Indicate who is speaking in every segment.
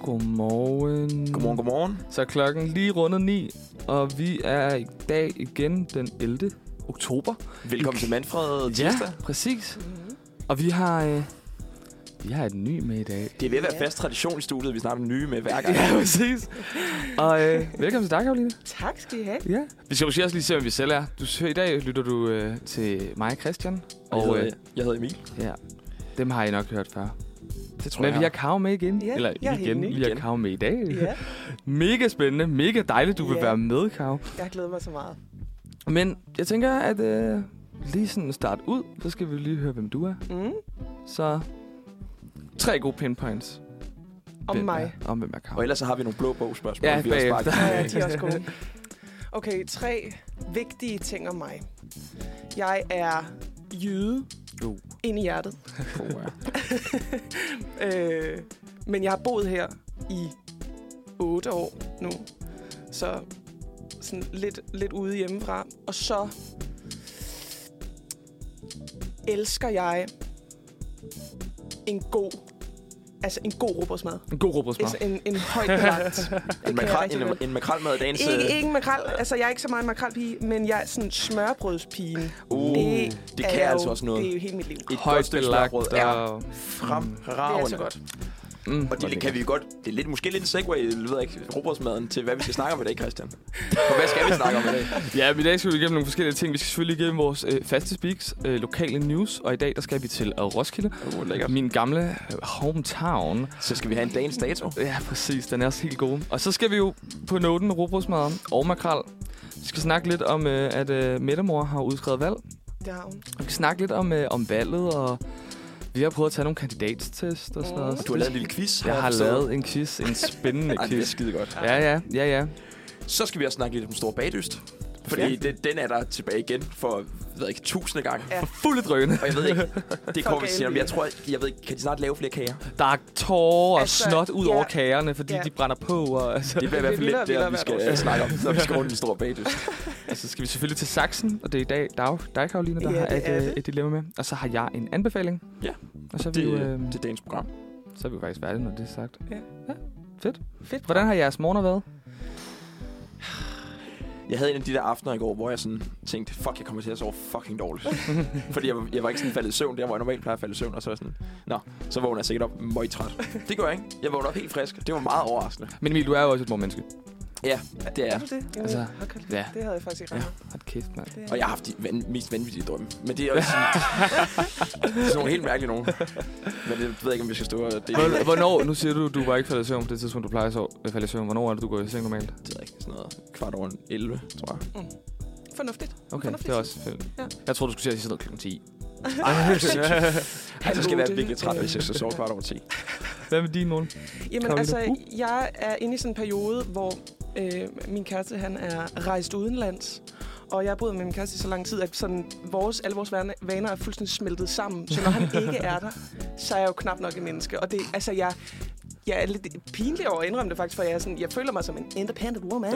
Speaker 1: Godmorgen.
Speaker 2: Godmorgen, godmorgen.
Speaker 1: Så er klokken lige rundet 9, og vi er i dag igen den 11. oktober.
Speaker 2: Velkommen til Manfred Tirsdag.
Speaker 1: præcis. Og vi har, øh, vi har et ny med i dag.
Speaker 2: Det er ved at være fast tradition i studiet, at vi snakker nye med hver gang.
Speaker 1: Ja, præcis. Og øh, velkommen til dig, Karoline.
Speaker 3: Tak skal I have.
Speaker 1: Ja. Vi skal måske også lige se, hvem vi selv er. Du ser i dag, lytter du øh, til mig og Christian.
Speaker 2: Og
Speaker 1: øh,
Speaker 2: jeg, jeg hedder Emil.
Speaker 1: ja, dem har I nok hørt før.
Speaker 2: Det tror
Speaker 1: Men vi har Kav med igen.
Speaker 3: Ja,
Speaker 1: Eller
Speaker 3: jeg er helt
Speaker 1: igen,
Speaker 3: ny.
Speaker 1: vi har Kav med i dag.
Speaker 3: Ja,
Speaker 1: Mega spændende, mega dejligt, du vil
Speaker 3: Ja.
Speaker 1: være med, Kav.
Speaker 3: jeg glæder mig så meget.
Speaker 1: Men jeg tænker, at øh, lige sådan start ud, så skal vi lige høre, hvem du er.
Speaker 3: Mm,
Speaker 1: Så tre gode pinpoints.
Speaker 3: om
Speaker 1: hvem
Speaker 3: mig.
Speaker 1: Er, om hvem er Kav.
Speaker 2: Og ellers så har vi nogle blå bogspørgsmål.
Speaker 1: Ja,
Speaker 2: vi også
Speaker 1: bagefter.
Speaker 3: Ja, ja, de er også gode. Okay, tre vigtige ting om mig. Jeg er jyde
Speaker 1: Uh.
Speaker 3: ind i hjertet. Øh, men jeg har boet her i 8 år nu. Så sådan lidt, lidt ude hjemmefra. Og så elsker jeg en god, altså en god robotsmad.
Speaker 1: En god råbrødsmad.
Speaker 3: Altså en, en højt belagt.
Speaker 2: En,
Speaker 3: kan jeg
Speaker 2: makrel,
Speaker 3: rigtig
Speaker 2: en,
Speaker 3: godt.
Speaker 2: en makrelmad i dagens...
Speaker 3: ikke,
Speaker 2: øh,
Speaker 3: ikke makrel. Altså, jeg er ikke så meget en makrelpige, men jeg er sådan smørbrødspigen.
Speaker 2: Uh, det,
Speaker 3: er
Speaker 2: kan
Speaker 3: jeg
Speaker 2: altså
Speaker 3: jo-
Speaker 2: også noget.
Speaker 3: Det er jo hele mit liv. Det
Speaker 2: Et godt
Speaker 1: Højt
Speaker 2: stykke
Speaker 1: belagt.
Speaker 2: smørbrød er
Speaker 1: Og,
Speaker 3: er
Speaker 2: fremragende.
Speaker 3: så godt.
Speaker 1: mm,
Speaker 2: Og det, det kan vi jo godt... Det er lidt, måske lidt en segway, jeg ved ikke, robotsmaden til, hvad vi skal snakke om i dag, Christian. For hvad skal vi snakke om i dag?
Speaker 1: Ja, men i dag skal vi igennem nogle forskellige ting. Vi skal selvfølgelig igennem vores øh, faste speaks, øh, lokale news, og i dag der skal vi til øh, Roskilde.
Speaker 2: Uh, lækkert.
Speaker 1: Min gamle øh, hometown.
Speaker 2: Så skal vi have en dagens dato.
Speaker 1: Ja, præcis. Den er også helt god. Og så skal vi jo på noten med råbrødsmad og makrel. Vi skal snakke lidt om, øh, at øh, Mettemor har udskrevet valg.
Speaker 3: Det har hun.
Speaker 1: Vi skal snakke lidt om, øh, om valget, og vi har prøvet at tage nogle kandidatstest og sådan noget.
Speaker 3: Mm.
Speaker 2: Du har lavet en lille quiz.
Speaker 1: Jeg har
Speaker 2: forstået.
Speaker 1: lavet en quiz. En spændende
Speaker 2: Ej, det er
Speaker 1: quiz.
Speaker 2: skide godt.
Speaker 1: Ja, ja, ja, ja.
Speaker 2: Så skal vi også snakke lidt om Stor Bagdyst. Fordi
Speaker 1: Ja.
Speaker 2: ja. det, den er der tilbage igen for, jeg ved ikke, tusinde gange.
Speaker 3: Ja.
Speaker 2: Ja.
Speaker 1: Fulde drøne.
Speaker 2: Og jeg ved ikke, det kommer vi
Speaker 3: Fuck
Speaker 2: senere, men jeg
Speaker 3: alle.
Speaker 2: tror, jeg ved ikke, kan de snart lave flere kager?
Speaker 1: Der er tårer og altså,
Speaker 3: Altså,
Speaker 1: snot ud
Speaker 3: ja.
Speaker 1: over kagerne, fordi
Speaker 3: Ja.
Speaker 1: de brænder på. Og, altså.
Speaker 2: Det bliver i hvert fald
Speaker 3: vildere og
Speaker 2: lidt der,
Speaker 3: vildere
Speaker 2: vi
Speaker 3: hvert
Speaker 2: skal øh, snakke om, når vi skal rundt den store bagdyst.
Speaker 1: Og så Altså, skal vi selvfølgelig til Saxen, og det er i dag dag, dig, Karoline, der
Speaker 3: Ja,
Speaker 1: har
Speaker 3: det
Speaker 1: et,
Speaker 3: er
Speaker 1: øh,
Speaker 3: det.
Speaker 1: et dilemma med. Og så har jeg en anbefaling.
Speaker 2: Ja.
Speaker 1: Og så er, vi,
Speaker 2: Det,
Speaker 1: jo, øh,
Speaker 2: det er dagens program.
Speaker 1: så er vi jo faktisk færdige, når det er sagt.
Speaker 3: Fedt.
Speaker 1: Hvordan har jeres morgener været?
Speaker 2: Jeg havde en af de der aftener i går, hvor jeg sådan tænkte, fuck, jeg kommer til at sove fucking dårligt. Fordi jeg, var- jeg var ikke sådan faldet i søvn der, hvor jeg normalt plejer at falde i søvn, og så var jeg sådan, nå, så vågner jeg sikkert op møg træt. Det gør jeg ikke. Jeg vågner op helt frisk. Det var meget overraskende.
Speaker 1: Men Emil, du er jo også et mormenneske.
Speaker 2: Ja, det
Speaker 3: Er
Speaker 2: er.
Speaker 3: du det?
Speaker 1: Altså,
Speaker 3: Altså, okay.
Speaker 1: ja.
Speaker 3: ja. Det havde jeg faktisk ikke
Speaker 2: Ja.
Speaker 3: regnet.
Speaker 1: Hold kæft, mand.
Speaker 3: med.
Speaker 2: Og jeg har haft de van- mest vanvittige drømme. Men det er også sådan, det er sådan nogle helt mærkelige nogen. Men det ved jeg ikke, om vi skal stå og dele.
Speaker 1: Hvor- Hvornår, nu siger du, du var ikke faldet i søvn på det tidspunkt, du plejer at sove- at falde i søvn. Hvornår er det, du går i seng normalt?
Speaker 2: Det ved jeg ikke, sådan noget kvart over 11, tror jeg.
Speaker 3: Fornuftigt.
Speaker 1: Okay, det
Speaker 3: Fornuftigt.
Speaker 1: er også fedt.
Speaker 3: Ja.
Speaker 1: Jeg tror, du skulle til at sige sådan noget klokken 10.
Speaker 2: Ej, så Altså, skal jeg være
Speaker 3: otte,
Speaker 2: virkelig træt,
Speaker 3: øh.
Speaker 2: hvis jeg skal sove kvart over 10.
Speaker 1: Hvad med din morgen?
Speaker 3: Jamen
Speaker 1: Karoline?
Speaker 3: altså, jeg er inde i sådan en periode, hvor øh, min kæreste han er rejst udenlands. Og jeg har boet med min kæreste i så lang tid, at sådan vores, alle vores vaner, vaner er fuldstændig smeltet sammen. Så når han ikke er der, så er jeg jo knap nok et menneske. Og det, altså, jeg, jeg er lidt pinlig over at indrømme det faktisk, for jeg, er sådan, jeg føler mig som en independent woman.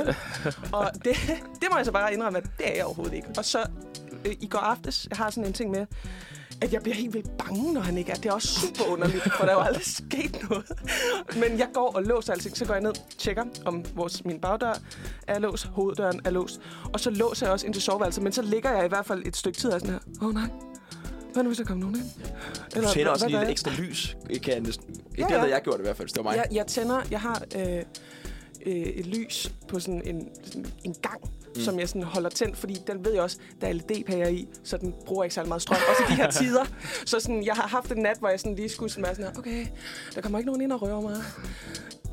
Speaker 3: og det, det må jeg så bare indrømme, at det er jeg overhovedet ikke. Og så øh, i går aftes, jeg har sådan en ting med, at jeg bliver helt vildt bange, når han ikke er. Det er også super underligt, for der er jo aldrig sket noget. Men jeg går og låser alting, så går jeg ned, tjekker, om vores, min bagdør er låst, hoveddøren er låst. Og så låser jeg også ind til soveværelset, men så ligger jeg i hvert fald et stykke tid og er sådan her, åh oh, nej, hvad nu hvis der kommer nogen ind?
Speaker 2: Du tænder også
Speaker 3: hvad
Speaker 2: lige
Speaker 3: gør
Speaker 2: lidt
Speaker 3: jeg?
Speaker 2: ekstra lys. Kan jeg næsten,
Speaker 3: Ja,
Speaker 2: det
Speaker 3: ja.
Speaker 2: havde jeg gjort i hvert fald, hvis det var mig.
Speaker 3: Jeg, jeg tænder, jeg har øh, øh, et lys på sådan en, sådan en gang, mm. som jeg sådan holder tændt, fordi den ved jeg også, der er LED-pærer i, så den bruger ikke særlig meget strøm, også i de her tider. Så sådan, jeg har haft en nat, hvor jeg sådan lige skulle sådan være sådan her, okay, der kommer ikke nogen ind og rører mig.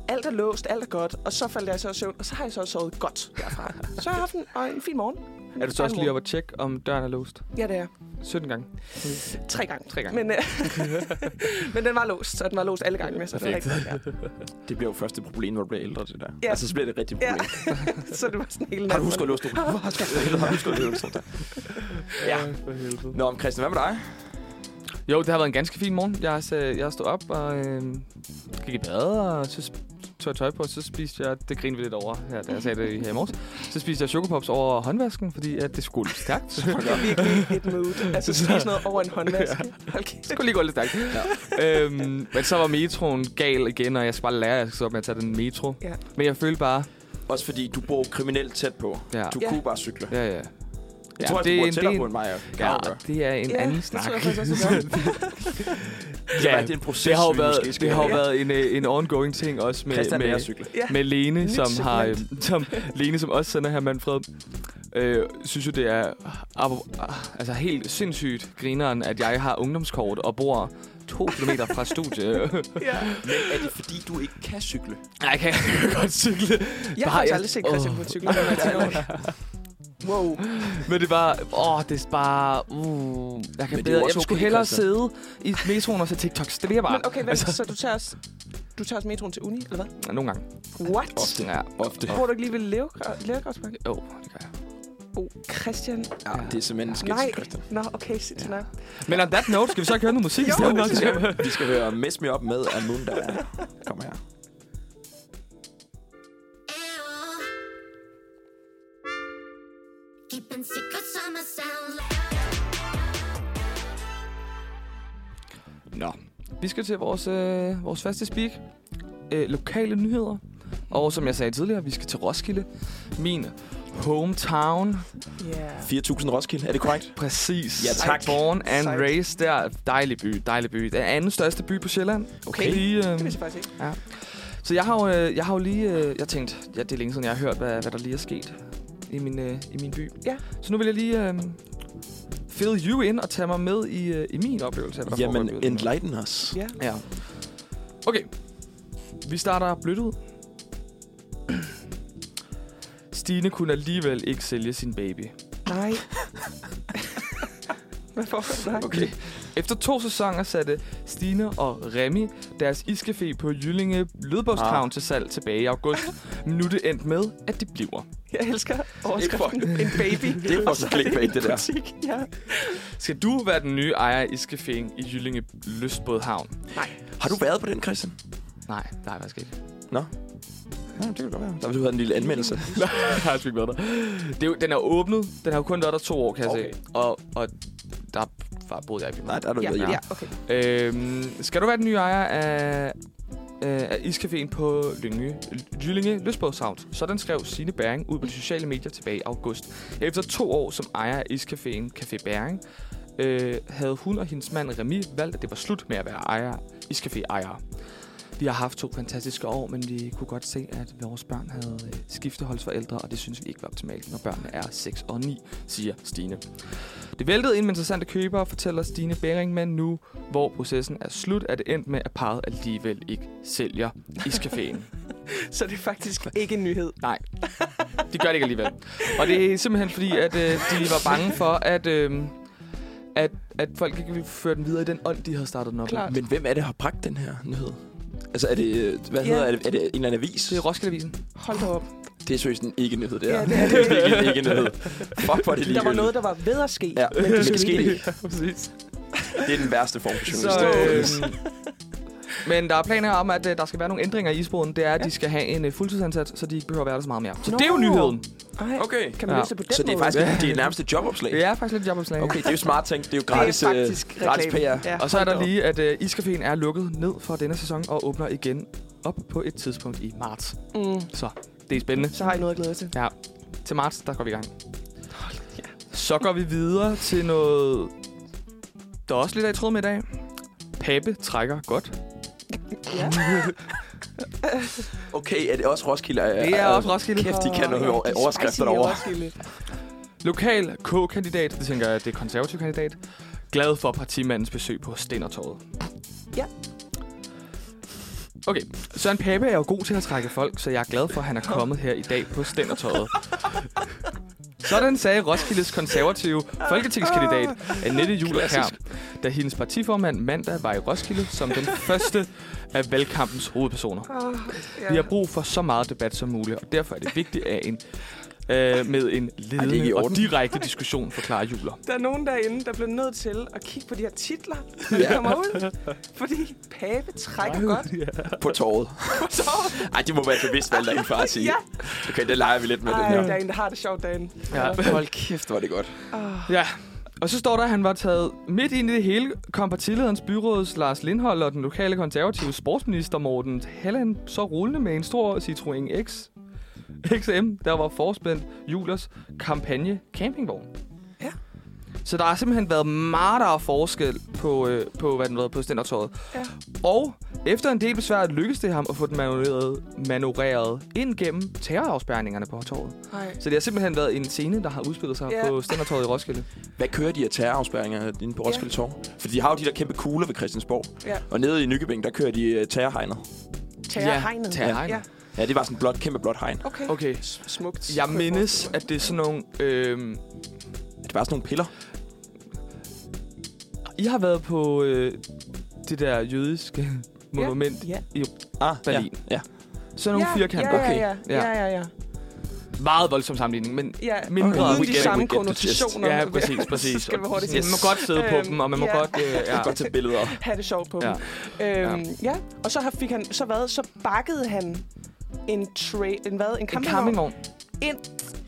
Speaker 3: Alt er låst, alt er godt, og så faldt jeg så i søvn, og så har jeg så sovet godt derfra. Så har jeg haft en, og en fin morgen.
Speaker 1: Er du så også lige oppe og tjekke, om døren er låst?
Speaker 3: Ja, det er jeg.
Speaker 1: 17 gange.
Speaker 3: Tre gange.
Speaker 1: Tre gange.
Speaker 3: Men, øh, men den var låst, og den var låst alle gangene. Så det var
Speaker 1: Perfekt.
Speaker 3: rigtig godt, ja.
Speaker 2: Det bliver jo første problem, når du bliver ældre, det der.
Speaker 3: Ja.
Speaker 2: Altså, så bliver det et rigtigt
Speaker 3: Ja.
Speaker 2: problem.
Speaker 3: Så det var sådan en hel nat.
Speaker 2: Har du husket at låse det? Har du husket at låse det? Ja.
Speaker 1: for helvede.
Speaker 2: Nå, men Christian, hvad med dig?
Speaker 1: Jo, det har været en ganske fin morgen. Jeg, er, jeg stod op og øh, gik i øh, bad, og så tør tøj på, så spiste jeg, det grinede vi lidt over, her, da jeg sagde det her i morges, så spiste jeg chokopops over håndvasken, fordi at det skulle stærkt. Så
Speaker 3: Det er virkelig et mood. Altså, så sådan noget over en håndvask. Hold
Speaker 1: det
Speaker 3: kæft.
Speaker 1: kunne lige gå lidt stærkt. Ja. Øhm, men så var metroen gal igen, og jeg skal bare lære, at jeg skal stoppe med at tage den metro.
Speaker 3: Ja.
Speaker 1: Men jeg følte bare,
Speaker 2: Også fordi du bor kriminelt tæt på.
Speaker 1: ja,
Speaker 2: Du
Speaker 3: Ja.
Speaker 2: kunne bare cykle.
Speaker 1: ja, ja.
Speaker 2: Jeg tror, at du bor tættere på end mig.
Speaker 1: Ja,
Speaker 2: Ja,
Speaker 1: det er en
Speaker 3: Ja,
Speaker 1: anden
Speaker 3: det
Speaker 1: snak.
Speaker 3: tror jeg faktisk også, jeg
Speaker 1: ja,
Speaker 2: det er en proces,
Speaker 1: det har jo
Speaker 2: vi måske
Speaker 1: været,
Speaker 2: skal
Speaker 1: det har jo
Speaker 2: have.
Speaker 1: været en, øh, en ongoing ting også med,
Speaker 2: Christian lærer at
Speaker 1: med,
Speaker 2: cykle.
Speaker 3: Ja.
Speaker 1: med Lene,
Speaker 3: Nyt
Speaker 1: som har, øh,
Speaker 3: segment.
Speaker 1: som, Lene, som også sender her Manfred. Øh, synes jo, det er ap- altså helt sindssygt grineren, at jeg har ungdomskort og bor to kilometer fra studie.
Speaker 3: ja.
Speaker 2: Men er det fordi, du ikke kan cykle?
Speaker 1: Nej, jeg kan godt cykle.
Speaker 3: Jeg har faktisk aldrig set Christian på en cykel. når jeg er 10 år. Wow.
Speaker 1: Men det var, åh, det er bare, uh, jeg kan
Speaker 2: Men det er
Speaker 1: bedre,
Speaker 2: jo også
Speaker 1: jeg skulle
Speaker 2: okay,
Speaker 1: hellere
Speaker 2: Christian.
Speaker 1: sidde i metroen og se TikToks. Det vil jeg bare.
Speaker 3: Men okay, vent, så du tager også, du tager også metroen til uni, eller hvad?
Speaker 1: Ja, Nogle gange.
Speaker 3: What?
Speaker 2: Ofte.
Speaker 1: Ja,
Speaker 2: Ofte.
Speaker 3: Bor du ikke lige ved Lærergravsbakke? Lærergravsbakke?
Speaker 1: jo, det gør jeg.
Speaker 3: Oh, Christian.
Speaker 2: Ja, det er simpelthen en sketch,
Speaker 3: Nej.
Speaker 2: Christian.
Speaker 3: Nå, okay, sit til nej.
Speaker 1: Men on that note, skal vi så ikke høre noget musik i
Speaker 3: Jo,
Speaker 1: stedet?
Speaker 3: det
Speaker 1: nok?
Speaker 2: Vi skal høre Mess Me Up med Amunda. Kom her.
Speaker 4: Keeping secrets on my sound.
Speaker 1: Nå. Vi skal til vores, øh, vores faste speak. Øh, lokale nyheder. Og som jeg sagde tidligere, vi skal til Roskilde. Min hometown.
Speaker 3: Yeah.
Speaker 2: 4.000 Roskilde, er det korrekt?
Speaker 1: Præcis.
Speaker 2: Ja, tak.
Speaker 1: Born and
Speaker 3: Sejt.
Speaker 1: raised der. Dejlig by, dejlig by. Den anden største by på Sjælland.
Speaker 2: Okay.
Speaker 1: Lige, øh,
Speaker 3: Det vidste jeg faktisk ikke.
Speaker 1: Så jeg har jo, øh, jeg har jo lige... Øh, jeg tænkte, ja, det er længe siden, jeg har hørt, hvad, hvad der lige er sket i min, øh, i min by.
Speaker 3: Ja.
Speaker 1: Så nu vil jeg lige øh, fill you in og tage mig med i, øh, i min oplevelse. af, Hvad der foregår i
Speaker 2: Jamen,
Speaker 1: byen.
Speaker 2: enlighten us.
Speaker 3: Ja.
Speaker 1: Ja. Okay. Vi starter blødt ud. Stine kunne alligevel ikke sælge sin baby.
Speaker 3: Nej. Hvad for? Nej.
Speaker 1: Okay. Efter to sæsoner satte Stine og Remy deres iscafé på Jyllinge Lødborgshavn ah. til salg tilbage i august. Men nu er det endt med, at det bliver.
Speaker 3: Jeg elsker overskriften.
Speaker 2: Ikke for-
Speaker 3: En baby.
Speaker 2: Det er fucking clickbait, det der.
Speaker 3: Butik. Ja.
Speaker 1: Skal du være den nye ejer af iscaféen i Jyllinge Lystbådhavn?
Speaker 2: Har du været på den, Christian?
Speaker 1: Nej, det har jeg faktisk ikke.
Speaker 2: Ja, det kan godt være. Der vil du have en lille anmeldelse.
Speaker 1: Nej, jeg har faktisk ikke været der. Det er jo, den er åbnet. Den har jo kun været der to år, kan jeg
Speaker 2: Okay.
Speaker 1: se. Og, og der var, boede jeg ikke.
Speaker 2: Nej, der er du
Speaker 3: Ja,
Speaker 2: ikke været
Speaker 3: ja,
Speaker 2: hjemme.
Speaker 3: okay.
Speaker 1: Øhm, skal du være den nye ejer af, øh, af Iscaféen på Lynge, Jyllinge Løsbådshavn? Sådan skrev Signe Bæring ud på de sociale medier tilbage i august. Efter to år som ejer af Iscaféen Café Bæring, øh, havde hun og hendes mand Remy valgt, at det var slut med at være ejer, Iscafé-ejere. Vi har haft to fantastiske år, men vi kunne godt se, at vores børn havde øh, skifteholdsforældre, og det synes vi ikke var optimalt, når børnene er 6 og 9, siger Stine. Det væltede ind med interessante købere, fortæller Stine Bering, men nu, hvor processen er slut, er det endt med, at parret alligevel ikke sælger iscaféen.
Speaker 3: Så det er faktisk ikke en nyhed.
Speaker 1: Nej, det gør det ikke alligevel. Og det er simpelthen fordi, at øh, de var bange for, at, øh, at, at folk ikke ville føre den videre i den ånd, de havde startet den op. i.
Speaker 3: Klart.
Speaker 2: Men hvem er det, der har bragt den her nyhed? Altså, er det, øh, hvad
Speaker 3: Ja.
Speaker 2: hedder, er det, er det en eller anden avis?
Speaker 1: Det er Roskildeavisen.
Speaker 3: Hold da op.
Speaker 2: Det er seriøst en ikke-nyhed, det her.
Speaker 3: Ja,
Speaker 2: Ja,
Speaker 3: det
Speaker 2: det
Speaker 3: er
Speaker 2: er
Speaker 3: det.
Speaker 2: virkelig en ikke-nyhed. Fuck, hvor er det lige.
Speaker 3: Der var noget, der var ved at ske.
Speaker 2: Ja, men det
Speaker 3: skete
Speaker 2: skete ikke.
Speaker 1: Præcis.
Speaker 2: Det er den værste form for
Speaker 1: Så,
Speaker 2: journalistik.
Speaker 1: øh, men der er planer om, at øh, der skal være nogle ændringer i isboden. Det er, at ja. de skal have en øh, fuldtidsansat, så de ikke behøver at være der så meget mere. Så
Speaker 3: Nå.
Speaker 1: det er jo nyheden.
Speaker 3: Ej,
Speaker 2: Okay.
Speaker 3: kan man
Speaker 1: Ja.
Speaker 3: løse det på den
Speaker 2: øh, Så det er
Speaker 3: måde?
Speaker 2: faktisk det er nærmest et jobopslag.
Speaker 1: Det er faktisk lidt jobopslag.
Speaker 2: Okay, det er jo smart tænkt. Det er jo
Speaker 3: Det er
Speaker 2: gratis, øh,
Speaker 3: faktisk
Speaker 2: gratis PR.
Speaker 3: reklame. Ja,
Speaker 1: Og så er
Speaker 3: hold da
Speaker 1: der
Speaker 3: op.
Speaker 1: lige, at øh, Iscaféen er lukket ned for denne sæson og åbner igen op på et tidspunkt i marts.
Speaker 3: Mm.
Speaker 1: Så det er spændende.
Speaker 3: Så har I noget at glæde jer til.
Speaker 1: Ja, til marts, der går vi i gang. Så går vi videre til noget, der er også lidt af i tråd med i dag. Pape trækker godt.
Speaker 3: Ja.
Speaker 2: Okay, er det også Roskilde? Øh,
Speaker 1: Det er
Speaker 3: øh,
Speaker 1: også Roskilde.
Speaker 2: Kæft, de kan noget med over- overskrifter derovre.
Speaker 1: Lokal K-kandidat, det tænker jeg, det er konservativ kandidat, glad for partimandens besøg på Stenertorvet.
Speaker 3: Ja.
Speaker 1: Okay, Søren Pape er jo god til at trække folk, så jeg er glad for, at han er kommet her i dag på Stenertorvet. Sådan sagde Roskildes konservative folketingskandidat Annette Julerkær, da hendes partiformand mandag var i Roskilde som den første af valgkampens hovedpersoner.
Speaker 3: Oh, ja.
Speaker 1: Vi har brug for så meget debat som muligt, og derfor er det vigtigt, at en øh, med en ledende
Speaker 2: ikke i
Speaker 1: Ej, og
Speaker 2: orden.
Speaker 1: direkte diskussion for Clara Juler.
Speaker 3: Der er nogen derinde, der bliver nødt til at kigge på de her titler, når de kommer ud. Fordi Pape trækker godt
Speaker 2: på tåret.
Speaker 3: på tåret.
Speaker 2: Ej, det må være et bevidst valg, der er en far at sige.
Speaker 3: Ja.
Speaker 2: Okay, det leger vi lidt med
Speaker 3: Ej,
Speaker 2: den
Speaker 3: der
Speaker 2: her.
Speaker 3: er en, der har det sjovt derinde.
Speaker 1: Ja.
Speaker 2: Hold kæft, var det godt.
Speaker 1: Ja. Og så står der, at han var taget midt ind i det hele, kom partilederens byråds Lars Lindhold og den lokale konservative sportsminister Morten Halland så rullende med en stor Citroën X, XM, der var forspændt Julers kampagne campingvogn.
Speaker 3: Ja.
Speaker 1: Så der har simpelthen været meget der er forskel på, øh, på hvad den var, på stændertøjet.
Speaker 3: Ja.
Speaker 1: Og efter en del besvær lykkedes det ham at få den manøvreret, manøvreret ind gennem terrorafspærringerne på torvet.
Speaker 3: Ej.
Speaker 1: Så det har simpelthen været en scene, der har udspillet sig
Speaker 3: Ja.
Speaker 1: ja. på stændertøjet i Roskilde.
Speaker 2: Hvad kører de af terrorafspærringer inde på Roskilde Torv? For de har jo de der kæmpe kugler ved Christiansborg.
Speaker 3: Ja.
Speaker 2: Og nede i Nykøbing, der kører de øh, terrorhegnet.
Speaker 3: Tager ja. hegnet.
Speaker 1: Terror hegnet.
Speaker 3: Ja.
Speaker 2: Ja, det var sådan et blåt, kæmpe blåt hegn.
Speaker 3: Okay.
Speaker 1: Okay.
Speaker 3: Smukt.
Speaker 1: Jeg
Speaker 3: Kunne
Speaker 1: mindes,
Speaker 3: forestille
Speaker 1: at det er sådan nogle... Øh,
Speaker 2: Det var sådan nogle piller.
Speaker 1: I har været på øh, det der jødiske
Speaker 3: mig.
Speaker 1: monument.
Speaker 3: Ja.
Speaker 2: Ah,
Speaker 1: Berlin.
Speaker 2: Ja, ja.
Speaker 1: Sådan nogle
Speaker 3: ja.
Speaker 1: firkanter.
Speaker 3: Ja, ja, ja. ja, ja, ja.
Speaker 1: Meget voldsom sammenligning, men...
Speaker 3: ja.
Speaker 1: Mindre
Speaker 3: Uden
Speaker 1: weekend,
Speaker 3: de samme
Speaker 2: weekend, det er just-
Speaker 3: konnotationer.
Speaker 1: Ja, præcis, præcis.
Speaker 3: Så skal vi hurtigt
Speaker 1: Man
Speaker 3: sige.
Speaker 1: må godt sidde på
Speaker 3: Øhm,
Speaker 1: dem, og man må
Speaker 3: ja.
Speaker 1: godt... Øh, ja.
Speaker 2: ja. Godt tage billeder.
Speaker 3: have det sjovt på
Speaker 1: Ja.
Speaker 3: ja. dem. Øhm, ja. Og så har- fik han, så hvad, så bakkede han en, tra- en, hvad, en
Speaker 1: En
Speaker 3: campingvogn
Speaker 1: campingvogn. Ind
Speaker 3: ind.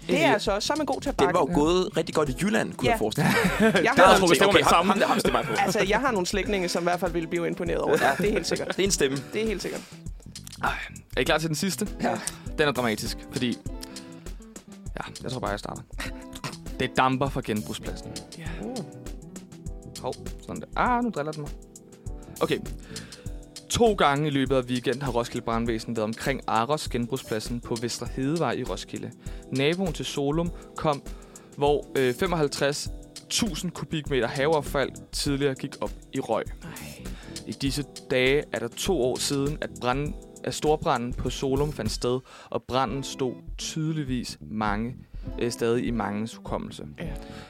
Speaker 3: Det
Speaker 1: i-
Speaker 3: er altså, så er man god til at
Speaker 2: Det
Speaker 3: bakke.
Speaker 2: var jo gået rigtig godt i Jylland, kunne
Speaker 3: Ja.
Speaker 2: jeg forestille mig.
Speaker 3: jeg,
Speaker 2: Der
Speaker 1: havde
Speaker 2: er altså
Speaker 1: trukket
Speaker 3: har,
Speaker 2: nogle
Speaker 1: stemmer med
Speaker 2: ting, okay,
Speaker 1: det
Speaker 2: ham,
Speaker 1: samme.
Speaker 2: ham der hamster mig på.
Speaker 3: altså, jeg har nogle slægtninge, som i hvert fald ville blive imponeret over det. Det er helt sikkert.
Speaker 2: Det er en stemme.
Speaker 3: Det er helt sikkert.
Speaker 1: Er I klar til den sidste?
Speaker 3: Ja.
Speaker 1: Den er dramatisk, fordi... Ja, jeg tror bare, jeg starter. Det damper fra genbrugspladsen.
Speaker 3: Ja.
Speaker 1: Hov, sådan der. Ah, nu driller den mig. Okay. To gange i løbet af weekenden har Roskilde Brandvæsen været omkring Aros genbrugspladsen på Vestre Hedevej i Roskilde. Naboen til Solum kom, hvor øh, 55.000 kubikmeter haveaffald tidligere gik op i røg. I disse dage er der to år siden, at, branden, at storbranden på Solum fandt sted, og branden stod tydeligvis mange, øh, stadig i mangens hukommelse.
Speaker 3: Ja.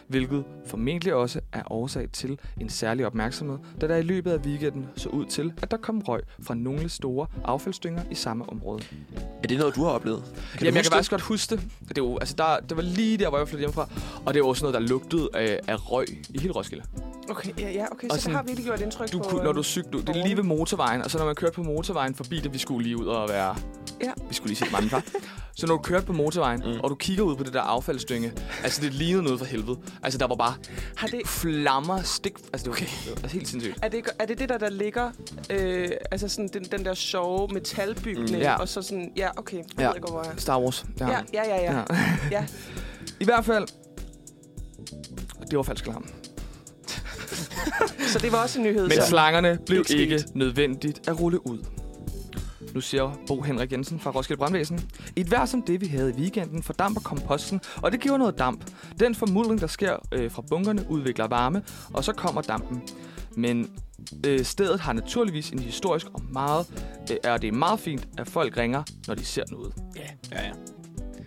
Speaker 1: Hvilket formentlig også er årsag til en særlig opmærksomhed, da der i løbet af weekenden så ud til, at der kom røg fra nogle store affaldsdynger i samme område. Kan
Speaker 2: Er det noget, du har oplevet? Kan
Speaker 1: Jamen,
Speaker 2: du
Speaker 1: jeg kan
Speaker 2: huske
Speaker 1: faktisk godt huske det. Det, er jo, altså der, det var lige der, hvor jeg flyttede hjemmefra, og det var også noget, der lugtede af, af røg i hele Roskilde.
Speaker 3: Okay, ja, ja, okay.
Speaker 1: Og
Speaker 3: Så
Speaker 1: sådan,
Speaker 3: det har virkelig gjort indtryk
Speaker 1: Du,
Speaker 3: på...
Speaker 1: kunne, når
Speaker 3: øh,
Speaker 1: du cyklede, det er lige ved motorvejen, og så når man kørte på motorvejen forbi det, vi skulle lige ud og være...
Speaker 3: Ja.
Speaker 1: Vi skulle lige se mange far. så når du kørte på motorvejen, mm. og du kigger ud på det der affaldsdynge, altså det lignede noget for helvede. Altså der var bare
Speaker 3: Har det,
Speaker 1: flammer, stik... Altså det var, okay. det var helt sindssygt.
Speaker 3: er, det, er det det der, der ligger... Øh, altså sådan den, den der sjove metalbygning,
Speaker 1: Mm,
Speaker 3: mm,
Speaker 1: ja.
Speaker 3: ja. og så sådan... Ja, okay. Jeg
Speaker 1: Ja.
Speaker 3: ja. ved ikke, hvor jeg er.
Speaker 1: Star Wars.
Speaker 3: Ja, ja, ja, ja. ja.
Speaker 1: I hvert fald... Det var falsk alarm.
Speaker 3: Så det var også en nyhed.
Speaker 1: Men
Speaker 3: så.
Speaker 1: slangerne blev
Speaker 3: Ikke
Speaker 1: ikke
Speaker 3: sket.
Speaker 1: nødvendigt at rulle ud. Nu siger Bo Henrik Jensen fra Roskilde Brandvæsen. I et vejr som det, vi havde i weekenden, fordamper komposten, og det giver noget damp. Den formulring, der sker øh, fra bunkerne, udvikler varme, og så kommer dampen. Men øh, stedet har naturligvis en historisk og meget, øh, og det er meget fint, at folk ringer, når de ser noget.
Speaker 2: det? Ja, ja.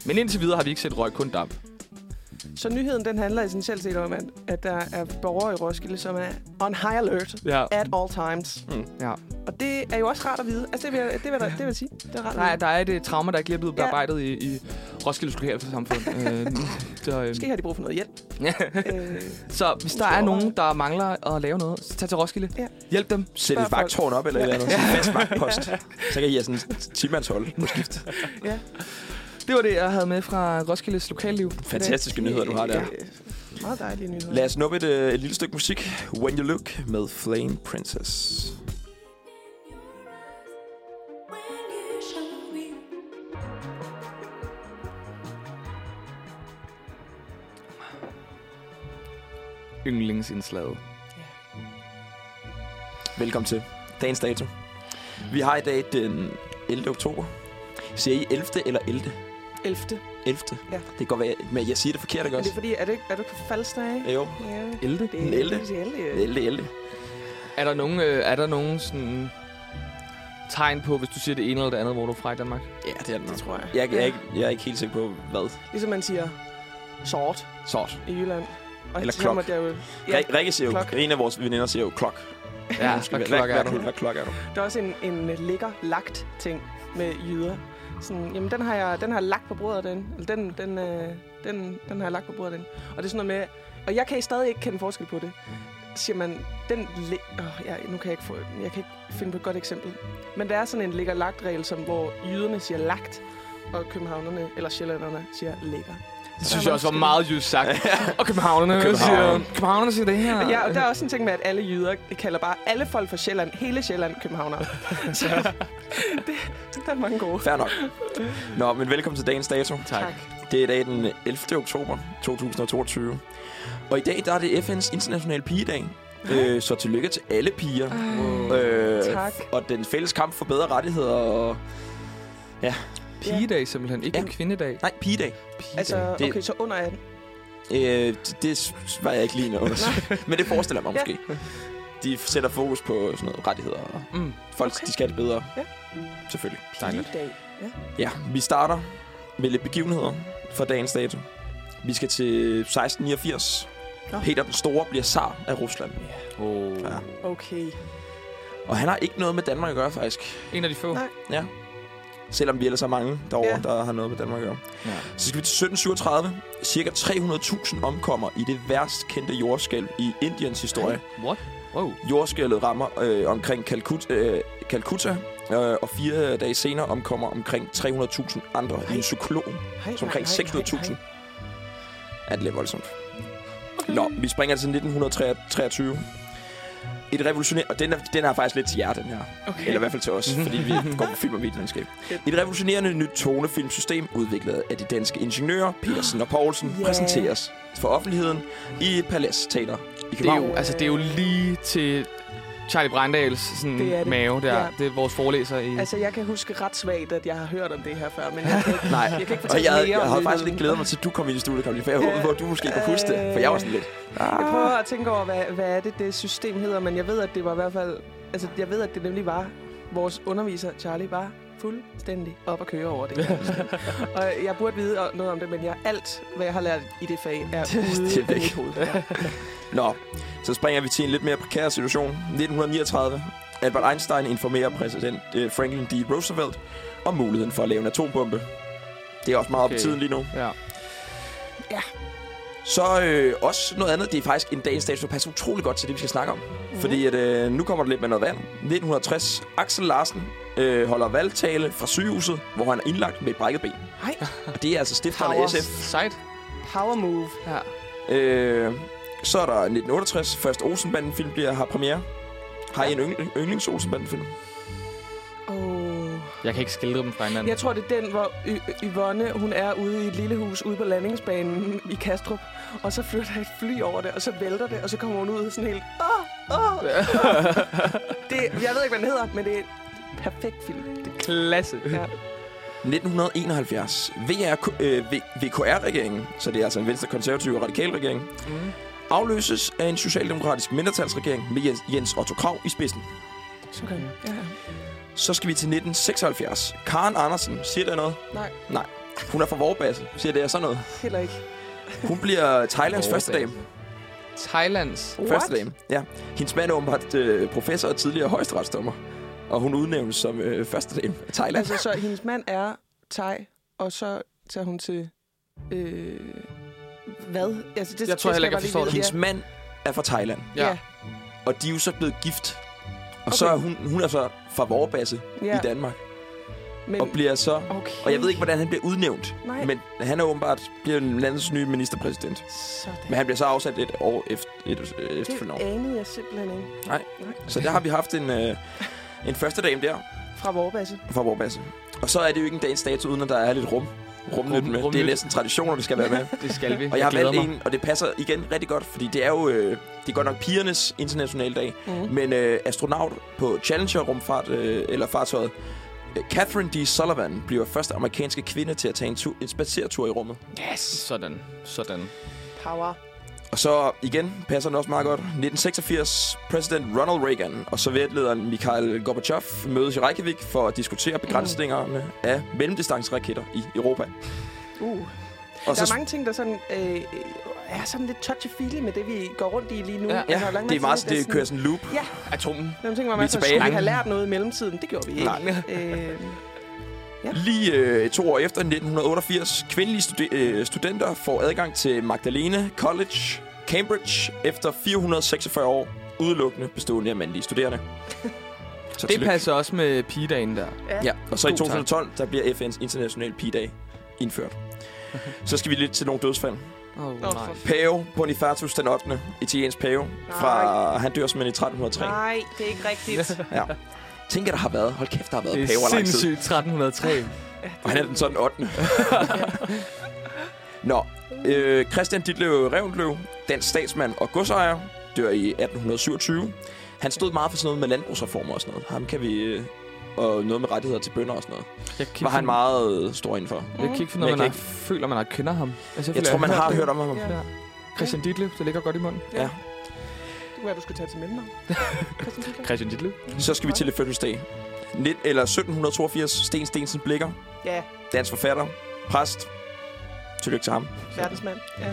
Speaker 1: Men indtil videre har vi ikke set røg, kun damp.
Speaker 3: Så nyheden, den handler essentielt set om, at, at der er borgere i Roskilde, som er on high alert
Speaker 1: Ja.
Speaker 3: at all times.
Speaker 2: Mm.
Speaker 1: ja.
Speaker 3: Og det er jo også rart at vide. Altså, det vil, jeg- det vil, der, det vil jeg sige. Det er rart
Speaker 1: Nej,
Speaker 3: at vide.
Speaker 1: der er et uh, trauma, der ikke lige er blevet
Speaker 3: Ja.
Speaker 1: bearbejdet i, i Roskildes lokalsamfund. øh, så, øh,
Speaker 3: Måske har de brug for noget hjælp. øh,
Speaker 1: så hvis der er nogen, der mangler at lave noget, så tag til Roskilde.
Speaker 3: Ja.
Speaker 1: Hjælp dem.
Speaker 2: Sæt et
Speaker 3: Spørg folk.
Speaker 2: vagtårn op eller et eller andet. Sådan en Fast vagtpost. Så kan I have sådan en 10-mandshold på skift.
Speaker 3: ja.
Speaker 1: Det var det, jeg havde med fra Roskildes lokalliv.
Speaker 2: Fantastiske nyheder, du har der.
Speaker 3: Øh, meget dejlige nyheder.
Speaker 2: Lad os nå et, øh, et lille stykke musik. When You Look med Flame Princess.
Speaker 1: Yndlingsindslaget.
Speaker 2: Velkommen til dagens dato. Vi har i dag den 11. oktober. Siger I 11. eller 11?
Speaker 3: 11.
Speaker 2: 11.
Speaker 3: Ja.
Speaker 2: Det kan godt være, men jeg siger det forkert, ikke
Speaker 3: Er
Speaker 2: også?
Speaker 3: det fordi, er du ikke, er du ikke på falsdag?
Speaker 2: Jo.
Speaker 3: Ja.
Speaker 1: 11.
Speaker 3: Det
Speaker 2: Den 11.
Speaker 3: det er de 11.
Speaker 2: 11. 11.
Speaker 1: Er der nogen, øh, er der nogen sådan, tegn på, hvis du siger det ene eller det andet, hvor du er fra i Danmark?
Speaker 2: Ja, det er den.
Speaker 3: Det tror jeg.
Speaker 2: Jeg, jeg, er ikke, jeg er ikke helt sikker på, hvad.
Speaker 3: Ligesom man siger sort
Speaker 2: Sort.
Speaker 3: i Jylland. Og
Speaker 2: Eller
Speaker 3: så siger
Speaker 2: klok.
Speaker 3: man, det er jo,
Speaker 2: Ja.
Speaker 3: ja,
Speaker 2: Rikke siger jo,
Speaker 3: Klok.
Speaker 2: en af vores veninder siger jo klok.
Speaker 1: Ja,
Speaker 2: Hun skal være-
Speaker 1: klokke er
Speaker 2: hvad,
Speaker 1: du?
Speaker 2: Hvad klok er du?
Speaker 3: der er også en, en ligger-lagt ting med jyder. sådan, jamen den har jeg, den har jeg lagt på bordet den, eller den, den, øh, den, den har jeg lagt på bordet den. Og det er sådan noget med, og jeg kan stadig ikke kende forskel på det. Siger man, den, li- oh, jeg, nu kan jeg, ikke få, jeg kan ikke finde på et godt eksempel. Men der er sådan en ligger lagt regel, som hvor jyderne siger lagt, og københavnerne, eller sjællænderne, siger lægger.
Speaker 1: Det synes jeg også var meget just sagt. Og københavnerne, København. siger, københavnerne siger det her.
Speaker 3: Ja, og der er også en ting med, at alle jyder kalder bare alle folk fra Sjælland, hele Sjælland, københavnere. Så det, der er mange gode.
Speaker 2: Fair nok. Nå, men velkommen til dagens dato.
Speaker 1: Tak.
Speaker 2: Det er i dag den 11. oktober 2022. Og i dag, der er det FN's internationale pigedag. Øh, så tillykke til alle piger.
Speaker 1: Wow.
Speaker 2: Øh,
Speaker 3: tak.
Speaker 2: Og den fælles kamp for bedre rettigheder og...
Speaker 1: Pigedag simpelthen, ikke
Speaker 2: Ja.
Speaker 1: en kvindedag.
Speaker 2: Nej, pigedag.
Speaker 1: Pigedag.
Speaker 3: Altså,
Speaker 2: Det-
Speaker 3: okay, så under 18.
Speaker 2: Øh, det, det s- var jeg ikke lige noget. Men det forestiller jeg mig
Speaker 3: Ja.
Speaker 2: måske. De sætter fokus på sådan noget rettigheder. Og
Speaker 1: Mm.
Speaker 2: folk,
Speaker 3: Okay.
Speaker 2: de skal det bedre.
Speaker 3: Ja.
Speaker 2: Selvfølgelig.
Speaker 1: Dejligt.
Speaker 3: Lige dag. Ja.
Speaker 2: Ja, vi starter med lidt begivenheder for dagens dato. Vi skal til 1689.
Speaker 3: Nå.
Speaker 2: Peter den Store bliver zar af Rusland.
Speaker 1: Oh.
Speaker 2: Ja.
Speaker 3: Okay.
Speaker 2: Og han har ikke noget med Danmark at gøre, faktisk.
Speaker 1: En af de få.
Speaker 3: Nej.
Speaker 2: Selvom vi ellers er mange derovre,
Speaker 3: Ja.
Speaker 2: der har noget med Danmark at gøre.
Speaker 1: Ja.
Speaker 2: Så skal vi til 1737. Cirka 300.000 omkommer i det værst kendte jordskælv i Indiens historie.
Speaker 1: What? Wow.
Speaker 2: Jordskælvet rammer øh, omkring Calcut- øh, Calcutta, øh, og fire dage senere omkommer omkring 300.000 andre i en cyklon.
Speaker 3: Hej,
Speaker 2: Så omkring
Speaker 3: nej, nej, nej,
Speaker 2: 600.000. Ja, det er lidt voldsomt. Nå, vi springer til 1923. Et revolutionært... Og den er, den er faktisk lidt til jer, den her.
Speaker 3: nej. Okay. Mhm.
Speaker 2: Eller i hvert fald til os, fordi vi går på film og videolandskab. Et revolutionerende nyt tonefilmsystem, udviklet af de danske ingeniører Petersen og Poulsen,
Speaker 3: Ja.
Speaker 2: yeah. præsenteres for offentligheden i et paladsteater i
Speaker 1: Det er,
Speaker 2: København.
Speaker 1: jo, altså, det er jo lige til Charlie Brandals sådan,
Speaker 3: Det er det.
Speaker 1: mave der.
Speaker 3: Ja.
Speaker 1: Ja. Det er vores forelæser i...
Speaker 3: Altså, jeg kan huske ret svagt, at jeg har hørt om det her før, men jeg kan ikke,
Speaker 2: Nej,
Speaker 3: jeg kan ikke
Speaker 2: og
Speaker 3: fortælle
Speaker 2: jeg,
Speaker 3: mere
Speaker 2: jeg
Speaker 3: om
Speaker 2: havde
Speaker 3: det
Speaker 2: faktisk
Speaker 3: nu.
Speaker 2: lidt glædet mig til, at du kom ind i studiet, Karoline, for jeg håbede
Speaker 3: Øh,
Speaker 2: på, at du måske kunne huske det, for jeg var sådan lidt...
Speaker 3: Jeg prøver Ah, at tænke over, hvad, hvad er det, det system hedder, men jeg ved, at det var i hvert fald... Altså, jeg ved, at det nemlig var... Vores underviser, Charlie, var fuldstændig op at køre over det. her system. og jeg burde vide noget om det, men jeg, alt, hvad jeg har lært i det fag, er
Speaker 2: Det er
Speaker 3: ude af
Speaker 2: væk.
Speaker 3: mit hoved. Ja.
Speaker 2: Nå, så springer vi til en lidt mere prekær situation. 1939. Albert Einstein informerer præsident øh, Franklin D. Roosevelt om muligheden for at lave en atombombe. Det er også meget
Speaker 1: Okay.
Speaker 2: okay. op i tiden lige nu.
Speaker 1: Ja.
Speaker 2: Så øh, også noget andet. Det er faktisk en dagens dato, der passer utrolig godt til det, vi skal snakke om.
Speaker 1: Mhm.
Speaker 2: Mm. Fordi at, øh, nu kommer der lidt med noget vand. 1960. Axel Larsen øh, holder valgtale fra sygehuset, hvor han er indlagt med et brækket ben.
Speaker 3: Hej,
Speaker 2: Og det er altså stifteren
Speaker 3: Power.
Speaker 2: af SF.
Speaker 1: Sejt.
Speaker 3: power move.
Speaker 1: Ja.
Speaker 2: Øh, så er der 1968. Første Olsenbanden-film bliver, har premiere. Har I en yngling, yndlings Olsenbanden-film?
Speaker 3: Oh.
Speaker 1: Jeg kan ikke skildre dem fra hinanden.
Speaker 3: Jeg tror, det er den, hvor Y- Y- Yvonne hun er ude i et lille hus ude på landingsbanen i Kastrup. Og så flytter et fly over det, og så vælter det, og så kommer hun ud sådan helt... Åh, åh, åh." det, jeg ved ikke, hvad den hedder, men det er en perfekt film. Det er
Speaker 1: Klasse.
Speaker 3: Ja.
Speaker 2: 1971. VR, øh, V- VKR-regeringen, så det er altså en venstre-konservativ og radikal regering,
Speaker 1: Mm.
Speaker 2: afløses af en socialdemokratisk mindretalsregering med Jens- Jens Otto Krav i spidsen.
Speaker 3: Okay. Ja.
Speaker 2: Så skal vi til 1976. Karen Andersen, siger det noget?
Speaker 3: Nej,
Speaker 2: Hun er fra Vorbasse, siger det er sådan noget.
Speaker 3: heller ikke.
Speaker 2: Hun bliver Thailands første dame.
Speaker 1: Thailands.
Speaker 3: What?
Speaker 2: Første dame, ja. Hendes mand er åbenbart øh, professor og tidligere højesteretsdommer. Og hun udnævnes som øh, første dame af Thailand.
Speaker 3: Altså, så hendes mand er thai, og så tager hun til... Øh, hvad? Altså, det,
Speaker 1: Jeg tror
Speaker 3: det
Speaker 1: heller ikke, jeg
Speaker 3: skal
Speaker 1: forstår
Speaker 3: bare lige
Speaker 2: Hendes
Speaker 3: vide.
Speaker 2: mand er fra Thailand,
Speaker 3: Ja. Ja.
Speaker 2: og de er jo så blevet gift. Og okay. så
Speaker 3: Okay.
Speaker 2: er hun, hun er så fra Vorbasse ja.
Speaker 3: Ja.
Speaker 2: i Danmark,
Speaker 3: Men,
Speaker 2: og bliver så...
Speaker 3: okay.
Speaker 2: Og jeg ved ikke, hvordan han bliver udnævnt,
Speaker 3: Nej.
Speaker 2: men han er åbenbart bliver landets nye ministerpræsident.
Speaker 3: Sådan.
Speaker 2: Men han bliver så afsat et år efter, et, øh, efterfølgende
Speaker 3: Det
Speaker 2: år.
Speaker 3: anede jeg simpelthen ikke.
Speaker 2: Så der har vi haft en, øh, en første dame der
Speaker 3: Fra Vorbasse.
Speaker 2: fra Vorbasse. Og så er det jo ikke en dagens dato, uden at der er lidt rum. Rumnyt
Speaker 1: Rum-
Speaker 2: med. Det er
Speaker 1: rumnyt.
Speaker 2: næsten traditioner, det skal være med.
Speaker 1: Det skal vi.
Speaker 2: Og jeg har
Speaker 1: glæder
Speaker 2: valgt en, og det passer igen rigtig godt, fordi det er jo øh, det er godt nok pigernes internationale dag,
Speaker 3: Mm.
Speaker 2: men øh, astronaut på Challenger-rumfart, øh, eller fartøjet, øh, Catherine D. Sullivan bliver første amerikanske kvinde til at tage en, tu- en spacertur i rummet.
Speaker 1: Yes. Sådan. Sådan.
Speaker 3: Power.
Speaker 2: Og så igen passer den også meget godt. 1986, præsident Ronald Reagan og sovjetlederen Mikhail Gorbachev mødes i Reykjavik for at diskutere begrænsningerne af mellemdistanceraketter i Europa.
Speaker 3: Uh.
Speaker 2: Og
Speaker 3: Der
Speaker 2: så
Speaker 3: er mange ting, der sådan, øh, er sådan lidt touchy-feely med det, vi går rundt i lige nu.
Speaker 1: Ja.
Speaker 3: Altså, der
Speaker 2: ja,
Speaker 3: lang
Speaker 2: det, er
Speaker 3: masse
Speaker 2: meget,
Speaker 3: ting, der
Speaker 2: det kører sådan en loop.
Speaker 3: Ja,
Speaker 1: Atomen.
Speaker 3: nogle ting
Speaker 2: Vi
Speaker 3: var
Speaker 2: er
Speaker 3: meget sådan,
Speaker 2: tilbage.
Speaker 3: skulle vi have lært noget i mellemtiden? Det gjorde vi ikke.
Speaker 2: Nej.
Speaker 3: Øh, Ja.
Speaker 2: Lige øh, to år efter 1988, kvindelige stude- øh, studenter får adgang til Magdalene College, Cambridge, efter 446 år, udelukkende bestående af mandlige studerende. Så
Speaker 1: Det
Speaker 2: tillykke.
Speaker 1: passer også med pigedagen der.
Speaker 2: Ja, og så i
Speaker 1: God tak.
Speaker 2: 2012, der bliver FN's internationale pigedag indført. Så skal vi lidt til nogle dødsfald.
Speaker 1: Åh, oh,
Speaker 3: for
Speaker 1: nej.
Speaker 2: Pave Bonifatus den 8. Italiensk pave. Fra, han dør simpelthen i 1303.
Speaker 3: Nej, det er ikke rigtigt.
Speaker 2: Ja. Tænk, at der har været. Hold kæft, der har været
Speaker 1: Det
Speaker 2: paver
Speaker 1: er
Speaker 2: lang tid.
Speaker 1: sindssygt 1303.
Speaker 2: Og han er den sådan 8. Nå, øh, Christian Ditlev Reventlev, dansk statsmand og godsejer, dør i 1827. Han stod meget for sådan noget med landbrugsreformer og sådan noget. Ham kan vi... Øh, og noget med rettigheder til bønder og sådan noget.
Speaker 1: Jeg kan
Speaker 2: Var han
Speaker 1: finde-
Speaker 2: meget øh, stor indenfor.
Speaker 1: Jeg kan ikke finde,
Speaker 2: Men
Speaker 1: ud
Speaker 2: jeg
Speaker 1: af, man
Speaker 2: kan
Speaker 1: har, føler, man har kender ham. Altså,
Speaker 2: Jeg
Speaker 1: føler,
Speaker 2: tror, man
Speaker 1: har
Speaker 2: har
Speaker 1: det.
Speaker 2: hørt om ham.
Speaker 3: Ja.
Speaker 1: Christian Ditlev, det ligger godt i munden.
Speaker 2: Ja.
Speaker 3: Det kunne være, du skulle tage til mellemnavn. Christian Dickler.
Speaker 1: Christian Ditlev?
Speaker 2: Så skal vi til et fødselsdag. Nit- eller 1782, Sten Stensen Blikker,
Speaker 3: Ja,
Speaker 2: dansk forfatter, præst. Tillykke til ham.
Speaker 3: verdensmand. Ja.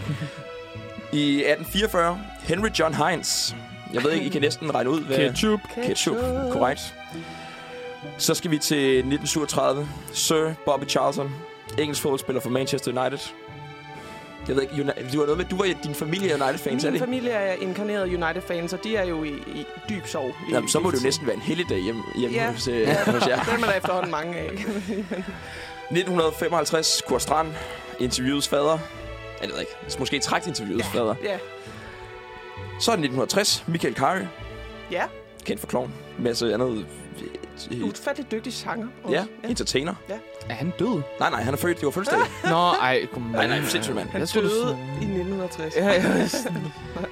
Speaker 2: I 1844, Henry John Heinz. Jeg ved ikke, I kan næsten regne ud, hvad...
Speaker 1: Ketchup.
Speaker 2: Ketchup, korrekt. Så skal vi til 1937. Sir Bobby Charlton, engelsk fodboldspiller for Manchester United. Jeg ved ikke, United, du var noget med, du var din familie er United-fans, er det
Speaker 3: Min
Speaker 2: ikke?
Speaker 3: familie er inkarnerede United-fans, og de er jo i, i dyb sorg. i-
Speaker 2: Jamen, så må
Speaker 3: i-
Speaker 2: det jo næsten være en heldig dag hjemme, hjemme
Speaker 3: Ja.
Speaker 2: hos, øh, hos jer.
Speaker 3: Dem er der efterhånden mange af.
Speaker 2: 1955, Kurt Strand, interviewets fader. Jeg ved ikke, måske trækt interviewets ja. fader.
Speaker 3: ja.
Speaker 2: Så er det 1960, Michael Carey,
Speaker 3: ja,
Speaker 2: kendt for klovn. Masse andet... øh, øh,
Speaker 3: ufatteligt dygtig sanger. også.
Speaker 2: Ja, entertainer.
Speaker 1: Er han død?
Speaker 2: Nej, nej, han er født, det var fødselsdag.
Speaker 1: Nå, ej, kom
Speaker 2: Nej, nej, sindssygt, mand.
Speaker 3: Han
Speaker 1: Jeg
Speaker 3: jeg
Speaker 1: troede,
Speaker 3: døde
Speaker 1: du-
Speaker 3: i 1960.
Speaker 1: Ja, ja.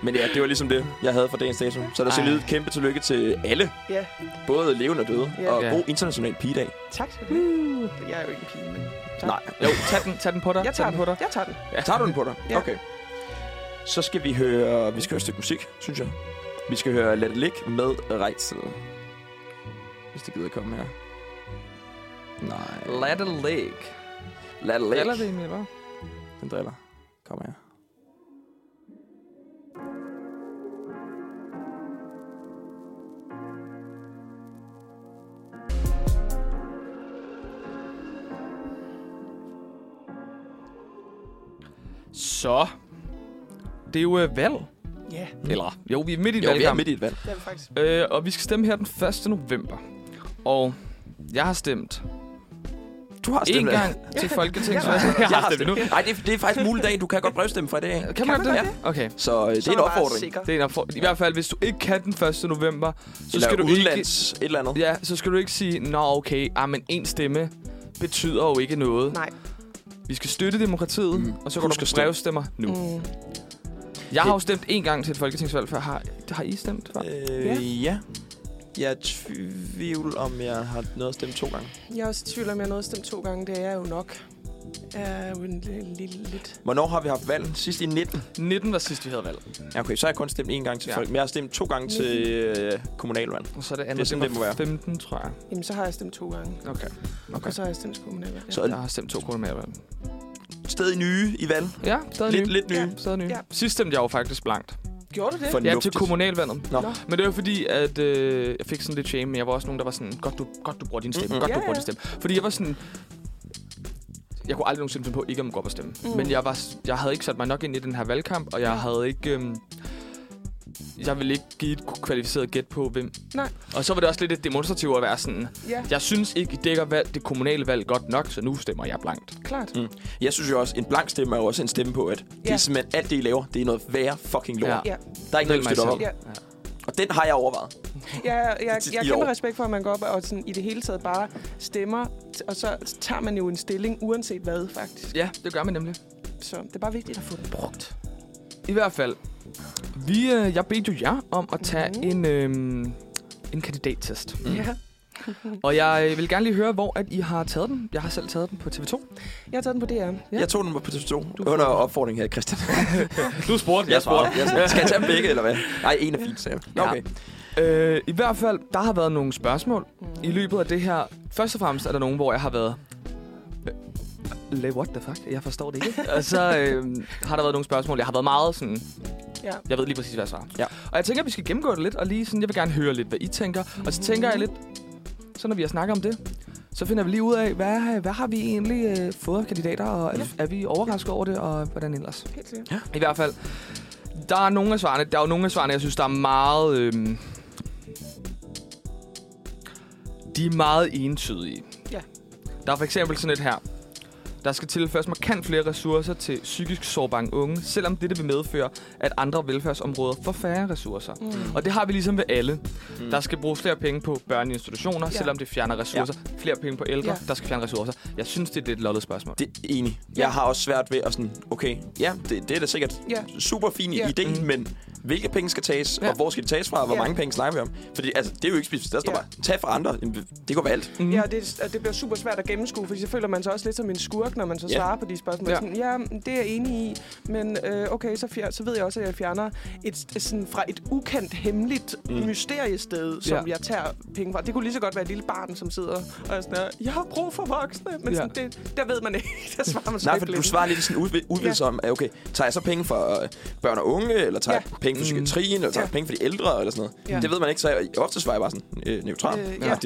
Speaker 2: Men ja, det var ligesom det, jeg havde for dagens dato. Så der skal
Speaker 1: Ej.
Speaker 2: lyde et kæmpe tillykke til alle.
Speaker 3: Ja.
Speaker 2: Både levende og døde.
Speaker 3: Ja.
Speaker 2: Og
Speaker 1: Ja.
Speaker 2: god international pigedag.
Speaker 3: Tak skal du have. Jeg er jo ikke en pige, men... Tak.
Speaker 2: Nej.
Speaker 1: Jo, tag den, tag den på dig. tag
Speaker 3: Jeg tager den.
Speaker 1: på dig.
Speaker 3: Jeg tager den.
Speaker 2: Ja. Tager du den på dig?
Speaker 3: Ja.
Speaker 2: Okay. Så skal vi høre... Vi skal høre et stykke musik, synes jeg. Vi skal høre Let It Ligge med Rejtid. Hvis det gider komme her. Nej.
Speaker 1: Lad it leg.
Speaker 2: Let It
Speaker 1: Eller det,
Speaker 2: Ligge.
Speaker 1: Emil, hva'?
Speaker 2: Den driller. Kom her.
Speaker 1: Så. Det er jo øh, valg.
Speaker 3: Ja,
Speaker 1: Eller, jo, vi er midt i
Speaker 2: Jo, vi er
Speaker 1: valgkamp.
Speaker 2: midt i et valg.
Speaker 3: det er vi faktisk.
Speaker 1: Øh, og vi skal stemme her den 1. november. Og jeg har stemt
Speaker 2: Du har
Speaker 1: en
Speaker 2: stemt.
Speaker 1: gang til Folketingsvalget.
Speaker 2: Jeg har stemt nu. Nej, det er, det er faktisk mulig dag. Du kan godt brevstemme fra i dag.
Speaker 1: Kan man det? Okay.
Speaker 2: Så øh, det
Speaker 3: Så
Speaker 2: er en
Speaker 3: du bare
Speaker 2: opfordring.
Speaker 3: sikker.
Speaker 1: Det er en opfordring. I hvert fald, hvis du ikke kan den 1. november, så
Speaker 2: Eller
Speaker 1: skal du
Speaker 2: udlands et eller andet.
Speaker 1: ikke... Ja, så skal du ikke sige, nå okay, ah, men en stemme betyder jo ikke noget.
Speaker 3: Nej.
Speaker 1: Vi skal støtte demokratiet,
Speaker 2: Mm.
Speaker 1: mm. og så går
Speaker 2: Husk
Speaker 1: du på
Speaker 2: at stemme.
Speaker 1: brevstemmer nu. Mm.
Speaker 3: Mm.
Speaker 1: Jeg har jo stemt en gang til et folketingsvalg før. Har, har I stemt? før?
Speaker 3: Ja.
Speaker 2: Øh, ja. Jeg er i tvivl, om jeg har noget at stemme to gange.
Speaker 3: Jeg er også i tvivl om, jeg nåede at stemme to gange. Det er jeg jo nok. Jeg er jo en lille, lille lidt...
Speaker 2: Hvornår har vi haft valg? Sidst i 19.
Speaker 1: 19 var sidst, vi havde valg.
Speaker 2: Ja, okay, så har jeg kun stemt én gang til
Speaker 1: Ja.
Speaker 2: folk. Men jeg har stemt to gange til øh, kommunalvalg.
Speaker 1: Og så det
Speaker 2: Det er
Speaker 1: andet, det,
Speaker 2: sådan,
Speaker 1: det,
Speaker 2: det må
Speaker 1: det var
Speaker 2: være.
Speaker 1: 15, tror jeg.
Speaker 3: Jamen, så har jeg stemt to gange.
Speaker 1: Okay.
Speaker 3: Og så har jeg stemt til kommunalvalg. Ja.
Speaker 2: Så
Speaker 1: Jeg har stemt to kroner mere valg.
Speaker 2: stadig nye i valg.
Speaker 1: Ja, stadig
Speaker 2: Lidt,
Speaker 1: nye.
Speaker 2: lidt nye.
Speaker 3: Ja.
Speaker 1: Stadig nye.
Speaker 3: Ja.
Speaker 1: Ja. Sidst stemte jeg jo faktisk blankt.
Speaker 3: Gjorde du det?
Speaker 2: For-
Speaker 1: Ja, til
Speaker 2: Fornuftigt.
Speaker 1: kommunalvalget.
Speaker 2: Nå.
Speaker 3: Nå.
Speaker 1: Men det var fordi, at øh, jeg fik sådan lidt shame, men jeg var også nogen, der var sådan, godt du, godt du bruger din stemme,
Speaker 2: Mm, mm.
Speaker 1: mm-hmm. godt
Speaker 3: Ja,
Speaker 1: du bruger
Speaker 3: ja.
Speaker 1: din stemme. Fordi jeg var sådan, jeg kunne aldrig nogensinde finde på ikke at man går op og stemme.
Speaker 3: Mm.
Speaker 1: Mm. Men jeg, var, s- jeg havde ikke sat mig nok ind i den her valgkamp, og jeg havde ikke... Øhm, jeg ville ikke give et kvalificeret gæt på, hvem.
Speaker 3: Nej.
Speaker 1: Og så var det også lidt et demonstrativt at være sådan,
Speaker 3: Ja,
Speaker 1: jeg synes ikke, I dækker valg, det kommunale valg godt nok, så nu stemmer jeg blankt.
Speaker 3: klart.
Speaker 2: Mm. Jeg synes jo også, en blank stemme er jo også en stemme på, at det
Speaker 3: Ja.
Speaker 2: er simpelthen alt det, I laver, det er noget værre fucking lort.
Speaker 1: Ja.
Speaker 2: Ja.
Speaker 3: Ja.
Speaker 2: Der er ikke noget, vi støtter op.
Speaker 1: Ja.
Speaker 3: Ja.
Speaker 2: Og den har jeg overvejet.
Speaker 3: Ja, jeg, jeg,
Speaker 2: I
Speaker 3: jeg har kæmpe
Speaker 2: år.
Speaker 3: respekt for, at man går op og sådan, i det hele taget bare stemmer, t- og så tager man jo en stilling, uanset hvad, faktisk.
Speaker 1: ja, det gør man nemlig.
Speaker 3: Så det er bare vigtigt at få den brugt.
Speaker 1: I hvert fald. Vi, øh, jeg bedte jo jer om at tage
Speaker 3: Mhm.
Speaker 1: mm. en, øh, en kandidattest.
Speaker 3: Mm. Ja.
Speaker 1: Og jeg vil gerne lige høre, hvor at I har taget den. Jeg har selv taget den på TV2.
Speaker 3: Jeg har taget den på DR.
Speaker 1: Ja.
Speaker 2: Jeg tog den på TV2
Speaker 1: får
Speaker 2: under
Speaker 1: den.
Speaker 2: opfordring her, Christian.
Speaker 1: Du spurgte,
Speaker 2: Jeg svarede. Jeg svarede. Skal jeg tage dem begge, eller hvad? Nej, en er fint, sagde jeg. Nå,
Speaker 1: Ja.
Speaker 2: Okay.
Speaker 1: Øh, I hvert fald, der har været nogle spørgsmål i løbet af det her. Først og fremmest er der nogen, hvor jeg har været... Le, what the fuck? Jeg forstår det ikke. og så øh, har der været nogle spørgsmål. Jeg har været meget sådan...
Speaker 3: Ja.
Speaker 1: Jeg ved lige præcis, hvad jeg svarer.
Speaker 2: Ja.
Speaker 1: Og jeg tænker, at vi skal gennemgå det lidt, og lige sådan, jeg vil gerne høre lidt, hvad I tænker. Og så tænker jeg lidt, så når vi har snakket om det, Så finder vi lige ud af, hvad, øh, hvad har vi egentlig øh, fået af kandidater, og er, er vi overrasket over det, og hvordan ellers?
Speaker 3: Helt sikkert.
Speaker 1: I hvert fald, der er nogle af svarene, der er jo nogle af svarene, jeg synes, der er meget... Øhm, de er meget entydige.
Speaker 3: Ja.
Speaker 1: Der er for eksempel sådan et her. Der skal tilføres markant flere ressourcer til psykisk sårbare unge, selvom dette vil medføre, at andre velfærdsområder får færre ressourcer.
Speaker 3: Mm.
Speaker 1: Og det har vi ligesom ved alle.
Speaker 2: Mm.
Speaker 1: Der skal bruges flere penge på børneinstitutioner,
Speaker 3: Ja.
Speaker 1: selvom det fjerner ressourcer. Ja. Flere penge på ældre,
Speaker 3: Ja.
Speaker 1: ja. der skal fjerne ressourcer. Jeg synes, det er et lidt lollet spørgsmål.
Speaker 2: Det er enig. Jeg har også svært ved at sådan, okay, ja, det, det er da sikkert
Speaker 3: Ja.
Speaker 2: super fin
Speaker 3: Ja.
Speaker 2: ja. idé,
Speaker 1: Mm.
Speaker 2: men hvilke penge skal tages,
Speaker 1: Ja.
Speaker 2: og hvor skal de tages fra, og hvor
Speaker 3: Ja.
Speaker 2: mange penge snakker vi om? Fordi altså, det er jo ikke specifikt. Der står
Speaker 3: Ja.
Speaker 2: bare, tag fra andre. Jamen, Det går være alt.
Speaker 1: Mm.
Speaker 3: Ja, og det, og det bliver super svært at gennemskue, fordi så føler man sig også lidt som en skurk, når man så
Speaker 2: Ja.
Speaker 3: svarer på de spørgsmål.
Speaker 1: Ja.
Speaker 3: Ja, sådan, ja det er jeg enig i, men øh, okay, så, fjer, så ved jeg også, at jeg fjerner et, et sådan, fra et ukendt, hemmeligt
Speaker 2: Mm.
Speaker 3: mm. mysteriested, som
Speaker 1: Ja.
Speaker 3: ja. jeg tager penge fra. Det kunne lige så godt være et lille barn, som sidder og er sådan, her, jeg har brug for voksne, men
Speaker 1: Ja.
Speaker 3: ja. sådan, det, der ved man ikke. Der svarer man så
Speaker 2: Nej,
Speaker 3: lidt
Speaker 2: for du
Speaker 3: blindt.
Speaker 2: svarer lidt i sådan udvid- udvidelse om, at okay, tager jeg så penge fra øh, børn og unge, eller tager
Speaker 3: Ja.
Speaker 2: jeg penge fra
Speaker 1: Mm.
Speaker 2: psykiatrien, eller tager jeg
Speaker 3: Ja.
Speaker 2: penge fra de ældre, eller sådan noget.
Speaker 3: Ja.
Speaker 2: Det ved man ikke, så jeg- ofte svarer jeg bare sådan øh, neutral.
Speaker 3: Øh,
Speaker 2: Øh,
Speaker 3: ja.
Speaker 2: ja.
Speaker 3: jeg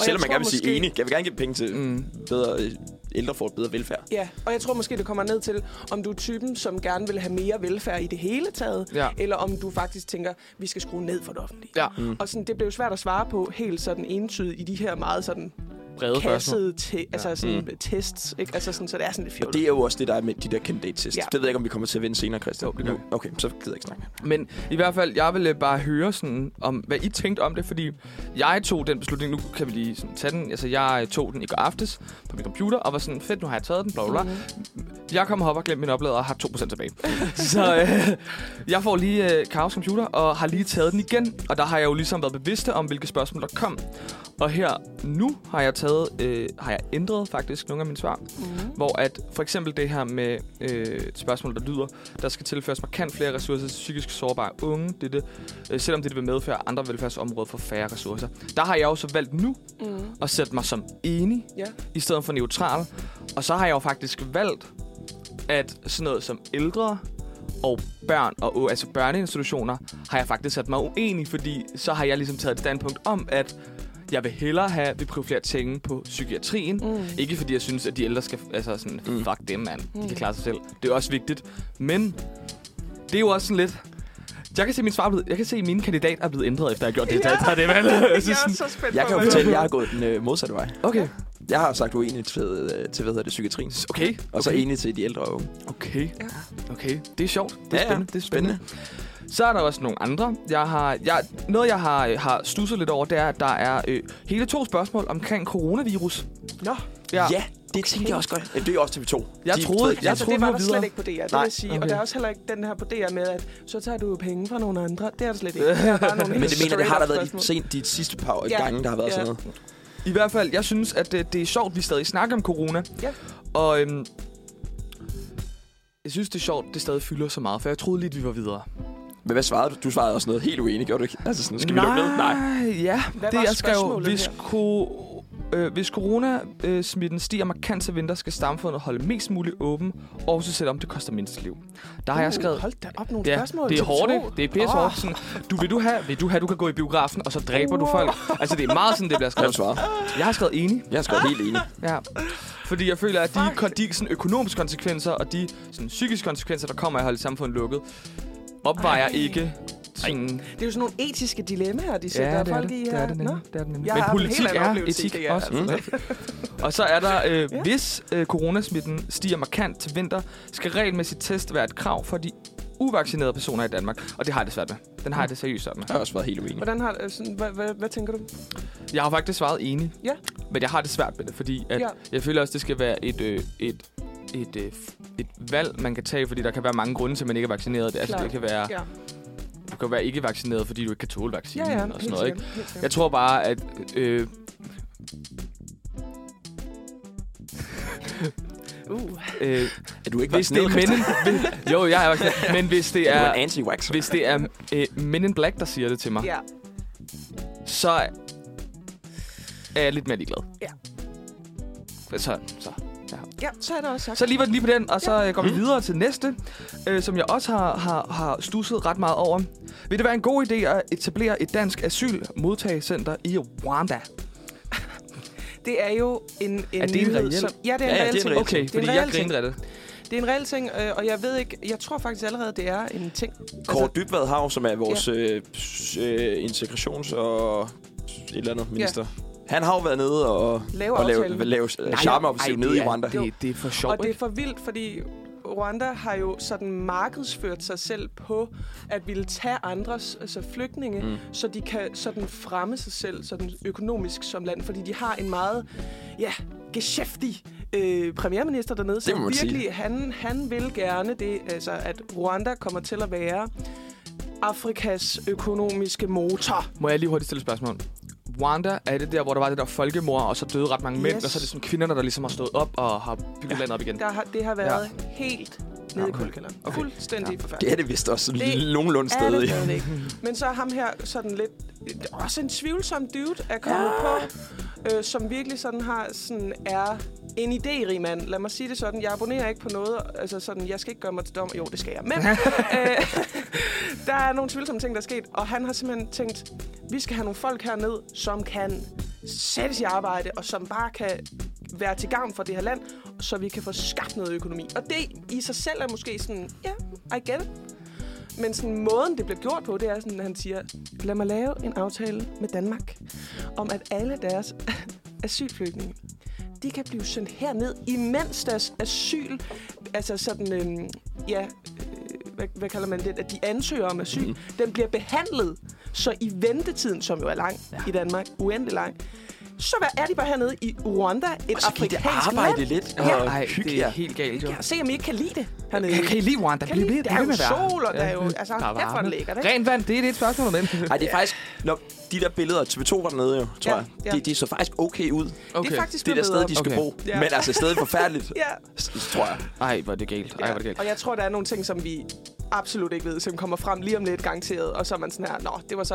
Speaker 2: Selvom man
Speaker 3: tror
Speaker 2: gerne vil sige
Speaker 3: måske-
Speaker 2: enig, jeg vil gerne give penge til
Speaker 1: Mm.
Speaker 2: bedre øh, ældre får et bedre velfærd.
Speaker 3: Ja, og jeg tror måske, det kommer ned til, om du er typen, som gerne vil have mere velfærd i det hele taget,
Speaker 1: Ja.
Speaker 3: eller om du faktisk tænker, vi skal skrue ned for det offentlige.
Speaker 1: Ja,
Speaker 2: Mm.
Speaker 3: Og sådan, det blev jo svært at svare på helt sådan entydigt i de her meget sådan
Speaker 1: brede spørgsmål.
Speaker 3: kassede te- altså sådan mm. tests. Ikke? Altså sådan, så det er sådan lidt
Speaker 2: Og
Speaker 3: fjollet.
Speaker 2: det er jo også det, der er med de der kandidattest.
Speaker 3: Ja.
Speaker 2: Ja. Det ved jeg ikke, om vi kommer til at vinde senere, Christian.
Speaker 1: Jo, det gør
Speaker 2: Nu- Okay, så gider jeg ikke snakke.
Speaker 1: Men i hvert fald, jeg ville bare høre, sådan, om, hvad I tænkte om det, fordi jeg tog den beslutning, nu kan vi lige sådan, tage den. Altså, jeg tog den i går aftes på min computer, og var sådan, fedt, nu har jeg taget den, bla bla bla. Jeg kommer op og glemte min oplader og har 2% tilbage. så øh, jeg får lige øh, Karos computer og har lige taget den igen, og der har jeg jo ligesom været bevidst om, hvilke spørgsmål der kom. Og her nu har jeg taget, øh, har jeg ændret faktisk nogle af mine svar.
Speaker 3: Mm.
Speaker 1: Hvor at for eksempel det her med øh, et spørgsmål, der lyder, der skal tilføres markant flere ressourcer til psykisk sårbare unge, dette, øh, selvom det vil medføre at andre velfærdsområder for færre ressourcer. Der har jeg jo så valgt nu
Speaker 3: Mm.
Speaker 1: at sætte mig som enig,
Speaker 3: Ja.
Speaker 1: i stedet for neutral. Og så har jeg jo faktisk valgt, at sådan noget som ældre og børn og altså børneinstitutioner, har jeg faktisk sat mig uenig, fordi så har jeg ligesom taget et standpunkt om, at jeg vil hellere have, at vi prøver flere penge på psykiatrien.
Speaker 3: Mm.
Speaker 1: Ikke fordi jeg synes, at de ældre skal, altså sådan, mm.
Speaker 2: Mm.
Speaker 1: fuck dem, mand. De
Speaker 3: Mm.
Speaker 1: kan klare sig selv. Det er også vigtigt. Men det er jo også sådan lidt... Jeg kan se, min svar er blevet, jeg kan se, at mine kandidater er blevet ændret, efter jeg har gjort det.
Speaker 3: Ja.
Speaker 1: Ja. Der, der er det valg.
Speaker 3: Jeg
Speaker 1: Så
Speaker 3: er
Speaker 1: sådan,
Speaker 3: så spændt
Speaker 2: Jeg
Speaker 3: på,
Speaker 2: kan jo
Speaker 3: hvad
Speaker 2: fortælle,
Speaker 3: du-
Speaker 2: at jeg har gået den øh, modsatte vej.
Speaker 1: okay.
Speaker 2: Jeg har sagt uenig til, øh, til hvad hedder det, psykiatrien.
Speaker 1: Okay.
Speaker 2: Og så
Speaker 1: okay.
Speaker 2: enig til de ældre og unge.
Speaker 1: Okay.
Speaker 3: Ja.
Speaker 1: Okay. Det er sjovt. Det er
Speaker 2: Ja, ja.
Speaker 1: spændende. Det er spændende. Så er der også nogle andre. Jeg har, jeg, noget, jeg har, øh, har stusset lidt over, det er, at der er øh, hele to spørgsmål omkring coronavirus.
Speaker 3: Nå,
Speaker 2: Ja, ja det okay. tænkte jeg også godt. Jamen, det er jo også TV2.
Speaker 1: Jeg
Speaker 2: de
Speaker 1: troede-
Speaker 2: de,
Speaker 1: jeg
Speaker 3: altså
Speaker 1: troede,
Speaker 3: det
Speaker 1: vi
Speaker 3: var
Speaker 1: var
Speaker 3: der
Speaker 1: videre.
Speaker 3: slet ikke på DR, det vil
Speaker 2: Nej,
Speaker 3: jeg sige. Okay.
Speaker 1: okay.
Speaker 3: Og der er også heller ikke den her på DR med, at så tager du jo penge fra nogle andre. Det er der slet ikke. Det er bare nogle
Speaker 2: Men
Speaker 3: helt
Speaker 2: det mener, det har
Speaker 3: straight-up
Speaker 2: der været de,
Speaker 3: spørgsmål.
Speaker 2: sent de sidste par
Speaker 3: Ja.
Speaker 2: ja. gange, der har været
Speaker 3: Ja.
Speaker 2: ja. sådan noget.
Speaker 1: I hvert fald, jeg synes, at øh, det, det er sjovt, at vi stadig snakker om corona.
Speaker 3: Ja.
Speaker 1: Og øhm, jeg synes, det er sjovt, det stadig fylder så meget, for jeg troede lidt, vi var videre.
Speaker 2: Men hvad svarede du? Du svarede også noget helt uenig, gjorde du ikke? Altså sådan, skal vi lukke ned? Nej.
Speaker 1: Nej, ja.
Speaker 3: Hvad
Speaker 1: det
Speaker 3: var
Speaker 1: jeg skrev,
Speaker 3: spørgsmålet
Speaker 1: hvis,
Speaker 3: her?
Speaker 1: ko, øh, hvis coronasmitten stiger markant til vinter, skal samfundet holde mest muligt åben, også selvom det koster mindst liv. Der har jeg
Speaker 3: Uh,
Speaker 1: skrevet...
Speaker 3: Hold da op, nogle
Speaker 1: Ja,
Speaker 3: spørgsmål.
Speaker 1: det er
Speaker 3: til
Speaker 1: hårdt,
Speaker 3: to.
Speaker 1: ikke? Det er pisse hårdt. Sådan, du, vil du have, vil du have, du kan gå i biografen, og så dræber
Speaker 3: Uh.
Speaker 1: du folk. Altså, det er meget sådan, det bliver
Speaker 2: Hvad har du
Speaker 1: skrevet.
Speaker 2: svaret?
Speaker 1: Jeg har skrevet enig.
Speaker 2: Jeg har skrevet helt enig.
Speaker 1: Ja. Fordi jeg føler, at de,
Speaker 3: Fuck.
Speaker 1: kon- de sådan, økonomiske konsekvenser og de sådan, psykiske konsekvenser, der kommer af at holde samfundet lukket, opvejer
Speaker 3: Ej.
Speaker 1: ikke sådan...
Speaker 3: Det er jo sådan nogle etiske dilemmaer, de sætter folk i her. Nå.
Speaker 1: Det er det nemlig.
Speaker 3: Jeg
Speaker 1: Men
Speaker 3: har haft en
Speaker 1: politik
Speaker 3: helt anden
Speaker 1: er
Speaker 3: oplevelse i
Speaker 1: etik
Speaker 3: DR,
Speaker 1: også.
Speaker 2: Mm.
Speaker 1: Og så er der, øh,
Speaker 3: Ja.
Speaker 1: ja. hvis øh, coronasmitten stiger markant til vinter, skal regelmæssigt test være et krav for de uvaccinerede personer i Danmark. Og det har jeg det svært med. Den har jeg det seriøst svært med.
Speaker 2: Jeg har også været helt uenig.
Speaker 3: Hvordan har, øh, sådan, hvad, hvad, hvad tænker du?
Speaker 1: Jeg har faktisk svaret enig.
Speaker 3: Ja.
Speaker 1: Men jeg har det svært med det, fordi at
Speaker 3: Ja.
Speaker 1: ja. jeg føler også, det skal være et, øh, et, et, øh, f- et valg, man kan tage, fordi der kan være mange grunde til, at man ikke er vaccineret. Altså,
Speaker 3: Klart.
Speaker 1: det kan være,
Speaker 3: Ja,
Speaker 1: du kan være ikke vaccineret, fordi du ikke kan tåle
Speaker 3: ja,
Speaker 1: vaccinen
Speaker 3: ja
Speaker 1: og
Speaker 3: helt
Speaker 1: sådan noget. Ikke?
Speaker 3: sikkert. helt sikkert.
Speaker 1: Jeg tror bare, at... Øh,
Speaker 3: Uh.
Speaker 1: øh,
Speaker 2: Er du ikke
Speaker 1: hvis det er men in, hvis, jo, jeg er vaccineret, men hvis det
Speaker 2: Er du
Speaker 1: er,
Speaker 2: en anti-waxer?
Speaker 1: hvis det er øh, Men in Black, der siger det til mig,
Speaker 3: Ja.
Speaker 1: så er jeg lidt mere ligeglad.
Speaker 3: Ja.
Speaker 1: Så, så.
Speaker 3: ja, så er der også sagt.
Speaker 1: Så lige var den lige på den, og så ja. går vi videre til næste, øh, som jeg også har, har, har stusset ret meget over. Vil det være en god idé at etablere et dansk asylmodtagecenter i Rwanda?
Speaker 3: Det er jo en, en
Speaker 1: Er det en
Speaker 3: nyhed,
Speaker 1: reel-
Speaker 3: som... Ja, det er en
Speaker 2: Ja, ja, det er en
Speaker 3: reel ting.
Speaker 2: reel
Speaker 1: Okay,
Speaker 3: Det er en
Speaker 1: fordi
Speaker 3: reel
Speaker 1: jeg
Speaker 3: ting.
Speaker 1: griner af det.
Speaker 3: Det er en reel ting, øh, og jeg ved ikke... Jeg tror faktisk allerede, det er en ting.
Speaker 2: Kåre altså, Dybvad Hav, som er vores øh, s- øh, integrations- og et eller andet minister. Han har jo været nede og,
Speaker 3: Lave
Speaker 2: og lave,
Speaker 3: aftalen.
Speaker 2: lave charmeopsæt nede i Rwanda.
Speaker 1: Det, det er for sjovt,
Speaker 3: Og det er
Speaker 1: ikke?
Speaker 3: for vildt, fordi Rwanda har jo sådan markedsført sig selv på at ville tage andres altså flygtninge, mm. så de kan sådan fremme sig selv sådan økonomisk som land, fordi de har en meget ja, geschæftig øh, premierminister dernede,
Speaker 2: må
Speaker 3: som
Speaker 2: man sige.
Speaker 3: virkelig han, han vil gerne det, altså at Rwanda kommer til at være Afrikas økonomiske motor.
Speaker 1: Må jeg lige hurtigt stille et spørgsmål? Rwanda, er det der, hvor der var det der folkemord, og så døde ret mange yes. mænd,
Speaker 3: Yes.
Speaker 1: og så er det sådan kvinderne, der ligesom har stået op og har bygget ja. landet op igen?
Speaker 3: Der har, det har været ja. helt nede i kuldkælderen. Okay. Fuldstændig ja. forfærdeligt.
Speaker 2: Det er det vist også
Speaker 3: Det
Speaker 2: nogenlunde
Speaker 3: Er det
Speaker 2: stadig.
Speaker 3: stadigvæk. Men så er ham her sådan lidt... Også en tvivlsom dude er kommet ja. på, øh, som virkelig sådan har sådan er en idérig mand. Lad mig sige det sådan. Jeg abonnerer ikke på noget. Altså sådan, jeg skal ikke gøre mig til dom. Jo, det skal jeg. Men øh, der er nogle tvivlsomme ting, der er sket. Og han har simpelthen tænkt, vi skal have nogle folk herned, som kan sættes i arbejde, og som bare kan være til gavn for det her land, så vi kan få skabt noget økonomi. Og det i sig selv er måske sådan, ja, yeah, I get it. Men sådan, måden, det bliver gjort på, det er sådan, at han siger, lad mig lave en aftale med Danmark, om at alle deres asylflygtninge, de kan blive sendt herned, imens deres asyl, altså sådan, øhm, ja, øh, hvad, hvad kalder man det, at de ansøger om asyl,
Speaker 2: Mhm.
Speaker 3: mm. den bliver behandlet, så i ventetiden, som jo er lang ja. i Danmark, uendelig lang, så hvad er de bare hernede i Rwanda, et
Speaker 2: Og så kan de da
Speaker 3: afrikansk
Speaker 2: Altså, arbejde
Speaker 3: land?
Speaker 2: lidt
Speaker 3: Ja.
Speaker 2: og
Speaker 1: Ej,
Speaker 2: hygge
Speaker 1: det er
Speaker 2: jer.
Speaker 1: helt galt, jo.
Speaker 3: Ja, se om I ikke kan lide det hernede.
Speaker 1: Kan, kan I lide Rwanda?
Speaker 3: Kan
Speaker 1: Bliv
Speaker 3: I-
Speaker 1: ved,
Speaker 3: der er
Speaker 1: bliv
Speaker 3: jo
Speaker 1: med at være.
Speaker 3: sol, og der er jo- altså,
Speaker 1: Der er
Speaker 3: kæft, hvor er det
Speaker 1: varme.
Speaker 3: lækkert, ikke?
Speaker 1: Rent vand, det er det et spørgsmål om den.
Speaker 2: Ej, det er faktisk... Når de der billeder, TV2 var dernede jo, tror
Speaker 3: Ja,
Speaker 2: jeg.
Speaker 3: ja.
Speaker 2: De, de så faktisk okay ud.
Speaker 3: Det er faktisk
Speaker 2: Det er der
Speaker 3: blevet
Speaker 2: sted, de
Speaker 3: bedre.
Speaker 2: skal
Speaker 1: Okay.
Speaker 2: bo.
Speaker 3: Ja.
Speaker 2: Men altså stadig forfærdeligt,
Speaker 3: Ja.
Speaker 2: s- tror jeg.
Speaker 1: Ej, hvor er det galt. Ej, hvor er det galt.
Speaker 3: Og jeg tror, der er nogle ting, som vi absolut ikke ved, som kommer frem lige om lidt garanteret, og så er man sådan her, nå, det var så...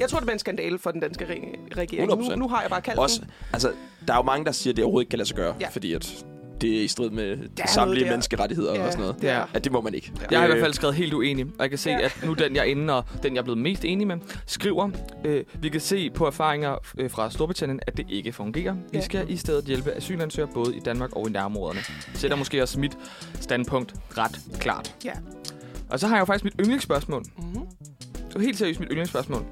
Speaker 3: Jeg tror, det var en skandale for den danske re- regering. Nu,
Speaker 2: 100%.
Speaker 3: nu har jeg bare kaldt
Speaker 2: Også,
Speaker 3: den.
Speaker 2: altså, der er jo mange, der siger, at det overhovedet ikke kan lade sig gøre,
Speaker 3: Ja.
Speaker 2: fordi at det er i strid med
Speaker 3: der.
Speaker 2: samtlige menneskerettigheder og sådan noget.
Speaker 1: det er-
Speaker 3: Ja.
Speaker 2: At det må man ikke.
Speaker 1: Jeg har i
Speaker 2: Øh,
Speaker 1: hvert fald skrevet helt uenig, og jeg kan se,
Speaker 3: Ja.
Speaker 1: at nu den, jeg er inde, og den, jeg er blevet mest enig med, skriver, øh, vi kan se på erfaringer øh, fra Storbritannien, at det ikke fungerer. Vi
Speaker 3: Ja.
Speaker 1: skal i stedet hjælpe asylansøgere både i Danmark og i nærområderne. Så er der måske også mit standpunkt ret klart.
Speaker 3: Ja.
Speaker 1: Og så har jeg jo faktisk mit yndlingsspørgsmål.
Speaker 3: Mm-hmm.
Speaker 1: Det er helt seriøst mit yndlingsspørgsmål.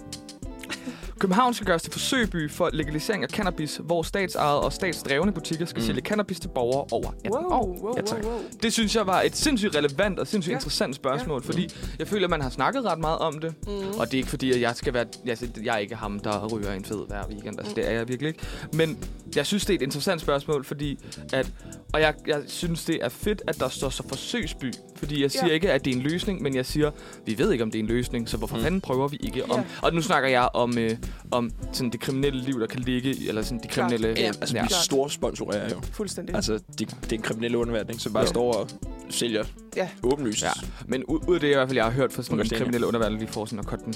Speaker 1: København skal gøres til forsøgby for legalisering af cannabis, hvor statsejede og statsdrevne butikker skal mm. sælge cannabis til borgere over 18
Speaker 3: Wow,
Speaker 1: år.
Speaker 3: wow, wow,
Speaker 2: Ja, tak.
Speaker 3: wow.
Speaker 1: Det synes jeg var et sindssygt relevant og sindssygt ja.
Speaker 3: Ja.
Speaker 1: interessant spørgsmål, ja. fordi jeg føler, at man har snakket ret meget om det. Mm. Og det er ikke fordi, at jeg skal være... Altså, jeg er ikke ham, der ryger en fed hver weekend. Altså, det er jeg virkelig ikke. Men jeg synes, det er et interessant spørgsmål, fordi at... Og jeg, jeg synes, det er fedt, at der står så forsøgsby. Fordi jeg siger ja.
Speaker 3: Ja.
Speaker 1: ikke, at det er en løsning, men jeg siger, vi ved ikke, om det er en løsning, så hvorfor mm. fanden prøver vi ikke om...
Speaker 3: Ja.
Speaker 1: Og nu snakker jeg om, øh, om sådan det kriminelle liv, der kan ligge... i- Eller sådan de
Speaker 3: Klart.
Speaker 1: kriminelle...
Speaker 2: Ja, altså, vi
Speaker 3: Ja.
Speaker 2: store sponsorerer jo.
Speaker 3: Fuldstændig.
Speaker 2: Altså, det, det er en kriminel underverden, som bare
Speaker 3: Ja.
Speaker 2: står og sælger
Speaker 3: Ja.
Speaker 2: åbenlyst.
Speaker 1: Ja, men ud, ud af det, jeg i hvert fald jeg har hørt fra sådan
Speaker 2: Okay,
Speaker 1: en
Speaker 2: Stine.
Speaker 1: kriminelle underverden, lige får sådan at cutte den.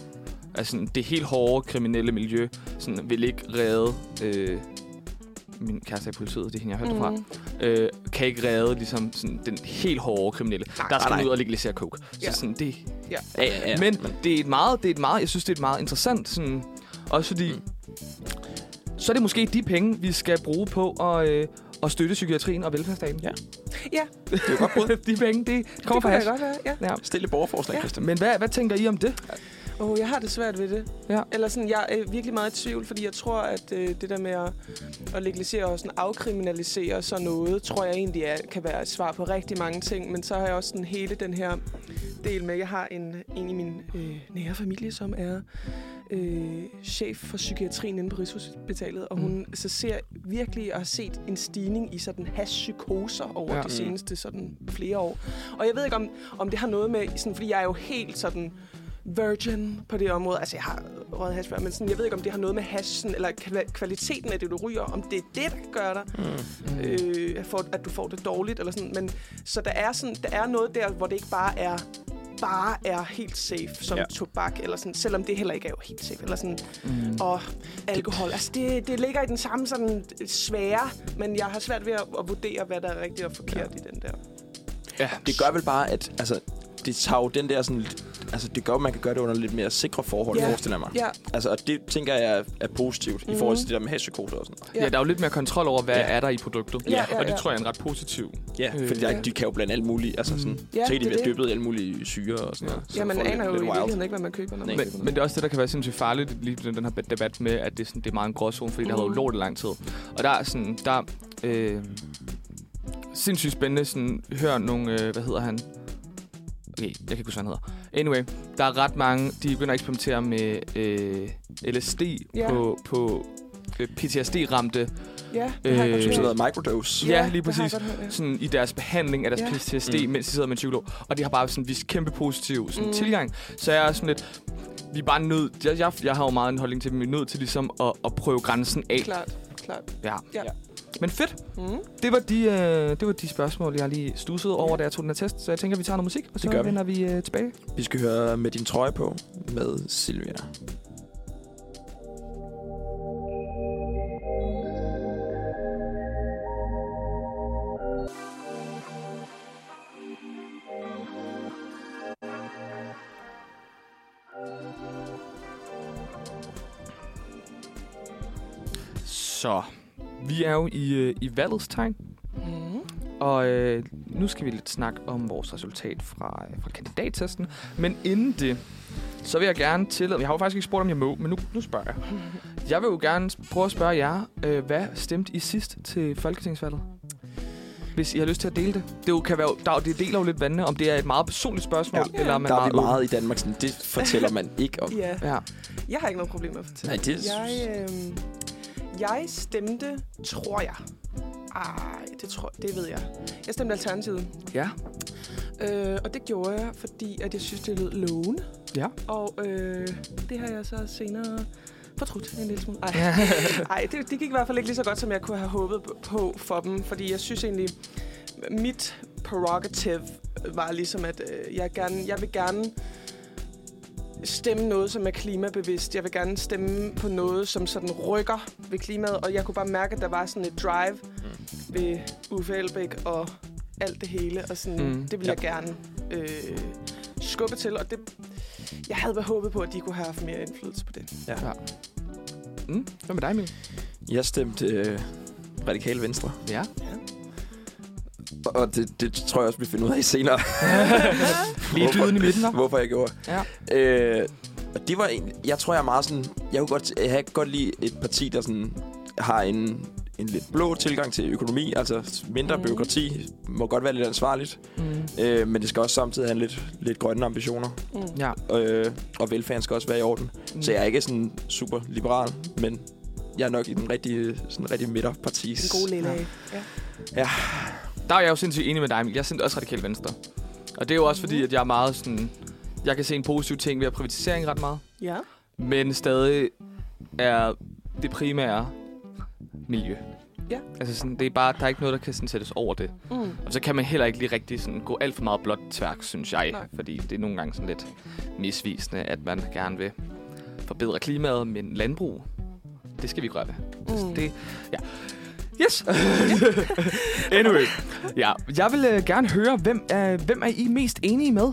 Speaker 1: Altså sådan, det helt hårde kriminelle miljø sådan, vil ikke redde... Øh, min kæreste er i politiet, det er hende, jeg har hørt mm. fra, øh, kan ikke redde ligesom, sådan, den helt hårde kriminelle. Nej, der skal
Speaker 2: nej,
Speaker 1: man
Speaker 2: nej.
Speaker 1: ud og legalisere coke. Så
Speaker 3: Ja.
Speaker 1: sådan, det,
Speaker 3: Ja.
Speaker 2: Ja, ja, ja.
Speaker 1: men, men det er et meget, det er et meget, jeg synes, det er et meget interessant, sådan, også fordi, mm. så er det måske de penge, vi skal bruge på at, øh, at støtte psykiatrien og velfærdsstaten.
Speaker 2: Ja.
Speaker 3: ja,
Speaker 1: det er godt De penge, det kommer
Speaker 3: det
Speaker 1: fra
Speaker 3: kunne jeg
Speaker 1: hash.
Speaker 3: godt være. Ja.
Speaker 1: Ja.
Speaker 2: Stille borgerforslag,
Speaker 3: Ja.
Speaker 2: Christian.
Speaker 1: Men hvad, hvad tænker I om det?
Speaker 3: Oh, jeg har det svært ved det.
Speaker 1: Ja.
Speaker 3: Eller sådan, jeg er virkelig meget i tvivl, fordi jeg tror, at øh, det der med at, at legalisere og sådan afkriminalisere sådan noget, tror jeg egentlig er, kan være et svar på rigtig mange ting. Men så har jeg også sådan hele den her del med, jeg har en, en i min øh, nære familie, som er øh, chef for psykiatrien inde på Rigshospitalet, og hun så ser virkelig og har set en stigning i sådan hashpsykoser over
Speaker 1: Ja.
Speaker 3: ja. de seneste sådan flere år. Og jeg ved ikke, om, om det har noget med, sådan, fordi jeg er jo helt sådan virgin på det område. Altså, jeg har røget hash før, men sådan, jeg ved ikke, om det har noget med hashen eller kva- kvaliteten af det, du ryger, om det er det, der gør dig, mm. øh, for, at du får det dårligt, eller sådan. Men, så der er, sådan, der er noget der, hvor det ikke bare er bare er helt safe som
Speaker 2: Ja.
Speaker 3: ja. tobak, eller sådan, selvom det heller ikke er jo helt safe, eller sådan, mm. og alkohol. Altså, det, det ligger i den samme sådan svære, men jeg har svært ved at, at vurdere, hvad der er rigtigt og forkert ja. i den der.
Speaker 1: Ja,
Speaker 2: Det gør vel bare, at altså, det tager jo den der sådan, altså, det gør, at man kan gøre det under lidt mere sikre forhold,
Speaker 3: Ja.
Speaker 2: yeah. forestiller jeg mig.
Speaker 3: Ja,
Speaker 2: Altså, og det tænker jeg er, er positivt mm-hmm. i
Speaker 3: Mhm.
Speaker 2: forhold til det der med hashpsykoser og sådan noget.
Speaker 1: Ja.
Speaker 3: Ja.
Speaker 1: ja, der er jo lidt mere kontrol over, hvad ja.
Speaker 2: Ja.
Speaker 1: er der i produktet.
Speaker 3: Ja, ja,
Speaker 1: og det
Speaker 3: ja.
Speaker 1: tror jeg er en ret positiv.
Speaker 2: Ja,
Speaker 1: Øh,
Speaker 2: fordi
Speaker 3: ja. Mhm.
Speaker 2: der, de kan jo blande alt muligt. Altså sådan,
Speaker 3: Ja,
Speaker 2: ja, så kan de
Speaker 3: det er
Speaker 2: være
Speaker 3: det.
Speaker 2: dyppet i alle mulige syre og sådan
Speaker 1: Ja.
Speaker 2: noget. Så
Speaker 3: ja man
Speaker 2: får det
Speaker 3: aner jo i
Speaker 2: lidt wild.
Speaker 3: virkeligheden ikke, hvad man køber, når man
Speaker 2: Nej.
Speaker 1: Men,
Speaker 3: køber
Speaker 1: men det er også det, der kan være sindssygt farligt, lige den her debat med, at det, er sådan, det er meget en gråzone, fordi mm. det har
Speaker 3: Mhm.
Speaker 1: været lort i lang tid. Og der er sådan, der er, øh, sindssygt spændende, sådan, hør nogle, øh, hvad hedder han? Okay, jeg kan ikke huske, hvad han hedder. Anyway, der er ret mange, de begynder at eksperimentere med øh, LSD
Speaker 3: Ja.
Speaker 1: yeah. på, på øh, PTSD-ramte,
Speaker 3: Ja, det har jeg
Speaker 1: Øh,
Speaker 3: godt
Speaker 2: Som
Speaker 3: hørt.
Speaker 2: sådan noget microdose.
Speaker 1: Ja, lige
Speaker 3: det har jeg
Speaker 1: præcis.
Speaker 3: godt hørt, ja.
Speaker 1: sådan, i deres behandling af
Speaker 3: Ja.
Speaker 1: deres ja. PTSD, mm.
Speaker 2: Mm.
Speaker 1: mens de sidder med en psykolog. Og de har bare sådan, vist kæmpe positiv sådan, mm.
Speaker 3: Mm.
Speaker 1: tilgang. Så jeg er sådan lidt... Vi er bare nødt... Jeg, jeg, jeg har jo meget en holdning til, at vi er nødt til ligesom at, at prøve grænsen af.
Speaker 3: Klart, klart.
Speaker 1: Ja.
Speaker 3: Ja.
Speaker 1: Men fedt.
Speaker 3: Mm.
Speaker 1: Det var, de, øh, det var de spørgsmål, jeg lige stussede over, da jeg tog den her test. Så jeg tænker, vi tager noget musik, og
Speaker 2: Det
Speaker 1: så
Speaker 2: gør vi.
Speaker 1: vender vi øh, tilbage.
Speaker 2: Vi skal høre med din trøje på med Silvia.
Speaker 1: Så. Vi er jo i, øh, i valgets tegn,
Speaker 3: Mm.
Speaker 1: og øh, nu skal vi lidt snakke om vores resultat fra, øh, fra kandidattesten. Men inden det, så vil jeg gerne tillade... Jeg har jo faktisk ikke spurgt, om jeg må, men nu, nu spørger jeg. Jeg vil jo gerne prøve at spørge jer, øh, hvad stemte I sidst til Folketingsvalget? Hvis I har lyst til at dele det. Det jo kan være, der, er jo- det deler jo lidt vandene, om det er et meget personligt spørgsmål, ja.
Speaker 2: Ja.
Speaker 1: eller om man
Speaker 2: Der er vi
Speaker 1: åben.
Speaker 2: meget i Danmark, sådan, det fortæller man ikke om.
Speaker 3: Ja,
Speaker 1: Ja.
Speaker 3: jeg har ikke noget problem med at fortælle.
Speaker 2: Nej, det er-
Speaker 3: jeg, øh, jeg stemte, tror jeg. Ej, det, tror, det ved jeg. Jeg stemte Alternativet.
Speaker 1: ja.
Speaker 3: Øh, og det gjorde jeg, fordi at jeg synes, det lød lovende.
Speaker 1: Ja.
Speaker 3: Og øh, det har jeg så senere fortrudt en lille smule. Ej, Ej det, det gik i hvert fald ikke lige så godt, som jeg kunne have håbet på for dem. Fordi jeg synes egentlig, mit prerogative var ligesom, at øh, jeg, gerne, jeg vil gerne stemme noget, som er klimabevidst. Jeg vil gerne stemme på noget, som sådan rykker ved klimaet. Og jeg kunne bare mærke, at der var sådan et drive ved Uffe Elbæk og alt det hele. Og sådan,
Speaker 1: Mm.
Speaker 3: mm. det ville jeg gerne øh, skubbe til. Og det, jeg havde håbet på, at de kunne have haft mere indflydelse på det.
Speaker 1: Mm. Hvad med dig, Emil?
Speaker 2: Jeg stemte øh, radikale venstre.
Speaker 1: Ja.
Speaker 2: Og det, det tror jeg også, vi finder ud af senere.
Speaker 1: Lige
Speaker 2: Hvorfor-
Speaker 1: dyden i midten, hva'?
Speaker 2: Hvorfor jeg gjorde.
Speaker 1: Ja.
Speaker 2: Øh, og det var en, jeg tror, jeg er meget sådan... Jeg kunne godt, jeg kan godt lide et parti, der sådan, har en, en lidt blå tilgang til økonomi. Altså mindre
Speaker 3: Mm.
Speaker 2: mm. byråkrati må godt være lidt ansvarligt.
Speaker 1: Mm.
Speaker 2: Øh, men det skal også samtidig have lidt, lidt grønne ambitioner.
Speaker 3: Mm.
Speaker 1: Ja.
Speaker 2: Øh, og velfærden skal også være i orden. Mm. Så jeg er ikke sådan super liberal, men jeg er nok i den rigtige, sådan rigtige midterpartis.
Speaker 3: En god lille
Speaker 1: Ja.
Speaker 3: ja. ja.
Speaker 1: Der er jeg jo sindssygt enig med dig, Emil. Jeg er sindssygt også radikal venstre. Og det er jo også fordi, at jeg er meget sådan... Jeg kan se en positiv ting ved at privatisering ret meget.
Speaker 3: ja.
Speaker 1: Men stadig er det primære miljø.
Speaker 3: Ja.
Speaker 1: Altså sådan, det er bare, der er ikke noget, der kan sådan sættes over det.
Speaker 3: Mm.
Speaker 1: Og så kan man heller ikke lige rigtig sådan gå alt for meget blot tværk, synes jeg. Nej.
Speaker 3: Nej.
Speaker 1: Fordi det er nogle gange sådan lidt misvisende, at man gerne vil forbedre klimaet, men landbrug, det skal vi ikke røre ved. Mm.
Speaker 3: Mm.
Speaker 1: Det, ja. Yes! anyway. Ja, jeg vil øh, gerne høre, hvem, øh, hvem er I mest enige med?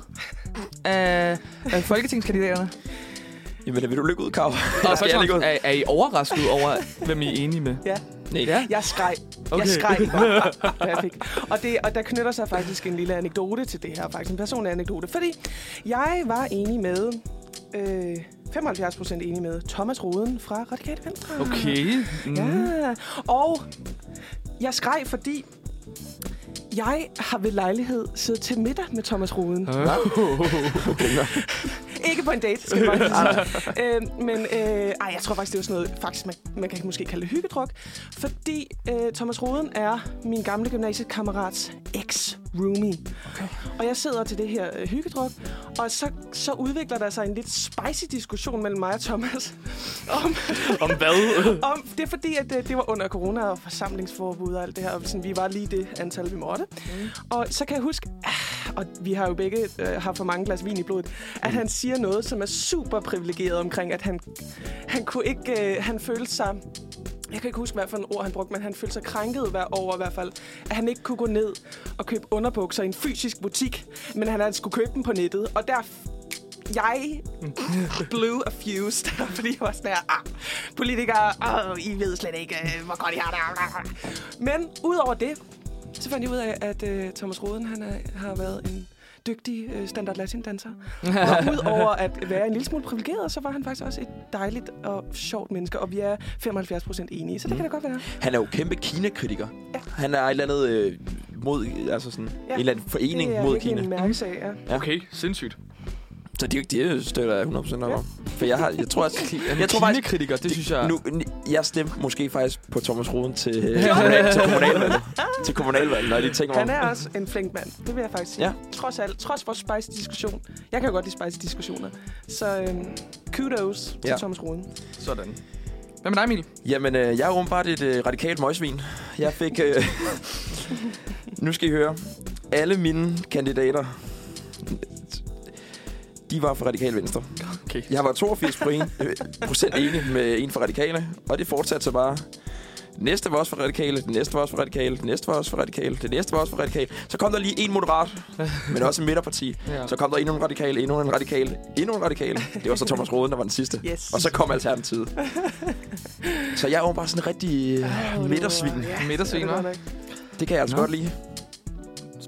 Speaker 1: Af, af folketingskandidaterne?
Speaker 2: Jamen, vil du lykke ud, Kav?
Speaker 1: Og
Speaker 2: Skal jeg
Speaker 1: først
Speaker 2: lægge
Speaker 1: og
Speaker 2: ud?
Speaker 1: fremmest, er, er I overrasket over, hvem I er enige med?
Speaker 3: Ja.
Speaker 2: Nej.
Speaker 1: Ja?
Speaker 3: Jeg skreg. Okay.
Speaker 1: Okay.
Speaker 3: Jeg skreg. da jeg fik. Og, det, og der knytter sig faktisk en lille anekdote til det her, faktisk en personlig anekdote. Fordi jeg var enig med, øh, 75 procent enig med, Thomas Roden fra Radikale Venstre.
Speaker 1: Okay. Mm.
Speaker 3: Ja. Og jeg skreg, fordi jeg har ved lejlighed siddet til middag med Thomas Roden. Ikke på en date, skal jeg bare sige. øh, men øh, ej, jeg tror faktisk, det er sådan noget, faktisk, man, man kan måske kalde det hyggedruk. Fordi øh, Thomas Roden er min gamle gymnasiekammerats ex-roomie. Okay. Og jeg sidder til det her øh, hyggedruk, og så, så udvikler der sig en lidt spicy diskussion mellem mig og Thomas. om,
Speaker 1: Om hvad?
Speaker 3: om, det er fordi, at øh, det, det var under corona og forsamlingsforbud og alt det her, og sådan, vi var lige det antal, vi måtte. Mm. Og så kan jeg huske, ah, og vi har jo begge øh, haft for mange glas vin i blodet, at han siger noget, som er super privilegeret omkring, at han, han kunne ikke, øh, han følte sig jeg kan ikke huske, hvad for en ord han brugte, men han følte sig krænket hver over i hvert fald, at han ikke kunne gå ned og købe underbukser i en fysisk butik, men han altså skulle købe dem på nettet. Og der jeg blev affused, fordi jeg var sådan her, ah, politikere, oh, I ved slet ikke, øh, hvor godt I har det. Men udover det, så fandt jeg ud af, at øh, Thomas Roden han er, har været en dygtig øh, standard latin danser. Og udover at være en lille smule privilegeret, så var han faktisk også et dejligt og sjovt menneske, og vi er 75 procent enige, så det kan da godt være.
Speaker 2: Han er jo kæmpe Kina-kritiker.
Speaker 3: Ja.
Speaker 2: Han er et eller andet øh, mod, altså sådan, ja.
Speaker 3: Ja.
Speaker 2: en eller anden forening
Speaker 3: det er
Speaker 2: mod
Speaker 3: virkelig
Speaker 2: Kina.
Speaker 3: en mærkesag, ja.
Speaker 1: Okay, sindssygt.
Speaker 2: Så det, det støtter jeg 100% op
Speaker 3: Ja.
Speaker 2: om. For jeg, har, jeg tror, at, jeg tror faktisk,
Speaker 1: Kinakritiker, det synes jeg...
Speaker 2: nu, jeg stemte måske faktisk på Thomas Roden til, øh, kommunal, til kommunalvalget. til kommunalvalget, når jeg lige tænker mig
Speaker 3: Han
Speaker 2: om.
Speaker 3: er også en flink mand, det vil jeg faktisk sige.
Speaker 2: Ja.
Speaker 3: Ja. Trods alt, trods vores spicy-diskussion. Jeg kan jo godt lide spicy-diskussioner. Så øhm, kudos ja.
Speaker 2: Ja.
Speaker 3: til Thomas Roden.
Speaker 1: Sådan. Hvad med dig, Emil?
Speaker 2: Jamen, øh, jeg er åbenbart et øh, radikalt møgsvin. Jeg fik... Øh, nu skal I høre. Alle mine kandidater, de var fra Radikal Venstre.
Speaker 1: Okay.
Speaker 2: Jeg var 82 point, øh, procent enig med en fra Radikale, og det fortsatte så bare. Den næste var også fra Radikale, den næste var også fra Radikale, den næste var også fra Radikale, den næste var også fra Radikale. Så kom der lige en moderat, men også en midterparti.
Speaker 1: Ja.
Speaker 2: Så kom der endnu en radikal, endnu en radikal, endnu en radikal. Det var så Thomas Roden, der var den sidste.
Speaker 3: Yes.
Speaker 2: Og så kom Alternativet. Så jeg er jo bare sådan en rigtig
Speaker 3: Åh,
Speaker 2: øh,
Speaker 3: du-
Speaker 2: midtersvin.
Speaker 3: Ja,
Speaker 1: Midtersvin,
Speaker 3: det er godt
Speaker 2: Det kan jeg altså
Speaker 1: Nå.
Speaker 2: godt lide.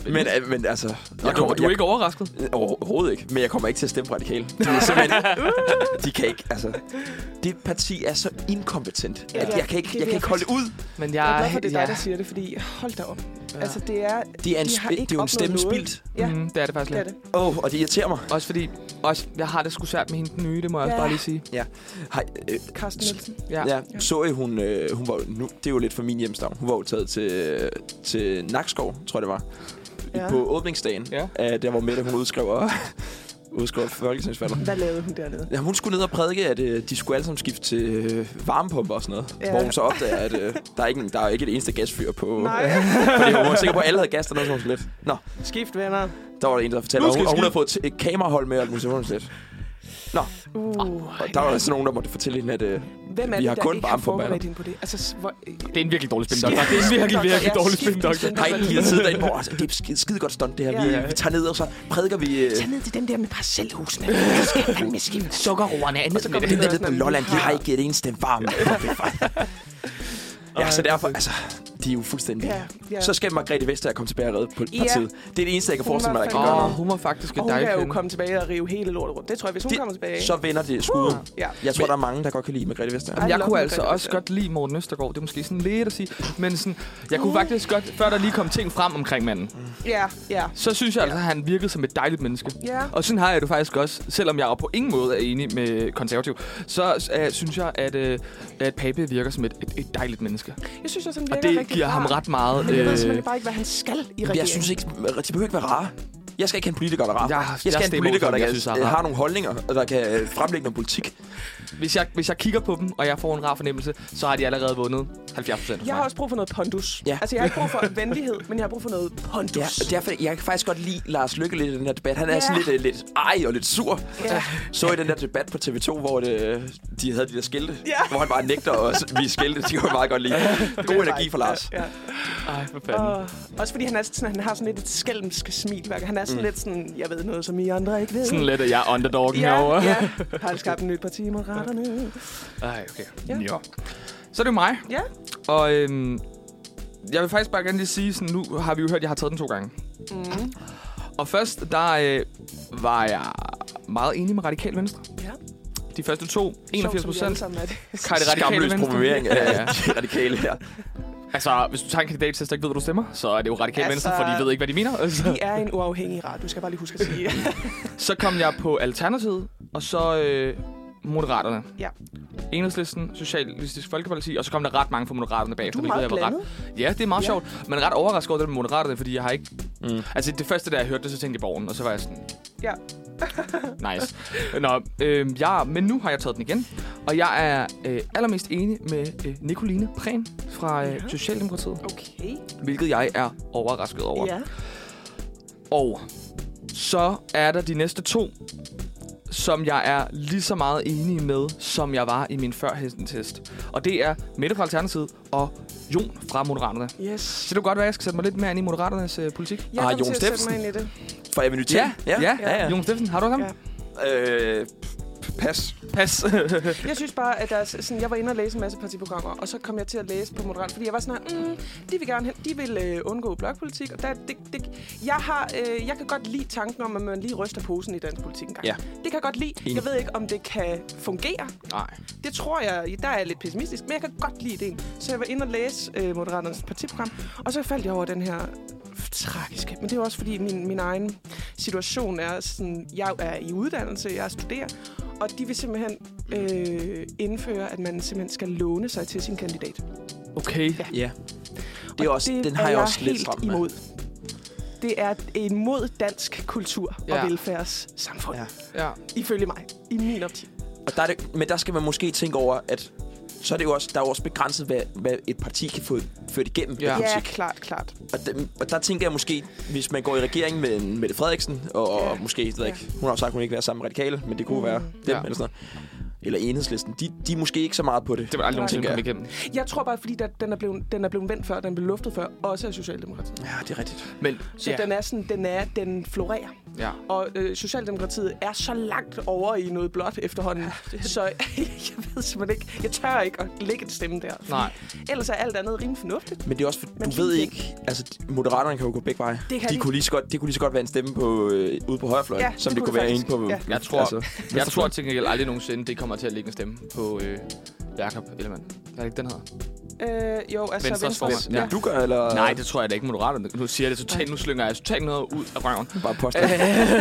Speaker 2: Men, øh, men altså...
Speaker 1: jeg kommer, du er ikke overrasket?
Speaker 2: jeg, Øh, overhovedet ikke, men jeg kommer ikke til at stemme radikal. Det er simpelthen... de kan ikke, altså... Det parti er så inkompetent,
Speaker 3: Ja,
Speaker 2: at
Speaker 3: ja.
Speaker 2: jeg kan ikke,
Speaker 3: Det
Speaker 2: jeg
Speaker 3: vil
Speaker 2: kan
Speaker 3: jeg
Speaker 2: ikke holde det ud.
Speaker 1: Men
Speaker 3: Jeg er glad for, at det er dig, der siger det, fordi hold da op. Ja. Altså, det er...
Speaker 2: Det er en,
Speaker 3: De har
Speaker 2: spil, det
Speaker 3: ikke
Speaker 2: er jo en
Speaker 3: opnået
Speaker 2: stemme
Speaker 3: noget.
Speaker 2: spildt.
Speaker 3: Ja,
Speaker 1: Mm, det er det faktisk
Speaker 3: det er
Speaker 1: lidt.
Speaker 3: det.
Speaker 2: Åh, oh, og det irriterer mig.
Speaker 1: Også fordi, også, jeg har det sgu svært med hende den nye, det må jeg også
Speaker 3: Ja.
Speaker 1: bare lige sige.
Speaker 2: Hej, øh,
Speaker 3: Carsten Nielsen.
Speaker 1: Ja.
Speaker 2: Ja,
Speaker 3: Ja.
Speaker 2: så I, hun, øh, hun var jo- nu, det er jo lidt fra min hjemstavn. Hun var jo taget til, til Nakskov, tror jeg det var, ja.
Speaker 3: Ja.
Speaker 2: på åbningsdagen.
Speaker 1: Ja.
Speaker 2: Af der var Mette, hun udskrev, og, udskrev folketingsvalget.
Speaker 3: Hvad lavede hun dernede?
Speaker 2: Ja, hun skulle ned og prædike, at øh, de skulle alle sammen skifte til øh, varmepumper og sådan noget. Ja.
Speaker 3: Ja.
Speaker 2: Hvor hun så opdager, at øh, der, er ikke, der er ikke et eneste gasfyr på.
Speaker 3: Nej.
Speaker 2: Fordi hun var sikker på, at alle havde gas dernede, så hun sådan lidt. Nå,
Speaker 3: Skift, venner.
Speaker 2: der var der en, der fortalte,
Speaker 1: Nu
Speaker 2: og
Speaker 1: skal vi
Speaker 2: hun, og
Speaker 1: skifte.
Speaker 2: hun havde fået t- et kamerahold med, og alt muligt, så hun sådan lidt.
Speaker 3: Uh.
Speaker 2: Og der var der sådan nogen, der måtte fortælle hende, at øh,
Speaker 3: Hvem er
Speaker 2: vi
Speaker 3: det,
Speaker 2: har
Speaker 3: der
Speaker 2: kun
Speaker 3: ikke har
Speaker 2: varme på
Speaker 3: forberedt
Speaker 2: baller.
Speaker 3: hende på det? Altså, s- hvor...
Speaker 1: Det er en virkelig dårlig spindoktor. Det er en virkelig, virkelig
Speaker 3: Ja,
Speaker 1: dårlig
Speaker 3: skift en
Speaker 1: spindoktor.
Speaker 3: spindoktor.
Speaker 2: Nej, de har siddet derinde, hvor altså, det er skide, skide godt stunt, det her.
Speaker 3: Ja.
Speaker 2: Vi, vi tager ned, og så prædiker vi... Øh,
Speaker 3: Tag ned til den der med parcelhusene.
Speaker 5: fandme skidt. Sukkerroerne er
Speaker 3: Og så
Speaker 5: andet.
Speaker 3: kommer
Speaker 2: Det der
Speaker 3: ned
Speaker 2: nede på
Speaker 3: og sådan,
Speaker 2: Lolland, de har ikke et eneste varme. ja, så derfor, altså, de er jo fuldstændig...
Speaker 3: Ja, ja.
Speaker 2: Så skal Margrethe Vestager komme tilbage og redde på
Speaker 3: Ja.
Speaker 2: partiet. Det er det eneste, jeg kan
Speaker 3: Hun
Speaker 2: forestille mig,
Speaker 3: var
Speaker 2: der kan
Speaker 3: fandme-
Speaker 2: gøre
Speaker 1: Åh,
Speaker 2: noget.
Speaker 3: Åh,
Speaker 1: hun var faktisk
Speaker 3: Og
Speaker 1: et
Speaker 3: hun kan jo
Speaker 1: dejligt
Speaker 3: komme tilbage og rive hele lortet rundt. Det tror jeg, hvis hun
Speaker 2: Det-
Speaker 3: kommer tilbage. Uh.
Speaker 2: Så vender det skuddet.
Speaker 3: Ja.
Speaker 2: Jeg tror, der er mange, der godt kan lide Margrethe Vestager.
Speaker 1: Jamen,
Speaker 3: I
Speaker 1: jeg
Speaker 3: love
Speaker 1: kunne
Speaker 3: you,
Speaker 1: altså
Speaker 3: Margrethe
Speaker 1: også
Speaker 3: Vestager.
Speaker 1: godt lide Morten Østergaard. Det er måske sådan lidt at sige. Men sådan, jeg kunne faktisk godt, før der lige kom ting frem omkring manden,
Speaker 3: Ja, ja.
Speaker 1: så synes jeg altså, at han virkede som et dejligt menneske.
Speaker 3: Ja.
Speaker 1: Og sådan har jeg det faktisk også, selvom jeg på ingen måde er enig med konservativ, så øh, synes jeg, at, øh, at Pape virker som et, et, et dejligt menneske.
Speaker 3: Jeg synes også, han
Speaker 1: Og
Speaker 3: virker
Speaker 1: det
Speaker 3: rigtig
Speaker 1: giver ham
Speaker 3: rar.
Speaker 1: ret meget.
Speaker 3: Men jeg ved
Speaker 1: Øh,
Speaker 3: simpelthen Ah. bare ikke, hvad han skal i regeringen.
Speaker 2: Jeg synes ikke, de behøver ikke være rare. Jeg skal ikke have en politiker, der er rar.
Speaker 1: Jeg-
Speaker 2: Jeg, skal
Speaker 1: jeg
Speaker 2: have en
Speaker 1: stemmer
Speaker 2: politiker,
Speaker 1: også,
Speaker 2: der
Speaker 1: jeg
Speaker 2: kan,
Speaker 1: synes, der er
Speaker 2: øh,
Speaker 1: rar.
Speaker 2: har nogle holdninger, og der kan øh, fremlægge noget politik.
Speaker 1: hvis, jeg, hvis jeg kigger på dem, og jeg får en rar fornemmelse, så har de allerede vundet 70 procent.
Speaker 3: Jeg har også brug for noget pondus.
Speaker 2: Ja.
Speaker 3: Altså, jeg har ikke brug for venlighed, men jeg har brug for noget pondus.
Speaker 2: Ja, og derfor, jeg kan faktisk godt lide Lars Lykke lidt i den her debat. Han er
Speaker 3: Ja.
Speaker 2: sådan lidt, øh, lidt ej og lidt sur.
Speaker 3: Ja.
Speaker 2: Så i den der debat på TV2, hvor det, øh, de havde de der skilte,
Speaker 3: Ja.
Speaker 2: hvor han bare nægter at vise skilte. Det kunne jeg meget godt lide. God energi fra Lars.
Speaker 3: Ja,
Speaker 1: Ej, for
Speaker 3: ja.
Speaker 1: fanden.
Speaker 3: Og også fordi han, er sådan, han har sådan lidt et skælmsk smil. hver gang. Han er sådan mm. lidt sådan, jeg ved noget, som I andre ikke ved.
Speaker 1: Sådan lidt, at jeg er underdoggen
Speaker 3: ja,
Speaker 1: herovre.
Speaker 3: ja. Har han skabt en nyt parti i Moderaterne?
Speaker 1: Ej, okay.
Speaker 3: Ja.
Speaker 1: Jo. Så er det jo mig.
Speaker 3: Ja.
Speaker 1: Og øhm, jeg vil faktisk bare gerne lige sige, sådan, nu har vi jo hørt, at jeg har taget den to gange.
Speaker 3: Mm.
Speaker 1: Og først, der øh, var jeg meget enig med Radikal Venstre.
Speaker 3: ja.
Speaker 1: De første to, 81 procent.
Speaker 3: Som vi alle sammen er det.
Speaker 1: Kaj, det radikale
Speaker 2: Skamløs
Speaker 1: Venstre.
Speaker 2: promovering af
Speaker 1: Ja, ja.
Speaker 2: de radikale her.
Speaker 1: Altså, hvis du tager en kandidattest, der ikke ved, hvad du stemmer, så er det jo radikale altså...
Speaker 3: Altså-
Speaker 1: venstre, for de ved ikke, hvad de mener. Altså.
Speaker 3: Vi er en uafhængig ret, du skal bare lige huske at sige.
Speaker 1: Så kom jeg på Alternativet, og så øh, Moderaterne.
Speaker 3: Ja.
Speaker 1: Enhedslisten, Socialistisk Folkeparti, og så kom der ret mange fra Moderaterne bagefter.
Speaker 3: Du er
Speaker 1: hvilket
Speaker 3: meget
Speaker 1: jeg var ret-
Speaker 3: blandet.
Speaker 1: Ja, det er meget ja.
Speaker 3: Ja.
Speaker 1: sjovt, men ret overrasket over det med Moderaterne, fordi jeg har ikke...
Speaker 2: Mm.
Speaker 1: Mm. Altså, det første, da jeg hørte det, så tænkte jeg borgen, og så var jeg sådan...
Speaker 3: Ja.
Speaker 1: nice. Nå, øh, jeg, men nu har jeg taget den igen, og jeg er øh, allermest enig med øh, Nicoline Prehn fra øh,
Speaker 3: Ja.
Speaker 1: Socialdemokratiet,
Speaker 3: Okay.
Speaker 1: hvilket jeg er overrasket over.
Speaker 3: Ja.
Speaker 1: Og så er der de næste to, som jeg er lige så meget enig med, som jeg var i min førhæsten-test. Og det er Mette fra Alternativet og Jon fra Moderaterne.
Speaker 3: Yes.
Speaker 1: Så det kunne godt være, at jeg skal sætte mig lidt mere ind i Moderaternes øh, politik.
Speaker 3: Jeg
Speaker 2: Ah, Jon
Speaker 3: kommer til at sætte
Speaker 2: Steffensen.
Speaker 3: mig ind i det.
Speaker 2: Fra Avenue 10.
Speaker 1: ja, ja.
Speaker 2: ja. ja.
Speaker 1: Jon Steffensen, har du ham?
Speaker 3: Ja.
Speaker 1: Ja.
Speaker 2: Øh, p- pas.
Speaker 1: Pas.
Speaker 3: Jeg synes bare, at der, er sådan, jeg var inde og læse en masse partiprogrammer, og så kom jeg til at læse på Moderat, fordi jeg var sådan her, mm, de vil gerne hen, de vil øh, undgå blokpolitik, og der, det, det, jeg, har, øh, jeg kan godt lide tanken om, at man lige ryster posen i dansk politik engang.
Speaker 2: Ja.
Speaker 3: Det kan jeg godt lide.
Speaker 2: Enig.
Speaker 3: Jeg ved ikke, om det kan fungere.
Speaker 2: Nej.
Speaker 3: Det tror jeg, der er jeg lidt pessimistisk, men jeg kan godt lide det. Så jeg var inde og læse øh, Moderaternes partiprogram, og så faldt jeg over den her f- tragiske, men det er jo også fordi min, min egen situation er sådan, jeg er i uddannelse, jeg studerer, og de vil simpelthen øh, indføre, at man simpelthen skal låne sig til sin kandidat.
Speaker 1: Okay.
Speaker 2: Ja. Det er
Speaker 3: Og
Speaker 2: også, den har
Speaker 3: er
Speaker 2: jeg også lidt
Speaker 3: helt
Speaker 2: stramt med.
Speaker 3: imod. Det er imod dansk kultur ja.
Speaker 1: Ja.
Speaker 3: og velfærdssamfund, ja.
Speaker 2: Ja.
Speaker 1: Ja.
Speaker 3: ifølge mig, i min optik.
Speaker 2: Og der er det, men der skal man måske tænke over, at så er det jo også, der er jo også begrænset, hvad, hvad et parti kan få ført igennem.
Speaker 1: Ja.
Speaker 2: med
Speaker 3: Ja,
Speaker 2: politik.
Speaker 3: klart, klart.
Speaker 2: Og, dem, og der tænker jeg måske, hvis man går i regering med en Mette Frederiksen, og, og
Speaker 3: Ja.
Speaker 2: måske, jeg ved
Speaker 3: Ja.
Speaker 2: ikke, hun har jo sagt, at hun ikke vil være sammen med radikale, men det kunne mm. være dem
Speaker 1: Ja.
Speaker 2: ja. eller sådan noget. Eller enhedslisten. De, de er måske ikke så meget på det.
Speaker 1: Det var aldrig nogensinde
Speaker 2: tænker
Speaker 1: komme
Speaker 2: jeg.
Speaker 1: igennem.
Speaker 3: Jeg tror bare, fordi der, den, er blevet, den er blevet vendt før, den blev luftet før, også af Socialdemokratiet.
Speaker 2: Ja, det er rigtigt.
Speaker 1: Men,
Speaker 3: Så
Speaker 1: ja.
Speaker 3: yeah. den er sådan, den er, den florerer.
Speaker 1: ja.
Speaker 3: Og øh, Socialdemokratiet er så langt over i noget blåt efterhånden, så jeg ved simpelthen ikke, jeg tør ikke at lægge et stemme der.
Speaker 1: Nej.
Speaker 3: Ellers er alt andet rimelig fornuftigt.
Speaker 2: Men det er også, for,
Speaker 3: Men
Speaker 2: du ved
Speaker 3: lige-
Speaker 2: ikke, altså moderaterne kan jo gå begge veje.
Speaker 3: Det kan
Speaker 2: de,
Speaker 3: de.
Speaker 2: kunne lige så godt, det kunne lige så godt være en stemme på, øh, ude på højrefløjen,
Speaker 3: Ja,
Speaker 2: som
Speaker 3: det
Speaker 2: det,
Speaker 3: kunne
Speaker 2: kunne
Speaker 3: det
Speaker 2: være inde
Speaker 3: faktisk.
Speaker 2: på...
Speaker 3: Ja.
Speaker 1: Jeg tror, altså, jeg tror
Speaker 2: venstrefløjen.
Speaker 1: til gengæld aldrig nogensinde, det kommer til at lægge en stemme på øh, Jakob Ellemann. Er det ikke den her?
Speaker 3: Øh, jo, altså
Speaker 1: Venstres
Speaker 3: Venstres,
Speaker 1: formand.
Speaker 2: Hvem
Speaker 1: Ja.
Speaker 2: du gør, eller...
Speaker 1: Nej, det tror jeg da ikke, moderaterne. Nu siger jeg det totalt, nu slynger jeg totalt noget ud af røven.
Speaker 2: Bare påstå.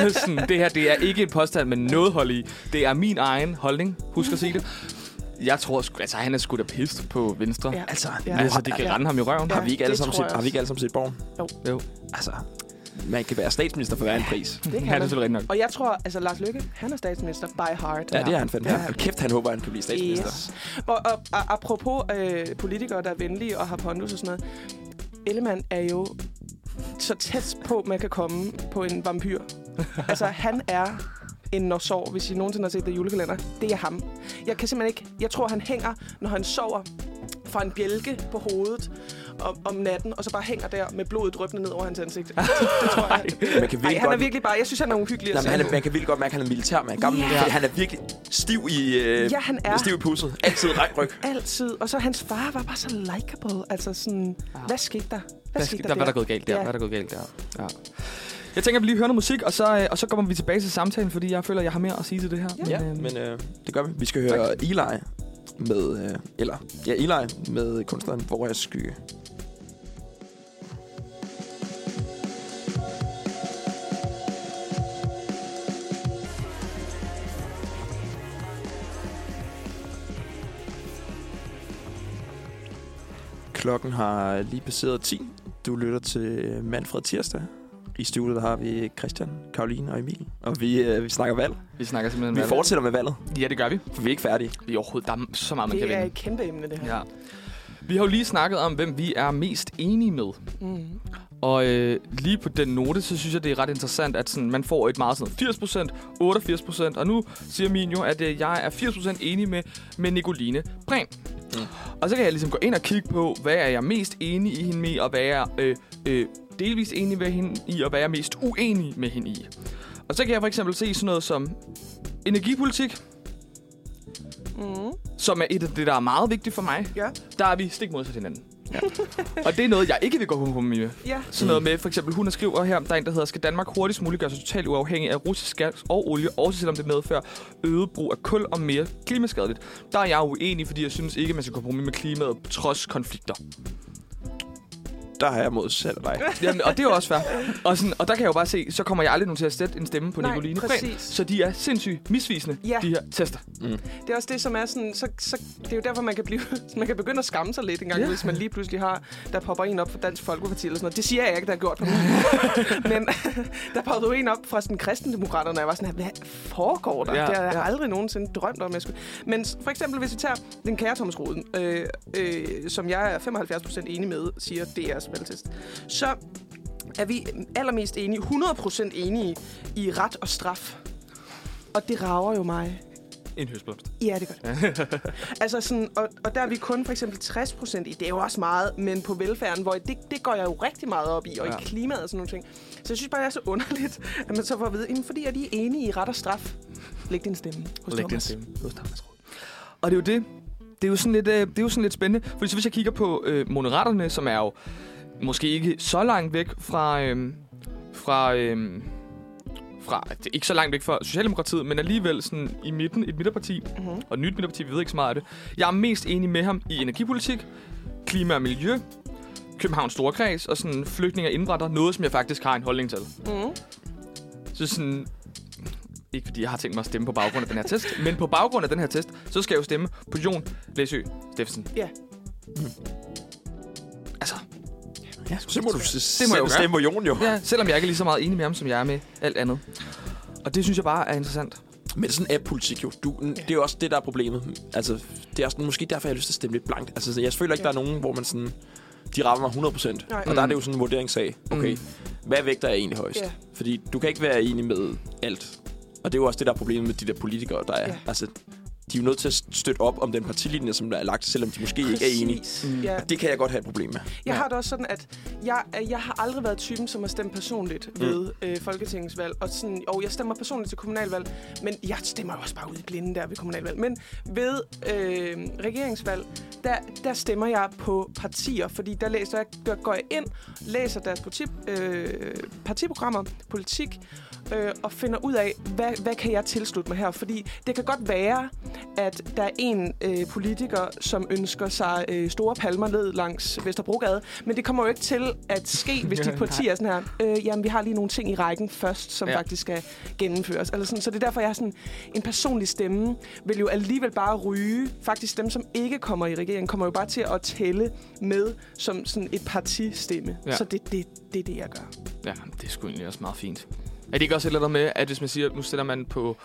Speaker 1: Øh, sådan, det her, det er ikke en påstand med noget hold i. Det er min egen holdning. Husk at sige det. Jeg tror sgu, altså han er sgu da pist på venstre. Ja.
Speaker 3: Ja.
Speaker 2: Altså,
Speaker 3: Ja.
Speaker 1: Altså, det kan
Speaker 3: Ja.
Speaker 1: rende ham i røven.
Speaker 3: Ja.
Speaker 2: har, vi ikke alle
Speaker 3: det
Speaker 2: sammen
Speaker 3: tror
Speaker 2: set,
Speaker 3: jeg
Speaker 2: har vi ikke alle sammen set Borgen?
Speaker 1: Jo.
Speaker 2: Altså, man kan være statsminister for hver en pris.
Speaker 3: Det
Speaker 1: Han er
Speaker 3: kan man.
Speaker 1: selvfølgelig rigtig nok.
Speaker 3: Og jeg tror, altså Lars Lykke, han er statsminister by heart.
Speaker 2: Ja, det er han fandme.
Speaker 3: Ja.
Speaker 2: Ja. Kæft, han håber, han kan blive statsminister.
Speaker 3: Yes. Og, og, og apropos øh, politikere, der er venlige og har pondus og sådan noget. Ellemann er jo så tæt på, man kan komme på en vampyr. altså, han er en når sov, hvis I nogensinde har set det julekalender. Det er ham. Jeg kan simpelthen ikke... Jeg tror, han hænger, når han sover fra en bjælke på hovedet om, om natten, og så bare hænger der med blodet drøbende ned over hans ansigt. Det, det tror jeg.
Speaker 2: Man kan
Speaker 3: Ej,
Speaker 2: virkelig
Speaker 3: han er
Speaker 2: godt...
Speaker 3: virkelig bare... Jeg synes, han er uhyggelig at
Speaker 2: Nej, men
Speaker 3: se
Speaker 2: han er,
Speaker 3: på.
Speaker 2: man kan virkelig godt mærke, at han er militærmand. Gammel,
Speaker 3: Ja.
Speaker 2: yeah. fordi han er virkelig stiv i, øh,
Speaker 3: Ja, han er.
Speaker 2: stiv i pusset. Altid ret ryg.
Speaker 3: Altid. Og så hans far var bare så likable. Altså sådan, ah. hvad skete der? Hvad,
Speaker 1: Hvad, sk- der, hvad er der gået galt der?
Speaker 3: Ja.
Speaker 1: Hvad er der gået galt der? Ja. Jeg tænker, at vi lige hører noget musik, og så, øh, og så kommer vi tilbage til samtalen, fordi jeg føler, at jeg har mere at sige til det her.
Speaker 2: Ja,
Speaker 1: øh,
Speaker 2: men øh, det gør vi. Vi skal høre Eli med... Øh, eller, ja, Eli med kunstneren Hvor er skygge. Klokken har lige passeret 10. Du lytter til øh, Manfred Tirsdag. I studiet der har vi Christian, Karoline og Emil. Og vi, øh, vi snakker valg.
Speaker 1: Vi snakker simpelthen
Speaker 2: Vi
Speaker 1: om
Speaker 2: fortsætter med valget,
Speaker 1: alt. Ja, det gør vi.
Speaker 2: for vi er ikke færdige.
Speaker 1: I overhovedet, der er så meget, man kan
Speaker 3: Det er
Speaker 1: vinde.
Speaker 3: et kæmpe emne, det her.
Speaker 1: Ja. Vi har jo lige snakket om, hvem vi er mest enige med.
Speaker 3: Mm.
Speaker 1: Og øh, lige på den note, så synes jeg, det er ret interessant, at sådan, man får et meget sådan 80%, 88%, og nu siger min jo, at øh, jeg er 80% enig med, med Nicoline Brem. Mm. Og så kan jeg ligesom gå ind og kigge på, hvad er jeg mest enig i hende med, og hvad er jeg øh, øh, delvis enig med hende i, og hvad er jeg mest uenig med hende i. Og så kan jeg for eksempel se sådan noget som energipolitik,
Speaker 3: Mm.
Speaker 1: som er et af det, der er meget vigtigt for mig.
Speaker 3: Ja.
Speaker 1: Der er vi stik modsat hinanden. Ja. og det er noget, jeg ikke vil gå på kompromis med.
Speaker 3: Ja.
Speaker 1: Sådan noget med, for eksempel, hun skriver her, der er en, der hedder, skal Danmark hurtigst muligt gøre sig totalt uafhængig af russisk gas og olie, også selvom det medfører øget brug af kul og mere klimaskadeligt. Der er jeg uenig, fordi jeg synes ikke, man skal kompromis med klimaet trods konflikter.
Speaker 2: Der har jeg modsat dig.
Speaker 1: Jamen, og det er jo også fair. Og, sådan, og der kan jeg jo bare se, så kommer jeg aldrig nogen til at sætte en stemme på
Speaker 3: Nej,
Speaker 1: Nicoline Prehn.
Speaker 3: præcis.
Speaker 1: Så de er sindssygt misvisende,
Speaker 3: Ja.
Speaker 1: de her tester.
Speaker 3: Det er også det, som er sådan... Så, så, det er jo derfor, man kan, blive, man kan begynde at skamme sig lidt en gang,
Speaker 1: Ja.
Speaker 3: ja. hvis man lige pludselig har... Der popper en op fra Dansk Folkeparti eller sådan noget. Det siger jeg ikke, der er gjort på mig. Men der poppede jo en op fra sådan kristendemokraterne, og jeg var sådan her, hvad foregår der?
Speaker 1: Ja,
Speaker 3: Ja, det har jeg
Speaker 1: ja.
Speaker 3: ja. aldrig nogensinde drømt om, jeg skulle... Men s- for eksempel, hvis vi tager den kære Thomas Roden, øh, øh, som jeg er 75% enig med, siger DR's valgtest, så er vi allermest enige, 100% enige i ret og straf. Og det rager jo mig
Speaker 1: en høstblomst.
Speaker 3: Ja, det gør det. altså sådan, og, og der er vi kun for eksempel 60 procent i. Det er jo også meget, men på velfærden, hvor det, det går jeg jo rigtig meget op i, og
Speaker 1: Ja.
Speaker 3: i klimaet og sådan nogle ting. Så jeg synes bare, det er så underligt, at man så får at vide, "Jamen, fordi jeg lige er enige i ret og straf. Læg din stemme hos
Speaker 1: Læg din
Speaker 3: Thomas.
Speaker 1: stemme hos Thomas Rode. Og det er jo det. Det er jo sådan lidt, øh, det er jo sådan lidt spændende. Fordi så hvis jeg kigger på øh, Moderaterne, som er jo måske ikke så langt væk fra... Øh, fra øh, fra, det er ikke så langt væk fra Socialdemokratiet, men alligevel sådan i midten, et midterparti,
Speaker 3: Mhm.
Speaker 1: og et nyt midterparti, vi ved ikke så meget af det. Jeg er mest enig med ham i energipolitik, klima og miljø, Københavns Storkreds og sådan flygtninge og indvandrere, noget som jeg faktisk har en holdning til.
Speaker 3: Mhm.
Speaker 1: Så sådan... Ikke fordi jeg har tænkt mig at stemme på baggrund af den her test, men på baggrund af den her test, så skal jeg jo stemme på Jon Læsø Steffensen.
Speaker 3: Ja.
Speaker 1: Altså,
Speaker 2: Ja, så må du s-
Speaker 1: Det må jeg jo gøre.
Speaker 2: stemme på Jon, jo.
Speaker 1: ja, selvom jeg ikke er lige så meget enig med ham, som jeg er med alt andet. Og det synes jeg bare er interessant.
Speaker 2: Men sådan er politik jo. Du, det er jo også det, der er problemet. Altså, det er også måske derfor, jeg har lyst til at stemme lidt blankt. Altså, så jeg føler ikke, der er nogen, hvor man sådan... De rammer mig 100%.
Speaker 3: Nej.
Speaker 2: Nej. Og der er det jo sådan en vurderingssag. Okay,
Speaker 1: Mm.
Speaker 2: hvad vægter jeg egentlig højst?
Speaker 3: Ja.
Speaker 2: Fordi du kan ikke være enig med alt. Og det er jo også det, der er problemet med de der politikere, der er.
Speaker 3: Ja.
Speaker 2: Altså, de er jo nødt til at støtte op om den partilinje, som der er lagt, selvom de måske ikke er enige.
Speaker 3: Præcis. Ja.
Speaker 1: Mm.
Speaker 2: Og det kan jeg godt have et problem med.
Speaker 1: Ja.
Speaker 3: Jeg har det også sådan, at jeg, øh, jeg har aldrig været typen, som har stemt personligt ved øh, folketingsvalg. Og sådan, jo, jeg stemmer personligt til kommunalvalg, men jeg stemmer jo også bare ud i blinde der ved kommunalvalg. Men ved øh, regeringsvalg, der, der stemmer jeg på partier, fordi der læser jeg, der går jeg ind, læser deres parti, øh, partiprogrammer, politik, øh, og finder ud af, hvad, hvad kan jeg tilslutte mig her? Fordi det kan godt være, at der er en øh, politiker, som ønsker sig øh, store palmer ned langs Vesterbrogade, men det kommer jo ikke til at ske, hvis de partier er sådan her, øh, jamen vi har lige nogle ting i rækken først, som
Speaker 1: Ja.
Speaker 3: ja. faktisk skal gennemføres. Eller sådan. Så det er derfor, jeg har sådan, en personlig stemme vil jo alligevel bare ryge. Faktisk dem, som ikke kommer i regeringen, kommer jo bare til at tælle med som sådan et partistemme.
Speaker 1: Ja.
Speaker 3: Ja. Så det er det, det, er det, jeg gør.
Speaker 1: Ja, det er sgu egentlig også meget fint. Er det ikke også et eller andet med, at hvis man siger, at nu stiller man på,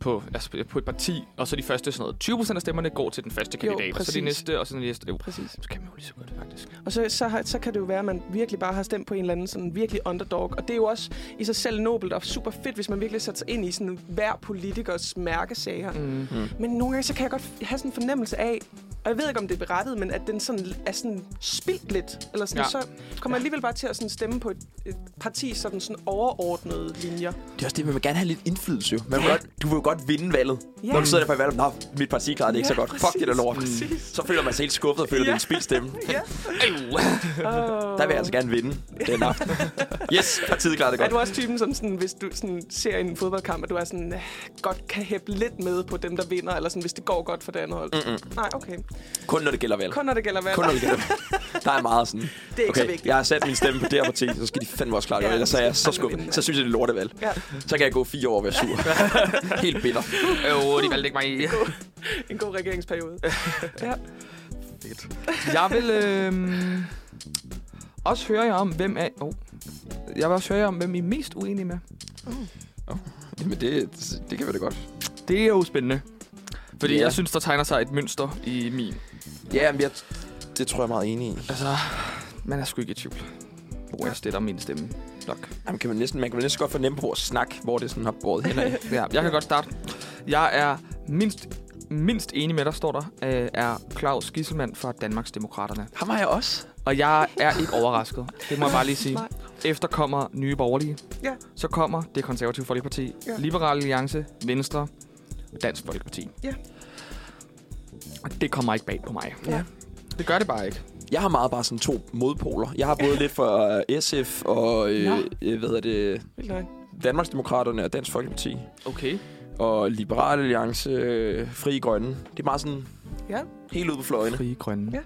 Speaker 1: på, altså på et parti, og så de første sådan noget, 20 af stemmerne går til den første
Speaker 3: Jo,
Speaker 1: kandidat, og så de
Speaker 3: præcis.
Speaker 1: næste, og så de næste. Jo,
Speaker 3: Præcis.
Speaker 1: så kan man jo lige så godt, faktisk.
Speaker 3: Og så, så, har, så kan det jo være, at man virkelig bare har stemt på en eller anden sådan virkelig underdog. Og det er jo også i sig selv nobelt og super fedt, hvis man virkelig sætter sig ind i sådan hver politikers mærkesager. Mm.
Speaker 1: Mm.
Speaker 3: Men nogle gange, så kan jeg godt have sådan en fornemmelse af, og jeg ved ikke, om det er berettet, men at den sådan er sådan spildt lidt. Eller sådan,
Speaker 1: Ja.
Speaker 3: ja. så kommer jeg alligevel bare til at sådan stemme på et, et parti sådan, sådan overordnede linjer.
Speaker 2: Det er også det, man vil gerne have lidt indflydelse jo. Man vil godt, du vil jo godt vinde valget.
Speaker 3: Ja.
Speaker 2: Når du sidder der på valget, nå, mit parti klarede det ikke
Speaker 3: Ja,
Speaker 2: så godt. Fuck
Speaker 3: præcis,
Speaker 2: det der lort.
Speaker 3: præcis.
Speaker 2: Så føler man sig helt skuffet og føler, det er en
Speaker 3: Ja.
Speaker 2: spildt stemme.
Speaker 3: Ja.
Speaker 2: Der vil jeg altså gerne vinde den aften. Yes, partiet klarede det
Speaker 3: Er
Speaker 2: godt.
Speaker 3: du også typen, som sådan, hvis du sådan, ser en fodboldkamp, at du er sådan, øh, godt kan hæppe lidt med på dem, der vinder, eller sådan, hvis det går godt for det andet hold? Mm-mm. Nej, okay.
Speaker 2: Kun når det gælder valg.
Speaker 3: Kun når det gælder valg.
Speaker 2: Kun når det gælder valg. Der er meget sådan.
Speaker 3: Det er ikke
Speaker 2: okay,
Speaker 3: så vigtigt.
Speaker 2: Jeg har sat min stemme på det her parti, så skal de fandme også klare det.
Speaker 3: Ja,
Speaker 2: Ja, ellers er jeg så
Speaker 3: skal fandme
Speaker 2: skuffet.
Speaker 3: vinde.
Speaker 2: Så synes jeg, det er lortevalg.
Speaker 3: Ja,
Speaker 2: Så kan jeg gå fire år og være sur. Helt bitter.
Speaker 1: Øh, de valgte ikke mig.
Speaker 3: en god regeringsperiode. ja.
Speaker 1: Jeg vil øh, også høre jer om, hvem er... Oh. Jeg vil også høre jer om, hvem I er mest uenige med.
Speaker 2: Jamen det, det kan vi da godt.
Speaker 1: Det er jo spændende. Fordi
Speaker 2: Ja.
Speaker 1: jeg synes, der tegner sig et mønster i min.
Speaker 2: Ja, men jeg, det tror jeg er meget enig i.
Speaker 1: Altså, man er sgu ikke i tvivl. Hvor jeg stiller min stemme nok.
Speaker 2: Jamen, kan man, næsten, man kan næsten godt fornemme på vores snak, hvor det sådan har båret hen af.
Speaker 1: Ja, jeg kan godt starte. Jeg er mindst, mindst enig med dig, står der, øh, er Claus Gisselmann fra Danmarks Demokraterne.
Speaker 2: Ham har jeg også.
Speaker 1: Og jeg er ikke overrasket. Det må jeg bare lige sige.
Speaker 3: Nej.
Speaker 1: Efter kommer Nye Borgerlige.
Speaker 3: Ja.
Speaker 1: Så kommer det konservative Folkeparti, ja.
Speaker 3: Ja.
Speaker 1: Liberale Alliance, Venstre og Dansk Folkeparti.
Speaker 3: Ja.
Speaker 1: Og det kommer ikke bag på mig.
Speaker 3: Ja.
Speaker 1: Det gør det bare ikke.
Speaker 2: Jeg har meget bare sådan to modpoler. Jeg har både lidt for øh, SF og,
Speaker 3: Nå.
Speaker 2: øh, øh, hvad hedder det,
Speaker 3: Vildt nok.
Speaker 2: Danmarksdemokraterne og Dansk Folkeparti.
Speaker 1: Okay.
Speaker 2: Og Liberal Alliance, øh, Fri Grønne. Det er meget sådan
Speaker 3: Ja.
Speaker 2: helt ude på fløjene.
Speaker 1: Frie Grønne.
Speaker 3: Ja.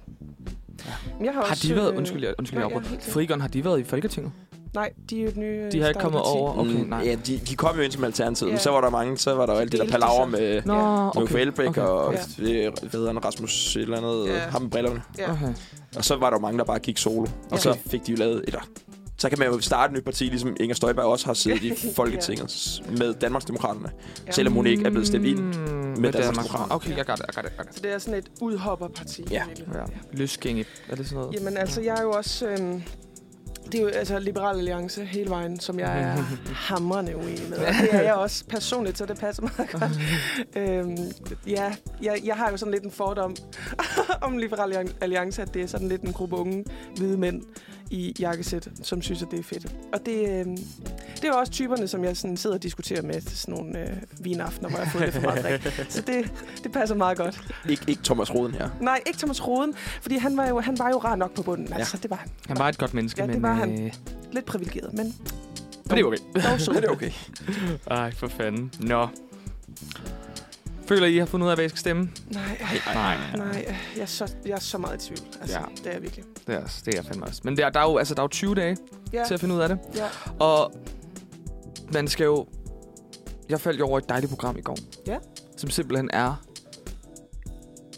Speaker 3: Men Jeg har,
Speaker 1: Har
Speaker 3: også,
Speaker 1: de været,
Speaker 3: øh,
Speaker 1: undskyld, jeg, undskyld,
Speaker 3: nej,
Speaker 1: jeg
Speaker 3: ja,
Speaker 1: afbryder.
Speaker 3: helt sikkert.
Speaker 1: Frie Grønne, har de været i Folketinget?
Speaker 3: Nej, de er jo et nye øh,
Speaker 1: De har ikke kommet
Speaker 3: startparti.
Speaker 1: over. Okay, nej.
Speaker 2: Mm, Ja, de, de kom jo ind som alternativet, yeah.
Speaker 3: Ja.
Speaker 2: men så var der mange, så var der jo alt det der
Speaker 3: delte de
Speaker 2: palaver
Speaker 3: sig.
Speaker 2: med,
Speaker 1: Nå,
Speaker 3: Ja.
Speaker 2: med Uffe
Speaker 1: okay.
Speaker 2: Elbæk
Speaker 1: okay.
Speaker 2: og
Speaker 1: okay.
Speaker 2: øh, hvad hedder han, Rasmus et eller andet,
Speaker 3: Ja.
Speaker 2: yeah. ham med brillerne.
Speaker 3: Ja.
Speaker 1: okay.
Speaker 2: Og så var der jo mange, der bare gik solo, og
Speaker 3: Ja.
Speaker 2: så fik de jo lavet et så kan man jo starte et nyt parti, ligesom Inger Støjberg også har siddet i Folketinget s- med Danmarksdemokraterne. Ja.
Speaker 3: Ja.
Speaker 2: Selvom hun ikke er blevet stemt ind.
Speaker 1: Mm,
Speaker 2: Danmarks
Speaker 1: Danmarks-
Speaker 2: Demokrater.
Speaker 1: Okay, jeg gør det, jeg gør det, jeg gør det.
Speaker 3: Så det er sådan et udhopperparti. i
Speaker 2: Ja.
Speaker 3: virkeligheden.
Speaker 1: Ja. Løsgænge, er det sådan noget?
Speaker 3: Jamen altså, jeg er jo også... Øhm, det er jo altså Liberal Alliance hele vejen, som jeg er hamrende uenig med. Og det er jeg også personligt, så det passer meget godt. øhm, ja, jeg, jeg har jo sådan lidt en fordom om Liberal Alliance, at det er sådan lidt en gruppe unge hvide mænd i jakkesæt, som synes, at det er fedt. Og det, øhm, det er jo også typerne, som jeg sådan sidder og diskuterer med til sådan nogle øh, vinaftener, hvor jeg har fået lidt for meget drik. Så det, det passer meget godt.
Speaker 2: Ikke, ikke Thomas Roden her.
Speaker 3: Nej, ikke Thomas Roden, fordi han var jo, han var jo rar nok på bunden. Altså, det var han.
Speaker 1: Han var et godt menneske,
Speaker 3: Ja, det
Speaker 1: men...
Speaker 3: var han.
Speaker 1: Øh,
Speaker 3: Lidt privilegeret, men
Speaker 1: men det er okay.
Speaker 3: dog sød.
Speaker 2: Det er okay.
Speaker 1: Ej, for fanden. Nå. Føler I, I har fundet ud af, hvad I skal stemme?
Speaker 3: Nej,
Speaker 1: Nej.
Speaker 3: nej, jeg er så, jeg er så meget i tvivl. Altså,
Speaker 1: Ja.
Speaker 3: ja. det er jeg virkelig.
Speaker 1: Det er, det er jeg fandme også. Men der, der, er jo, altså, der er jo 20 dage
Speaker 3: Ja,
Speaker 1: til at finde ud af det.
Speaker 3: ja,
Speaker 1: Og man skal jo... Jeg faldt jo over et dejligt program i går.
Speaker 3: Ja.
Speaker 1: Som simpelthen er...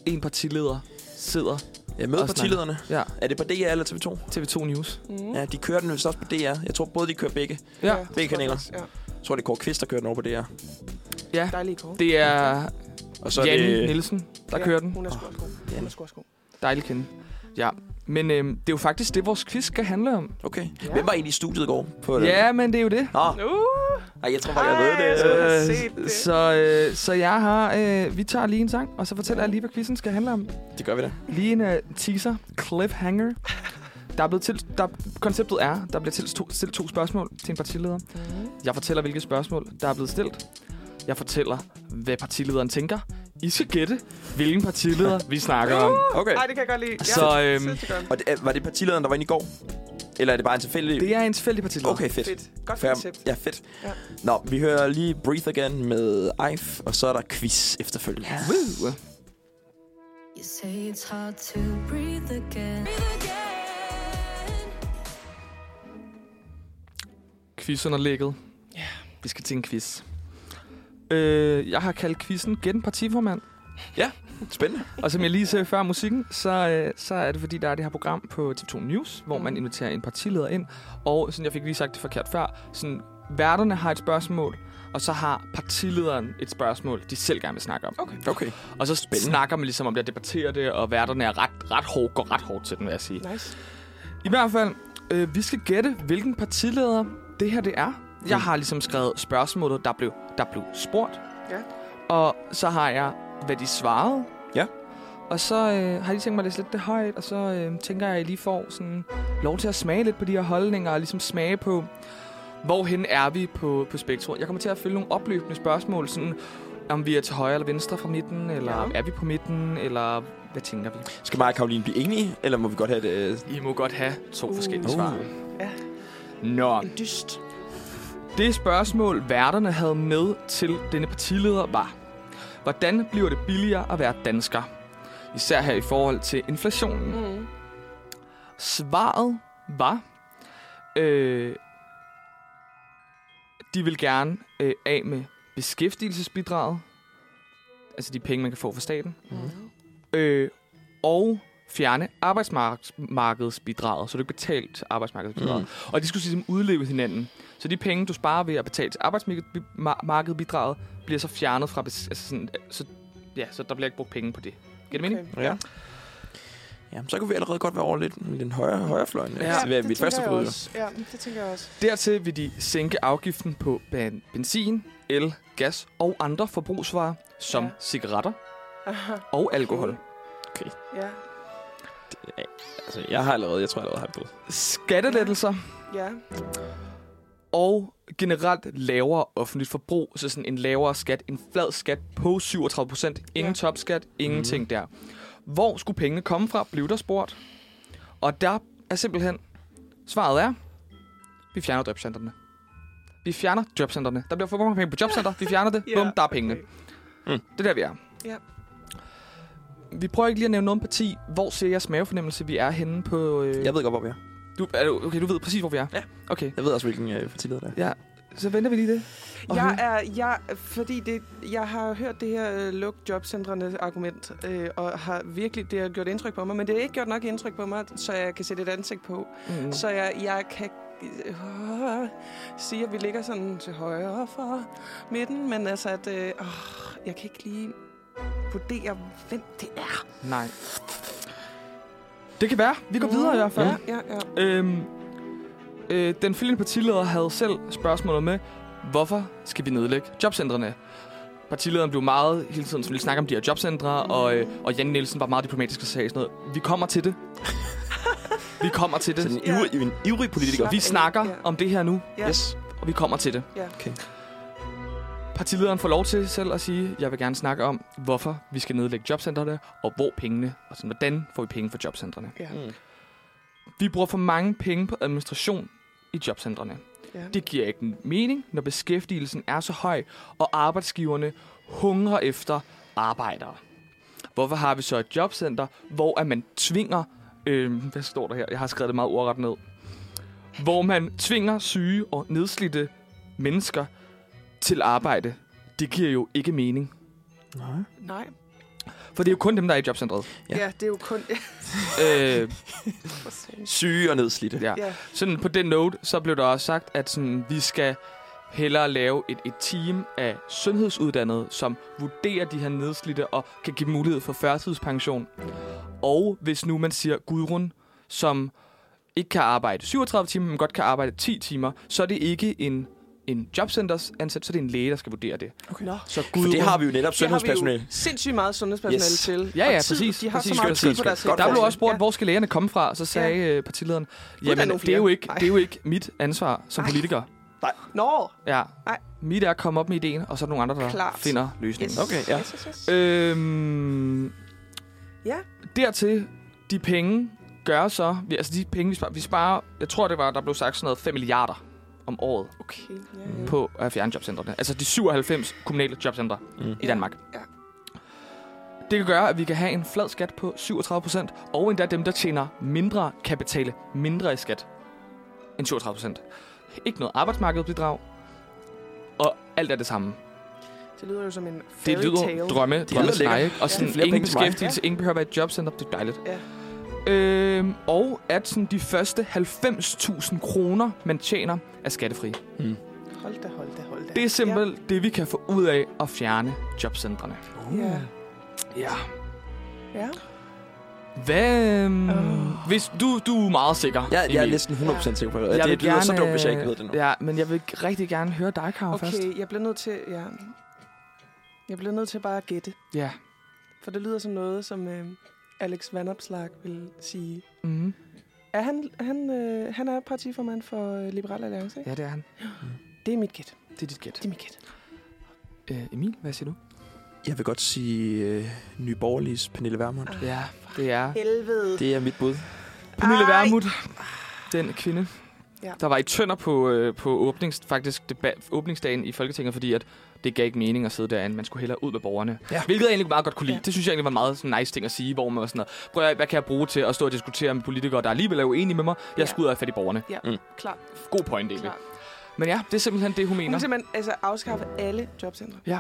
Speaker 1: En partileder sidder
Speaker 2: Jeg møder
Speaker 1: Og snakker.
Speaker 2: partilederne.
Speaker 1: ja,
Speaker 2: Er det på DR eller TV2?
Speaker 1: TV2 News.
Speaker 3: mm.
Speaker 2: Ja, de kører den vist også på DR. Jeg tror både de kører begge.
Speaker 1: Ja.
Speaker 3: det tror
Speaker 2: begge
Speaker 3: jeg
Speaker 2: kanaler.
Speaker 3: også. Ja.
Speaker 2: Jeg tror, det er Kåre Kvist, der kører den over på DR.
Speaker 1: Ja,
Speaker 3: Dejlige kår.
Speaker 1: det er
Speaker 2: Og så
Speaker 1: så
Speaker 2: er
Speaker 1: Janne
Speaker 2: det...
Speaker 1: Nielsen, der kører den.
Speaker 3: Hun er sgu også god. Hun
Speaker 2: Janne.
Speaker 3: er sgu også god.
Speaker 1: Dejlig kende. Ja, men øhm, det er jo faktisk det, vores quiz skal handle om.
Speaker 2: Okay.
Speaker 3: Ja.
Speaker 2: Hvem var egentlig i studiet i går? På den?
Speaker 1: Ja, men det er jo det.
Speaker 2: Nå,
Speaker 3: Uh,
Speaker 2: ej, jeg tror bare, jeg ved
Speaker 3: Ej,
Speaker 2: det.
Speaker 3: så-
Speaker 2: Øh,
Speaker 3: have set det.
Speaker 1: så, øh, så jeg har... Øh, vi tager lige en sang, og så fortæller jeg lige, hvad quizzen skal handle om.
Speaker 2: Det gør vi da.
Speaker 1: Lige en uh, teaser. Cliffhanger. Der er blevet til, der, konceptet er, der bliver til, to, stillet to spørgsmål til en partileder. Jeg fortæller, hvilke spørgsmål, der er blevet stillet. Jeg fortæller, hvad partilederen tænker. I skal gætte, hvilken partileder vi snakker om.
Speaker 2: Okay.
Speaker 3: ej, det kan jeg godt lide. Ja,
Speaker 1: Så, øhm,
Speaker 3: synes jeg godt.
Speaker 2: Og det, er- var det partilederen, der var inde i går? Eller er det bare en tilfældig...
Speaker 1: Det er en tilfældig partileder.
Speaker 2: Okay, fedt.
Speaker 3: Fedt. Godt
Speaker 2: Fair.
Speaker 3: koncept.
Speaker 2: Ja, fedt.
Speaker 3: Ja.
Speaker 2: Nå, vi hører lige Breathe Again med Eif, og så er der quiz efterfølgende.
Speaker 1: Woo.
Speaker 4: You say it's hard to breathe again.
Speaker 1: Quizunderlægget. Ja. Vi skal til en quiz. Øh, jeg har kaldt quizzen Gæt en partiformand.
Speaker 2: Spændende.
Speaker 1: Og som jeg lige sagde før musikken, så, øh, så er det fordi, der er det her program på TV2 News, hvor man inviterer en partileder ind. Og sådan, jeg fik lige sagt det forkert før, sådan, værterne har et spørgsmål, og så har partilederen et spørgsmål, de selv gerne vil snakke om.
Speaker 3: Okay.
Speaker 2: Okay.
Speaker 1: Og så Spændende. snakker man ligesom om det og debatterer det, og værterne er ret, ret hård, går ret hårdt til den, vil jeg sige.
Speaker 3: Nice.
Speaker 1: I hvert fald, øh, vi skal gætte, hvilken partileder det her det er. Jeg har ligesom skrevet spørgsmålet, der blev, der blev spurgt.
Speaker 3: Ja.
Speaker 1: Og så har jeg, hvad de svarede.
Speaker 2: Ja.
Speaker 1: Og så øh, har jeg lige tænkt mig at læse lidt det højt, og så øh, tænker jeg, at I lige får sådan, lov til at smage lidt på de her holdninger, og ligesom smage på, hvorhen er vi på, på spektret. Jeg kommer til at følge nogle opløbende spørgsmål, sådan om vi er til højre eller venstre fra midten, eller
Speaker 3: Ja.
Speaker 1: er vi på midten, eller hvad tænker vi?
Speaker 2: Skal mig og Karoline blive enige, eller må vi godt have det? øh,
Speaker 1: I må godt have to
Speaker 3: Uh.
Speaker 1: forskellige
Speaker 2: Uh.
Speaker 1: svar.
Speaker 3: Ja.
Speaker 1: Nå,
Speaker 3: En dyst.
Speaker 1: det spørgsmål, værterne havde med til denne partileder, var... Hvordan bliver det billigere at være dansker? Især her i forhold til inflationen.
Speaker 3: Mm.
Speaker 1: Svaret var... Øh, de vil gerne øh, af med beskæftigelsesbidraget. Altså de penge, man kan få fra staten.
Speaker 3: Mm.
Speaker 1: Øh, og fjerne arbejdsmarkedsbidraget, så du ikke betaler til arbejdsmarkedsbidraget.
Speaker 2: Mm.
Speaker 1: Og de skulle ligesom udleve hinanden. Så de penge, du sparer ved at betale til arbejdsmarkedsbidraget, bliver så fjernet fra... bes- Altså sådan, øh, så, ja, så der bliver ikke brugt penge på det. Giver det mening?
Speaker 3: Okay.
Speaker 2: Ja. ja. så kunne vi allerede godt være over lidt med den højre, højrefløjen. Ja. Altså, det er
Speaker 3: det
Speaker 2: mit
Speaker 3: tænker
Speaker 2: første
Speaker 3: jeg
Speaker 2: bud.
Speaker 3: også. Ja, det tænker jeg også.
Speaker 1: Dertil vil de sænke afgiften på ben- benzin, el, gas og andre forbrugsvarer, som ja.
Speaker 3: Ja.
Speaker 1: cigaretter
Speaker 3: Aha.
Speaker 1: og alkohol.
Speaker 3: Ja,
Speaker 2: Altså, jeg har allerede, jeg tror, jeg allerede har et bud.
Speaker 1: Skattelettelser
Speaker 3: ja.
Speaker 1: og generelt lavere offentligt forbrug, så sådan en lavere skat, en flad skat på 37 procent, ingen
Speaker 3: Ja.
Speaker 1: topskat, ingenting der. Hvor skulle pengene komme fra, blev der spurgt. Og der er simpelthen, svaret er, vi fjerner jobcentrene. Vi fjerner jobcentrene. Der bliver for mange penge på jobcenter, vi fjerner det,
Speaker 3: Ja,
Speaker 1: bum, der er pengene.
Speaker 3: okay.
Speaker 1: Det er der, vi er.
Speaker 3: Ja.
Speaker 1: Vi prøver ikke lige at nævne nogen parti. Hvor ser jeres mavefornemmelse, vi er henne på... Øh,
Speaker 2: Jeg ved godt, hvor vi er.
Speaker 1: du, er du, okay, du ved præcis, hvor vi er.
Speaker 2: Ja.
Speaker 1: Okay,
Speaker 2: Jeg ved også, hvilken øh, partileder det er.
Speaker 1: ja. Så venter vi lige det. Og
Speaker 3: Jeg
Speaker 1: høre.
Speaker 3: er, jeg, fordi det, jeg har hørt det her øh, luk jobcentrene argument, øh, og har virkelig, det har gjort indtryk på mig, men det har ikke gjort nok indtryk på mig, så jeg kan sætte et ansigt på.
Speaker 1: Mm.
Speaker 3: Så jeg, jeg kan øh, sige, at vi ligger sådan til højre for midten, men altså, at øh, åh, jeg kan ikke lige vurdere, hvem det er.
Speaker 1: Nej. Det kan være. Vi går videre i hvert fald.
Speaker 3: Mm. Ja, ja, ja.
Speaker 1: Øhm, øh, den følgende partileder havde selv spørgsmålet med, hvorfor skal vi nedlægge jobcentrene? Partilederen blev meget hele tiden, som ville snakke om de her jobcentre, og, øh, og Jan Nielsen var meget diplomatisk og sagde sådan noget. Vi kommer til det. vi kommer til
Speaker 2: Så
Speaker 1: det.
Speaker 2: en ivrig, en ivrig politiker.
Speaker 1: Vi snakker om det her nu,
Speaker 3: Ja.
Speaker 2: Yes.
Speaker 1: og vi kommer til det.
Speaker 3: Ja.
Speaker 2: Okay.
Speaker 1: Partilederen får lov til selv at sige, jeg vil gerne snakke om, hvorfor vi skal nedlægge jobcentrene, og hvor pengene, og sådan, hvordan får vi penge for jobcentrene.
Speaker 3: Ja.
Speaker 2: Mm.
Speaker 1: Vi bruger for mange penge på administration i jobcentrene.
Speaker 3: Ja.
Speaker 1: Det giver ikke mening, når beskæftigelsen er så høj, og arbejdsgiverne hungrer efter arbejdere. Hvorfor har vi så et jobcenter, hvor at man tvinger... Øh, hvad står der her? Jeg har skrevet det meget ordret ned. Hvor man tvinger syge og nedslidte mennesker til arbejde. Det giver jo ikke mening.
Speaker 2: Nej.
Speaker 3: Nej.
Speaker 1: For det er jo kun dem, der er i jobcentret.
Speaker 2: Ja.
Speaker 3: Ja. ja, det er jo kun...
Speaker 1: øh,
Speaker 3: For satan.
Speaker 2: Syge og nedslidte.
Speaker 1: ja.
Speaker 3: ja.
Speaker 1: Sådan på den note, så blev der også sagt, at sådan, vi skal hellere lave et, et team af sundhedsuddannede, som vurderer de her nedslidte og kan give mulighed for førtidspension. Og hvis nu man siger Gudrun, som ikke kan arbejde 37 timer, men godt kan arbejde 10 timer, så er det ikke en, en jobcenters ansat, så er det en læge, der skal vurdere det.
Speaker 3: Okay. Nå.
Speaker 1: Så
Speaker 2: For
Speaker 1: Gudrun,
Speaker 2: det har vi jo netop
Speaker 3: Det har vi
Speaker 2: sundhedspersonale.
Speaker 3: jo sindssygt meget sundhedspersonale
Speaker 2: Yes.
Speaker 3: yes. til.
Speaker 1: Ja,
Speaker 3: Og
Speaker 1: ja,
Speaker 3: tid.
Speaker 1: præcis,
Speaker 3: De har
Speaker 1: præcis,
Speaker 3: så meget tid
Speaker 2: præcis.
Speaker 3: på deres
Speaker 2: Godt
Speaker 1: der blev
Speaker 2: forslag.
Speaker 1: også spurgt, ja. hvor skal lægerne komme fra? Så sagde ja. partilederen, jamen,
Speaker 3: nogle
Speaker 1: det er, jo
Speaker 3: flere."
Speaker 1: ikke, det er jo ikke mit ansvar som
Speaker 3: Ej.
Speaker 1: politiker.
Speaker 3: Nå,
Speaker 1: Ja.
Speaker 3: Nej.
Speaker 1: Mit er at komme op med ideen, og så er der nogle andre, der
Speaker 3: Klart.
Speaker 1: finder løsningen.
Speaker 3: Yes.
Speaker 2: Okay, ja.
Speaker 3: Yes, yes,
Speaker 1: Øh,
Speaker 3: yes.
Speaker 1: Øhm,
Speaker 3: Ja.
Speaker 1: Dertil, de penge gør så... Vi, altså de penge, vi sparer, vi sparer... Jeg tror, det var, der blev sagt sådan noget 5 milliarder om året
Speaker 3: Okay, ja, ja.
Speaker 1: på at fjerne jobcentrene. Altså de 97 kommunale jobcentre
Speaker 2: Mm.
Speaker 1: i Danmark.
Speaker 3: Ja.
Speaker 1: Det kan gøre, at vi kan have en flad skat på 37 procent, og endda dem, der tjener mindre, kan betale mindre i skat end 37 procent. Ikke noget arbejdsmarkedsbidrag, og alt er det samme.
Speaker 3: Det lyder jo som en
Speaker 1: Det
Speaker 3: fairy
Speaker 1: lyder
Speaker 3: tale.
Speaker 1: drømme, drømme
Speaker 2: lyder lækkert.
Speaker 1: scenarie, og sådan
Speaker 2: Ja.
Speaker 1: ja.
Speaker 2: Flere
Speaker 1: ingen
Speaker 2: penge til mig.
Speaker 1: beskæftigelse, ingen behøver at være i et jobcenter, det er dejligt.
Speaker 3: Ja.
Speaker 1: Øhm, og at sådan, de første 90.000 kroner, man tjener, er skattefri.
Speaker 3: Hold da, hold da, hold da.
Speaker 1: Det er simpelthen ja. det, vi kan få ud af at fjerne jobcentrene.
Speaker 3: Ja.
Speaker 1: Ja.
Speaker 3: ja.
Speaker 1: Hvad... Um,
Speaker 3: Åh.
Speaker 1: Hvis du, du er meget sikker.
Speaker 2: Jeg, jeg er
Speaker 1: Emil.
Speaker 2: næsten 100% sikker på det.
Speaker 1: Jeg
Speaker 2: det
Speaker 1: vil
Speaker 2: lyder så
Speaker 1: gerne,
Speaker 2: dumt, hvis jeg
Speaker 1: øh,
Speaker 2: ikke ved det nu.
Speaker 1: Ja, men jeg vil rigtig gerne høre dig, Karo, okay. først.
Speaker 3: Okay, jeg bliver nødt til... Ja. Jeg bliver nødt til bare at gætte.
Speaker 1: Ja.
Speaker 3: For det lyder som noget, som øh, Alex Vanopslag vil sige.
Speaker 1: Mm.
Speaker 3: Er han, han, øh, han er partiformand for øh, Liberal Alliance, ikke?
Speaker 1: Ja, det er han.
Speaker 3: Ja. Det er mit gæt.
Speaker 1: Det er dit gæt.
Speaker 3: Det er mit gæt.
Speaker 1: Øh, Emil, hvad siger du?
Speaker 2: Jeg vil godt sige øh, Nye Borgerliges Pernille Vermund.
Speaker 1: Ja, det er...
Speaker 3: Helvede.
Speaker 2: Ah. Det er mit bud.
Speaker 1: Pernille
Speaker 3: Ej.
Speaker 1: Vermund, den kvinde, ja.
Speaker 3: Ja.
Speaker 1: der var i tønder på, øh, på åbnings, faktisk debat, åbningsdagen i Folketinget, fordi at det gav ikke mening at sidde derinde. Man skulle hellere ud med borgerne. Ja.
Speaker 2: Ja.
Speaker 1: Hvilket jeg egentlig meget godt kunne lide. Ja.
Speaker 3: Ja.
Speaker 1: Det synes jeg egentlig var en meget sådan, nice ting at sige, hvor man var sådan noget, prøv at, høre, hvad kan jeg bruge til at stå og diskutere med politikere, der alligevel er uenige med mig? Jeg
Speaker 3: Ja.
Speaker 1: ja. skulle ud af fat i borgerne.
Speaker 3: Ja,
Speaker 2: Mm.
Speaker 3: mm. klar.
Speaker 1: God point egentlig.
Speaker 3: klar.
Speaker 1: Men ja, det er simpelthen det, hun
Speaker 3: Hun
Speaker 1: mener.
Speaker 3: vil simpelthen altså, afskaffe alle jobcentre.
Speaker 1: Ja,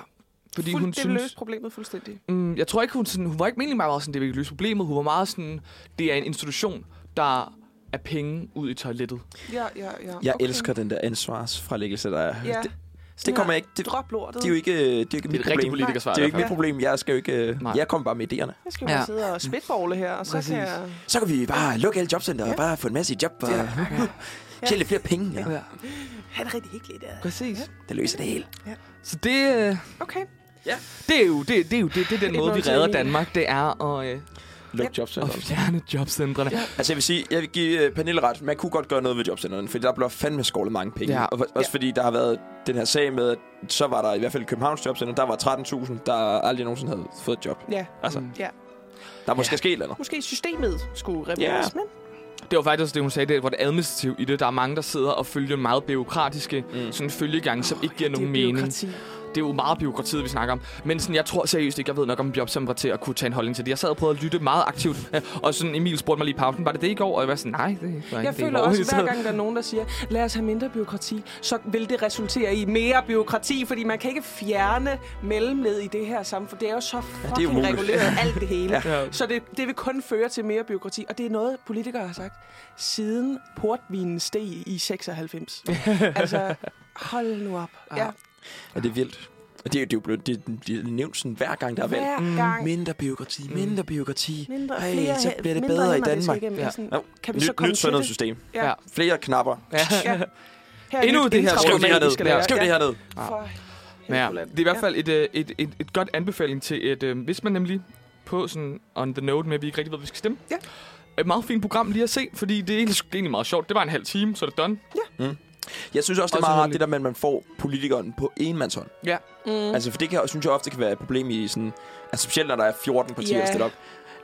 Speaker 1: fordi
Speaker 3: Fuld,
Speaker 1: hun
Speaker 3: det vil løse
Speaker 1: synes...
Speaker 3: problemet fuldstændig.
Speaker 1: Mm, jeg tror ikke, hun, sådan, hun var ikke meningen meget sådan, det vil løse problemet. Hun var meget sådan, det er en institution, der er penge ud i toilettet.
Speaker 3: Ja, ja, ja.
Speaker 2: Jeg elsker den der ansvarsfralæggelse, der er.
Speaker 3: Ja.
Speaker 2: Det,
Speaker 3: Sådan
Speaker 2: det kommer jeg
Speaker 3: her,
Speaker 2: ikke... Det,
Speaker 3: Drop lortet.
Speaker 2: det er jo ikke, øh, det er jo ikke
Speaker 1: Det er et
Speaker 2: mit
Speaker 1: rigtigt
Speaker 2: problem.
Speaker 1: politikersvar.
Speaker 2: Det er
Speaker 1: i
Speaker 2: jo
Speaker 1: hvert
Speaker 2: ikke
Speaker 1: fald.
Speaker 2: mit problem. Jeg skal jo ikke... øh,
Speaker 1: Nej.
Speaker 2: Jeg kommer bare med idéerne.
Speaker 3: Jeg skal jo bare
Speaker 1: Ja.
Speaker 3: sidde og spidtbogle her, og så
Speaker 1: Præcis.
Speaker 3: kan jeg...
Speaker 2: Så kan vi bare lukke alle jobcenter og
Speaker 3: Ja.
Speaker 2: bare få en masse i job og
Speaker 3: Ja.
Speaker 2: tjene lidt flere penge. Ja.
Speaker 1: Ja.
Speaker 3: Ha' det rigtig hyggeligt. Ja.
Speaker 1: Præcis.
Speaker 2: Det løser det hele.
Speaker 1: Så det, øh,
Speaker 3: Okay.
Speaker 1: det er jo det, det, er jo, det, det er den
Speaker 3: Et
Speaker 1: måde, vi
Speaker 3: mål til
Speaker 1: redder
Speaker 3: Emil.
Speaker 1: Danmark. Det er at, øh,
Speaker 2: Luk jobcenter.
Speaker 1: at fjerne jobcentrene. Ja.
Speaker 2: Altså jeg vil sige, jeg vil give uh, Pernille ret. Man kunne godt gøre noget ved jobcenterne, for der blev fandme skålet mange penge.
Speaker 1: Ja.
Speaker 2: Ja. Og, også fordi der har været den her sag med, at så var der i hvert fald i Københavns jobcenter, der var 13.000, der aldrig nogensinde havde fået et job.
Speaker 3: Ja,
Speaker 2: Altså,
Speaker 1: Mm.
Speaker 3: ja.
Speaker 2: der er måske ja. sket et eller andet.
Speaker 3: Måske systemet skulle repareres, yeah. men
Speaker 1: Det var faktisk også det, hun sagde, det var det administrative i det. Der er mange, der sidder og følger meget bureaukratiske mm. sådan følgegang, som ikke giver nogen
Speaker 3: det er
Speaker 1: mening.
Speaker 3: bureaukrati.
Speaker 1: Det er jo meget bureaukratiet, vi snakker om. Men sådan, jeg tror seriøst ikke, jeg ved nok om jobcentre til at kunne tage en holdning til det. Jeg sad og prøvede at lytte meget aktivt, øh, og sådan Emil spurgte mig lige i pausen, var det det i går? Og jeg var sådan, nej, det var
Speaker 3: Jeg
Speaker 1: ikke det i
Speaker 3: føler
Speaker 1: går.
Speaker 3: også,
Speaker 1: Så-
Speaker 3: hver gang der er nogen, der siger, lad os have mindre byråkrati, så vil det resultere i mere byråkrati, fordi man kan ikke fjerne mellemled i det her samfund. Det er jo så fucking
Speaker 2: umuligt.
Speaker 3: reguleret alt det hele.
Speaker 1: Ja.
Speaker 3: Så det, det vil kun føre til mere byråkrati, og det er noget, politikere har sagt, siden portvinen steg i 96. altså, hold nu op. Ja,
Speaker 2: Ja, det er vildt. Og det, er jo- det er jo blevet det, det er nævnt sådan hver gang, der er valg.
Speaker 3: Hver gang.
Speaker 2: Mm.
Speaker 3: Mm.
Speaker 2: Mindre byråkrati, mindre byråkrati.
Speaker 3: Mindre,
Speaker 2: Ej,
Speaker 3: flere,
Speaker 2: så bliver det
Speaker 3: mindre
Speaker 2: bedre i
Speaker 3: hænder, det skal
Speaker 2: Danmark.
Speaker 3: igennem.
Speaker 1: Ja.
Speaker 3: Sådan,
Speaker 2: Nå,
Speaker 3: Kan vi
Speaker 2: nyt,
Speaker 3: så komme
Speaker 2: nyt
Speaker 3: til det?
Speaker 2: sundhedssystem.
Speaker 3: Ja.
Speaker 2: Flere knapper.
Speaker 1: Ja.
Speaker 3: ja. Her er
Speaker 1: Endnu
Speaker 3: nyt
Speaker 1: det her.
Speaker 3: indtravl,
Speaker 2: Skriv det
Speaker 3: vi
Speaker 2: her ned.
Speaker 3: skal
Speaker 1: Ja.
Speaker 3: lave.
Speaker 2: Skriv det her ned.
Speaker 3: For
Speaker 1: Men ja,
Speaker 3: helvede.
Speaker 1: det er i hvert
Speaker 3: Ja.
Speaker 1: fald et, øh, et, et, et godt anbefaling til et... Øh, hvis man nemlig på sådan on the note med, at vi ikke rigtig ved, hvad vi skal stemme.
Speaker 3: Ja.
Speaker 1: Et meget fint program lige at se, fordi det er egentlig, egentlig meget sjovt. Det var en halv time, så er det done.
Speaker 2: Jeg synes også, det
Speaker 1: Også
Speaker 2: er meget rart,
Speaker 1: hurtigt.
Speaker 2: det der med, at man får politikeren på enmandshånd.
Speaker 3: Mm.
Speaker 2: Altså, for det kan, synes jeg ofte kan være et problem i sådan... Altså, specielt når der er 14 partier
Speaker 3: Ja.
Speaker 2: yeah. stillet op.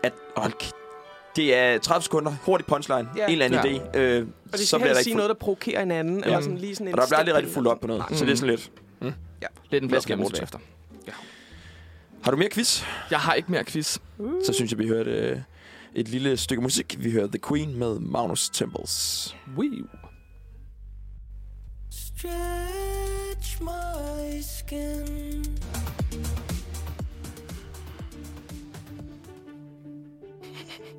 Speaker 2: At, hold kæ- det er 30 sekunder, hurtig punchline,
Speaker 3: Ja.
Speaker 2: en eller anden
Speaker 1: Ja.
Speaker 2: idé. Øh,
Speaker 3: Og det skal
Speaker 2: bliver
Speaker 3: helst
Speaker 2: ikke
Speaker 3: sige
Speaker 2: fuld-
Speaker 3: noget, der provokerer en anden. Ja. Eller sådan lige sådan en
Speaker 2: Og der bliver aldrig
Speaker 3: step-
Speaker 2: rigtig fuldt op på noget. Mm. Så det er sådan lidt...
Speaker 1: Lidt en
Speaker 2: Hvad skal jeg bruge
Speaker 1: fornemmelse
Speaker 2: det
Speaker 1: efter.
Speaker 2: Har du mere quiz?
Speaker 1: Jeg har ikke mere quiz.
Speaker 2: Så synes jeg, vi hørte øh, et lille stykke musik. Vi hørte The Queen med Magnus Temples.
Speaker 1: Wee.
Speaker 4: Stretch my skin.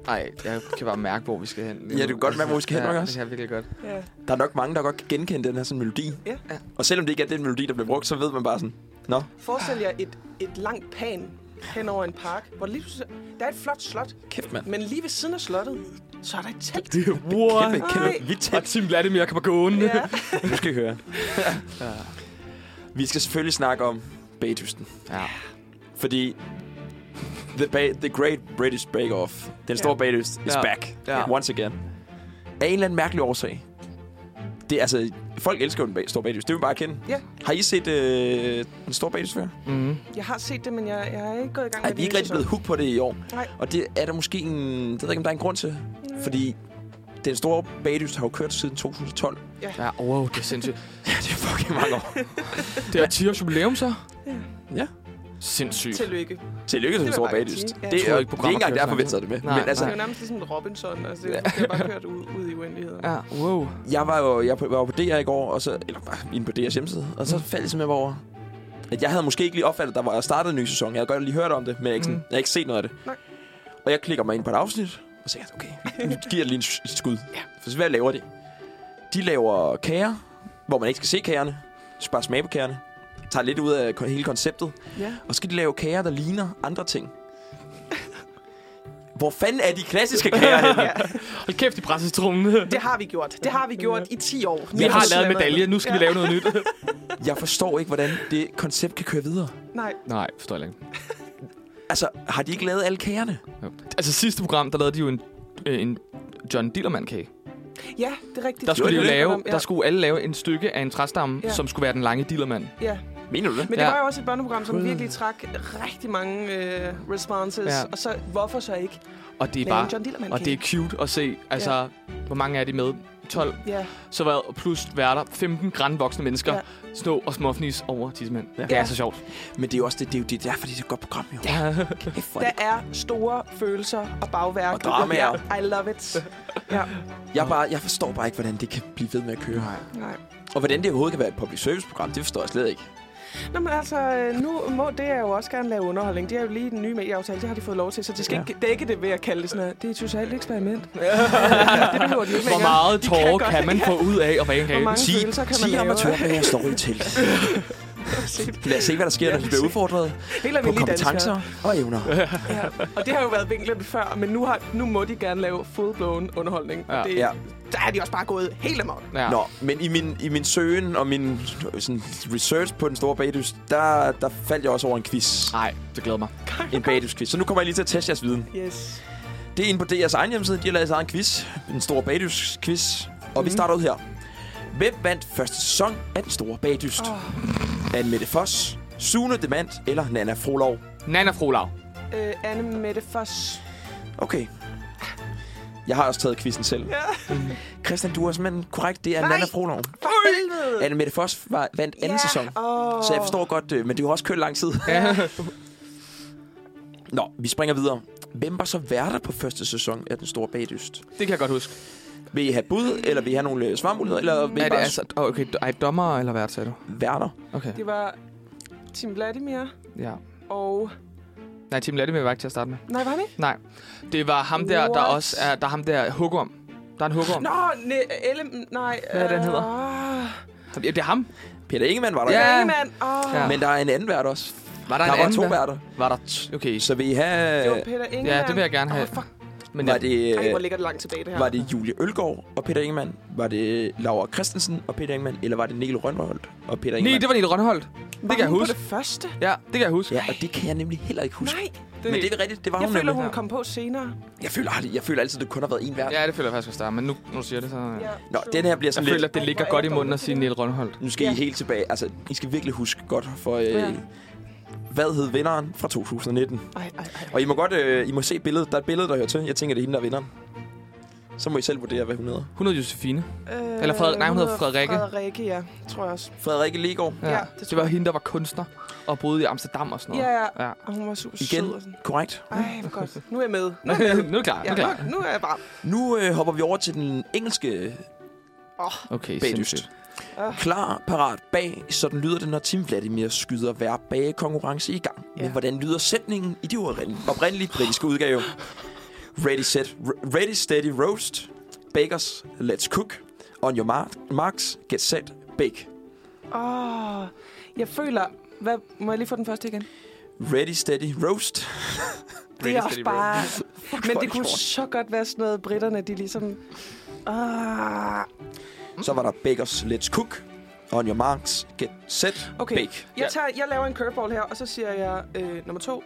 Speaker 1: Nej, jeg kan bare mærke, hvor vi skal hen.
Speaker 2: Ja, du kan godt mærke, hvor vi skal hen, ikke
Speaker 1: ja,
Speaker 2: også?
Speaker 1: det kan jeg virkelig godt.
Speaker 3: Ja.
Speaker 2: Der er nok mange, der godt kan genkende den her sådan melodi.
Speaker 3: Ja.
Speaker 1: Ja.
Speaker 2: Og selvom det ikke er den melodi, der bliver brugt, så ved man bare sådan... Nå,
Speaker 3: Forestil jer et, et langt pan hen over en park, hvor lige pludselig, der er et flot slot,
Speaker 2: kæft mand.
Speaker 3: men lige ved siden af slottet, så er der et telt.
Speaker 1: What?
Speaker 2: Kæmpe, kæmpe,
Speaker 3: Ej.
Speaker 2: vi
Speaker 1: Og Tim Vladimir kommer gående.
Speaker 3: Ja.
Speaker 2: Nu skal I høre. Vi skal selvfølgelig snakke om bagdysten.
Speaker 1: ja.
Speaker 2: Fordi the, ba- the Great British Bake Off, den store
Speaker 3: Ja.
Speaker 2: bagdyst, is
Speaker 1: Ja.
Speaker 2: back.
Speaker 1: Ja.
Speaker 2: Once again. Af en eller anden mærkelig årsag. Det, er altså, folk elsker jo den bag- store bagdyst. Det vil vi bare kende.
Speaker 3: Ja.
Speaker 2: Har I set øh, den store bagdyst før?
Speaker 1: Mm.
Speaker 3: Jeg har set det, men jeg, jeg er ikke gået i gang
Speaker 2: Ej,
Speaker 3: med
Speaker 2: vi er ikke rigtig blevet hooked på det i år.
Speaker 3: Nej.
Speaker 2: Og det er der måske en... Det ved jeg ikke, om der er en grund til. Fordi den store bagdyst har jo kørt siden 2012.
Speaker 1: Ja, wow, det er sindssygt.
Speaker 2: Ja, det er fucking mange år.
Speaker 1: Det er 10 års jubilæum, så?
Speaker 2: Ja.
Speaker 1: Sindssygt.
Speaker 3: Tillykke.
Speaker 2: Tillykke til den
Speaker 3: vil
Speaker 2: store
Speaker 3: jeg bare
Speaker 2: bagdyst.
Speaker 3: sige. Ja.
Speaker 2: Det,
Speaker 3: Jeg
Speaker 2: er,
Speaker 1: troede
Speaker 2: jo
Speaker 1: ikke,
Speaker 2: ikke, det er ikke engang
Speaker 1: programmet
Speaker 2: derfor,
Speaker 1: kørte
Speaker 2: vi
Speaker 1: så
Speaker 2: tager det med.
Speaker 1: Nej,
Speaker 2: Men altså,
Speaker 3: Det
Speaker 1: nej.
Speaker 3: er jo nærmest ligesom en Robinson. Altså, det er bare kørt ud, ud i uendeligheden.
Speaker 1: Ja, wow.
Speaker 2: jeg var jo jeg var jo på DR i går, og så, eller bare inde på DR's hjemmeside, og så faldt jeg simpelthen over, at jeg havde måske ikke lige opfattet, at der var startet en ny sæson. Jeg havde godt lige hørt om det, men jeg, har ikke, sådan,
Speaker 1: Mm.
Speaker 2: jeg har ikke set noget af det.
Speaker 3: Nej.
Speaker 2: Og jeg klikker mig ind på et afsnit, og så tænker jeg, okay, nu giver jeg lige en s- et skud. Ja. For så hvad laver de? De laver kager, hvor man ikke skal se kagerne, så bare smage på kagerne, tager lidt ud af ko- hele konceptet,
Speaker 3: Ja.
Speaker 2: Og så skal de lave kager, der ligner andre ting. Hvor fanden er de klassiske kager henne?
Speaker 1: Hold kæft, de presser trummen.
Speaker 3: Det har vi gjort. Det har vi gjort i 10 år.
Speaker 1: Vi har lavet en medalje, nu skal vi lave noget nyt.
Speaker 2: Jeg forstår ikke, hvordan det koncept kan køre videre.
Speaker 3: Nej,
Speaker 1: Nej, forstår jeg ikke.
Speaker 2: Altså, har de ikke lavet alle kagerne?
Speaker 1: Altså sidste program, der lavede de jo en, øh, en John Dillermand-kage.
Speaker 3: ja, det er rigtigt.
Speaker 1: Der skulle, de jo
Speaker 2: det?
Speaker 1: lave,
Speaker 3: Ja.
Speaker 1: der skulle alle lave en stykke af en træstamme,
Speaker 3: Ja.
Speaker 1: som skulle være den lange Dillermand.
Speaker 3: Ja.
Speaker 2: Mener du det?
Speaker 3: Men det
Speaker 1: Ja.
Speaker 3: var jo også et børneprogram, som virkelig trak rigtig mange øh, responses.
Speaker 1: Ja.
Speaker 3: Ja. Og så, hvorfor så ikke
Speaker 1: Og det er
Speaker 3: lave en
Speaker 1: bare...
Speaker 3: John Dillermand
Speaker 1: Og det er cute at se. Altså, hvor mange er de med? 12.
Speaker 3: Ja,
Speaker 1: Så var plus værter 15 grænvoksne mennesker
Speaker 3: Ja.
Speaker 1: stå og småfnis over tissemænd. Ja. Det er
Speaker 3: Ja.
Speaker 1: så sjovt.
Speaker 2: Men det er jo også det, det er jo det, derfor, det er så godt program, jo.
Speaker 1: Ja.
Speaker 2: Kæft, hvor er
Speaker 3: der
Speaker 2: det-
Speaker 3: er store følelser og bagværk.
Speaker 2: Og dramaer.
Speaker 3: Ja, I love it. Ja,
Speaker 2: Jeg, er bare, jeg forstår bare ikke, hvordan det kan blive ved med at køre.
Speaker 3: nej.
Speaker 2: Og hvordan det overhovedet kan være et public service-program, det forstår jeg slet ikke.
Speaker 3: Nå, men altså, øh, nu må det er jo også gerne lave underholdning. Det er jo lige den nye medieaftale, det har de fået lov til, så de skal
Speaker 2: Ja.
Speaker 3: ja. ikke dække det ved at kalde det sådan noget. Det er et socialt eksperiment. det behøver de ikke
Speaker 1: Hvor
Speaker 3: længere.
Speaker 1: meget
Speaker 3: De
Speaker 1: tårer kan,
Speaker 3: godt-
Speaker 1: man få ud af at bage en
Speaker 3: Hvor
Speaker 1: kage?
Speaker 3: mange følelser kan man
Speaker 2: 10
Speaker 3: lave?
Speaker 2: amatørbager står i telt. Lad os se, hvad der sker, når de bliver udfordret
Speaker 3: Helt
Speaker 2: på
Speaker 3: almindelige
Speaker 2: kompetencer og evner.
Speaker 3: Ja. Og det har jo været vinklet før, men nu, har, nu må de gerne lave full-blown underholdning.
Speaker 1: Ja.
Speaker 3: Ja. Det,
Speaker 2: Ja.
Speaker 3: ja. Der er de også bare gået helt amok.
Speaker 1: Ja.
Speaker 2: Nå, men i min, i min søgen og min sådan, research på den store bagdys, der, der faldt jeg også over en quiz.
Speaker 1: Nej, det glæder mig.
Speaker 2: En bagdys-quiz. Så nu kommer jeg lige til at teste jeres viden.
Speaker 3: Yes.
Speaker 2: Det er inde på DR's egen hjemmeside. De har lavet deres egen quiz. Den store bagdys-quiz. Og mm. vi
Speaker 3: Mhm.
Speaker 2: starter ud her. Hvem vandt første sæson af den store bagdyst? Oh. Anne Mette Foss, Sune Demand eller Nana Frolov?
Speaker 1: Nana Frolav.
Speaker 3: Øh, Anne Mette Foss.
Speaker 2: Okay. Jeg har også taget quizzen selv. Ja. Christian, du er simpelthen korrekt. Det er
Speaker 3: Nej.
Speaker 2: Nana Frolov.
Speaker 3: For helvede!
Speaker 2: Anne Mette Foss var, vandt anden
Speaker 3: Ja.
Speaker 2: sæson.
Speaker 3: Åh.
Speaker 2: Så jeg forstår godt, øh, men det har også kørt lang tid. Nå, vi springer videre. Hvem var så værter på første sæson af Den Store Bagdyst?
Speaker 1: Det kan jeg godt huske.
Speaker 2: Vil I have bud, eller vil I have nogle øh, svarmuligheder, eller vil I
Speaker 1: Er det
Speaker 2: bare
Speaker 1: altså... Åh, Okay, d- ej, dommer eller hvad sagde du?
Speaker 2: værter?
Speaker 1: Okay,
Speaker 3: Det var Tim Vladimir
Speaker 1: ja.
Speaker 3: og...
Speaker 1: Nej, Tim Latimer var ikke til at starte med.
Speaker 3: Nej, var han ikke?
Speaker 1: Nej. Det var ham der, der
Speaker 3: What?
Speaker 1: også er... Der er ham der hugorm. Der er en hugorm.
Speaker 3: Nå, ne, Elle... Nej.
Speaker 1: Hvad er den hedder?
Speaker 3: øh,
Speaker 1: Ja, Det er ham.
Speaker 2: Peter Ingemann var der.
Speaker 1: Ja.
Speaker 3: Hey, mand. Oh,
Speaker 1: Ja.
Speaker 2: Men der er en anden vært også.
Speaker 1: Var
Speaker 2: Der, der var to
Speaker 1: vært?
Speaker 2: værter.
Speaker 1: Var der t- okay.
Speaker 2: Så vi have...
Speaker 3: Det var Peter Ingemann.
Speaker 1: Ja, det vil jeg gerne have.
Speaker 3: Åh, fuck.
Speaker 1: Men
Speaker 2: var
Speaker 1: jeg,
Speaker 2: det, øh,
Speaker 3: Ej, hvor ligger det langt tilbage, det her.
Speaker 2: var det Julie Ølgaard og Peter Ingemann? Var det Laura Christensen og Peter Ingemann? Eller var det Niel Rønholdt og Peter
Speaker 1: Nej,
Speaker 2: Ingemann?
Speaker 1: det var Niel Rønholdt.
Speaker 3: Var
Speaker 1: kan jeg
Speaker 3: hun
Speaker 1: huske.
Speaker 3: på det første?
Speaker 1: Ja, det kan jeg huske.
Speaker 2: Ja, og det kan jeg nemlig heller ikke huske.
Speaker 3: Nej,
Speaker 2: Men det er rigtigt, det var
Speaker 3: jeg
Speaker 2: hun
Speaker 3: føler,
Speaker 2: nemlig.
Speaker 3: hun
Speaker 1: Ja.
Speaker 3: kom på senere.
Speaker 2: Jeg føler, aldrig, jeg føler altid, at det kun har været én vært.
Speaker 1: Ja, det føler jeg faktisk også, der er, men nu, når du siger det, så... Ja.
Speaker 2: Nå, den her bliver
Speaker 1: Jeg
Speaker 2: sådan lidt...
Speaker 1: føler, at det ligger
Speaker 3: Ej, hvor er
Speaker 1: godt i
Speaker 3: jeg
Speaker 1: munden
Speaker 3: dårlig
Speaker 1: at
Speaker 3: til
Speaker 1: sige
Speaker 3: det.
Speaker 1: Niel Rønholdt.
Speaker 2: Nu skal ja.
Speaker 3: Ja.
Speaker 2: I helt tilbage. Altså, I skal virkelig huske godt for... Øh,
Speaker 3: Ja.
Speaker 2: Hvad hed vinderen fra 2019?
Speaker 3: Ej, ej, ej.
Speaker 2: Og I må godt... Øh, I må se billedet. Der er et billede, der hører til. Jeg tænker, det er hende, der er vinderen. Så må I selv vurdere, hvad hun hedder.
Speaker 1: Hun hedder Josefine.
Speaker 3: Øh,
Speaker 1: Eller Frederik- nej, hun hedder Frederikke.
Speaker 3: Frederikke, ja. Tror jeg også.
Speaker 2: Frederikke Legaard.
Speaker 3: Ja, det
Speaker 1: det,
Speaker 3: tror
Speaker 1: det var
Speaker 3: jeg.
Speaker 1: hende, der var kunstner og boede i Amsterdam og sådan noget.
Speaker 3: Ja, ja.
Speaker 1: ja.
Speaker 3: Og hun var super
Speaker 2: Igen.
Speaker 3: sød og sådan.
Speaker 2: Korrekt.
Speaker 3: Ej, hvor godt. Nu er jeg med. Nu
Speaker 1: Nu
Speaker 3: er jeg med.
Speaker 1: nu er det klar, nu
Speaker 3: Ja,
Speaker 1: er det klar.
Speaker 3: nu, nu er jeg bare...
Speaker 2: Nu øh, hopper vi over til den engelske
Speaker 1: Okay,
Speaker 2: bagdyst.
Speaker 1: sindssygt.
Speaker 3: Ah.
Speaker 2: Klar, parat, bag. Sådan lyder det, når Tim Vladimir skyder hver bagekonkurrence i gang. Ja.
Speaker 3: Ja.
Speaker 2: Men hvordan lyder sætningen i de oprindelige, oprindelige britiske udgave? Ready, set, r- ready, steady, roast. Bakers, let's cook. On your mark, marks, get set, bake.
Speaker 3: Åh, jeg føler... Hvad, må jeg lige få den første igen?
Speaker 2: Ready, steady, roast.
Speaker 3: Det er også bare... Men
Speaker 2: hvor er
Speaker 3: det kunne
Speaker 2: sjovt.
Speaker 3: så godt være sådan noget, britterne, de ligesom... Ah,
Speaker 2: Så var der bakers, let's cook. On your marks, get set, okay.
Speaker 3: Okay.
Speaker 2: bake.
Speaker 1: Ja.
Speaker 3: jeg, tager, jeg laver en curveball her, og så siger jeg øh, nummer to.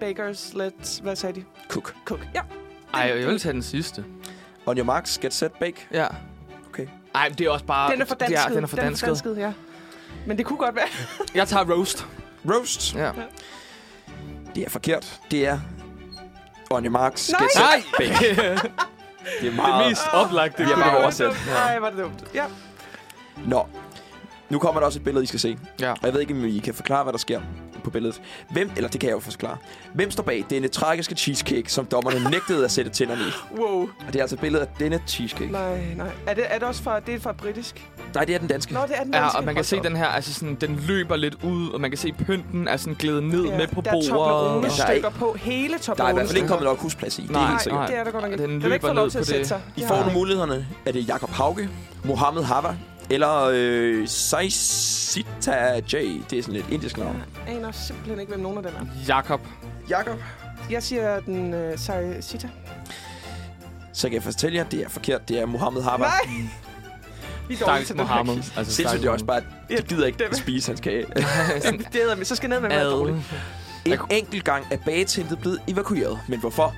Speaker 3: Bakers, let's... Hvad sagde de?
Speaker 2: Cook.
Speaker 3: Cook. Ja,
Speaker 1: Ej, jeg vil tage den sidste.
Speaker 2: On your marks, get set, bake.
Speaker 1: Ja.
Speaker 2: Okay.
Speaker 1: Ej, det er også bare...
Speaker 3: den er
Speaker 1: det
Speaker 3: fordansket.
Speaker 1: den er fordansket.
Speaker 3: Den er fordansket, ja. Men det kunne godt være.
Speaker 1: Jeg tager roast.
Speaker 2: Roast.
Speaker 1: Ja.
Speaker 2: Det er forkert. Det er on your marks,
Speaker 3: Nej!
Speaker 2: get set,
Speaker 1: Nej! Ah!
Speaker 2: Det er
Speaker 1: det
Speaker 2: meget...
Speaker 1: mest oplagte.
Speaker 2: Vi har
Speaker 1: kunne
Speaker 2: bare
Speaker 1: være.
Speaker 2: oversat.
Speaker 3: Nej, var det dumt. Ja.
Speaker 2: Nå. Nu kommer der også et billede, I skal se.
Speaker 1: Ja.
Speaker 2: Og jeg ved ikke, om I kan forklare, hvad der sker på billedet. Hvem, eller det kan jeg jo forklare. Hvem står bag denne tragiske cheesecake, som dommerne nægtede at sætte tænderne i?
Speaker 3: Wow.
Speaker 2: Og det er altså et billede af denne cheesecake. Nej,
Speaker 3: Nej, nej. Er det, er det også fra, det er fra britisk?
Speaker 2: Nej det er den danske.
Speaker 3: Nå, det er den
Speaker 1: Ja,
Speaker 3: danske.
Speaker 1: og man kan se den her, altså sådan, den løber lidt ud, og man kan se pynten er sådan glædet ned
Speaker 3: Ja,
Speaker 1: med på
Speaker 3: Der er
Speaker 1: bordet.
Speaker 2: Men der er
Speaker 3: Toblerone-stykker på hele Toblerone.
Speaker 2: Der er i hvert fald ikke kommet nok husplads i. Det er
Speaker 1: Nej.
Speaker 2: helt
Speaker 3: Nej,
Speaker 2: sikkert.
Speaker 3: det er der godt nok ikke.
Speaker 1: Den
Speaker 3: har ikke
Speaker 1: løber
Speaker 3: fået lov
Speaker 1: ned
Speaker 3: til at
Speaker 1: på
Speaker 3: sætte
Speaker 1: det.
Speaker 3: sig.
Speaker 2: I
Speaker 3: Ja.
Speaker 2: får nu mulighederne. Er det Jakob Hauke, Mohammed Hava eller øh, Saisita J? Det er sådan et indisk navn.
Speaker 3: Jeg aner simpelthen ikke, hvem nogen af dem er.
Speaker 1: Jakob.
Speaker 2: Jakob.
Speaker 3: Jeg siger den øh, Sai Sita.
Speaker 2: Så kan jeg fortælle jer, det er forkert. Det er Mohammed Hava.
Speaker 3: Nej! Vi er dårlige
Speaker 1: Stakkels
Speaker 3: til den
Speaker 1: Mohammed.
Speaker 3: her quiz.
Speaker 1: Altså,
Speaker 2: Sindssygt, det er også bare, at de gider ikke
Speaker 3: dem.
Speaker 2: spise hans kage.
Speaker 3: Jamen, Det hedder mig. Så skal jeg ned med mig.
Speaker 1: Ad.
Speaker 2: En enkelt gang er bageteltet blevet evakueret. Men hvorfor?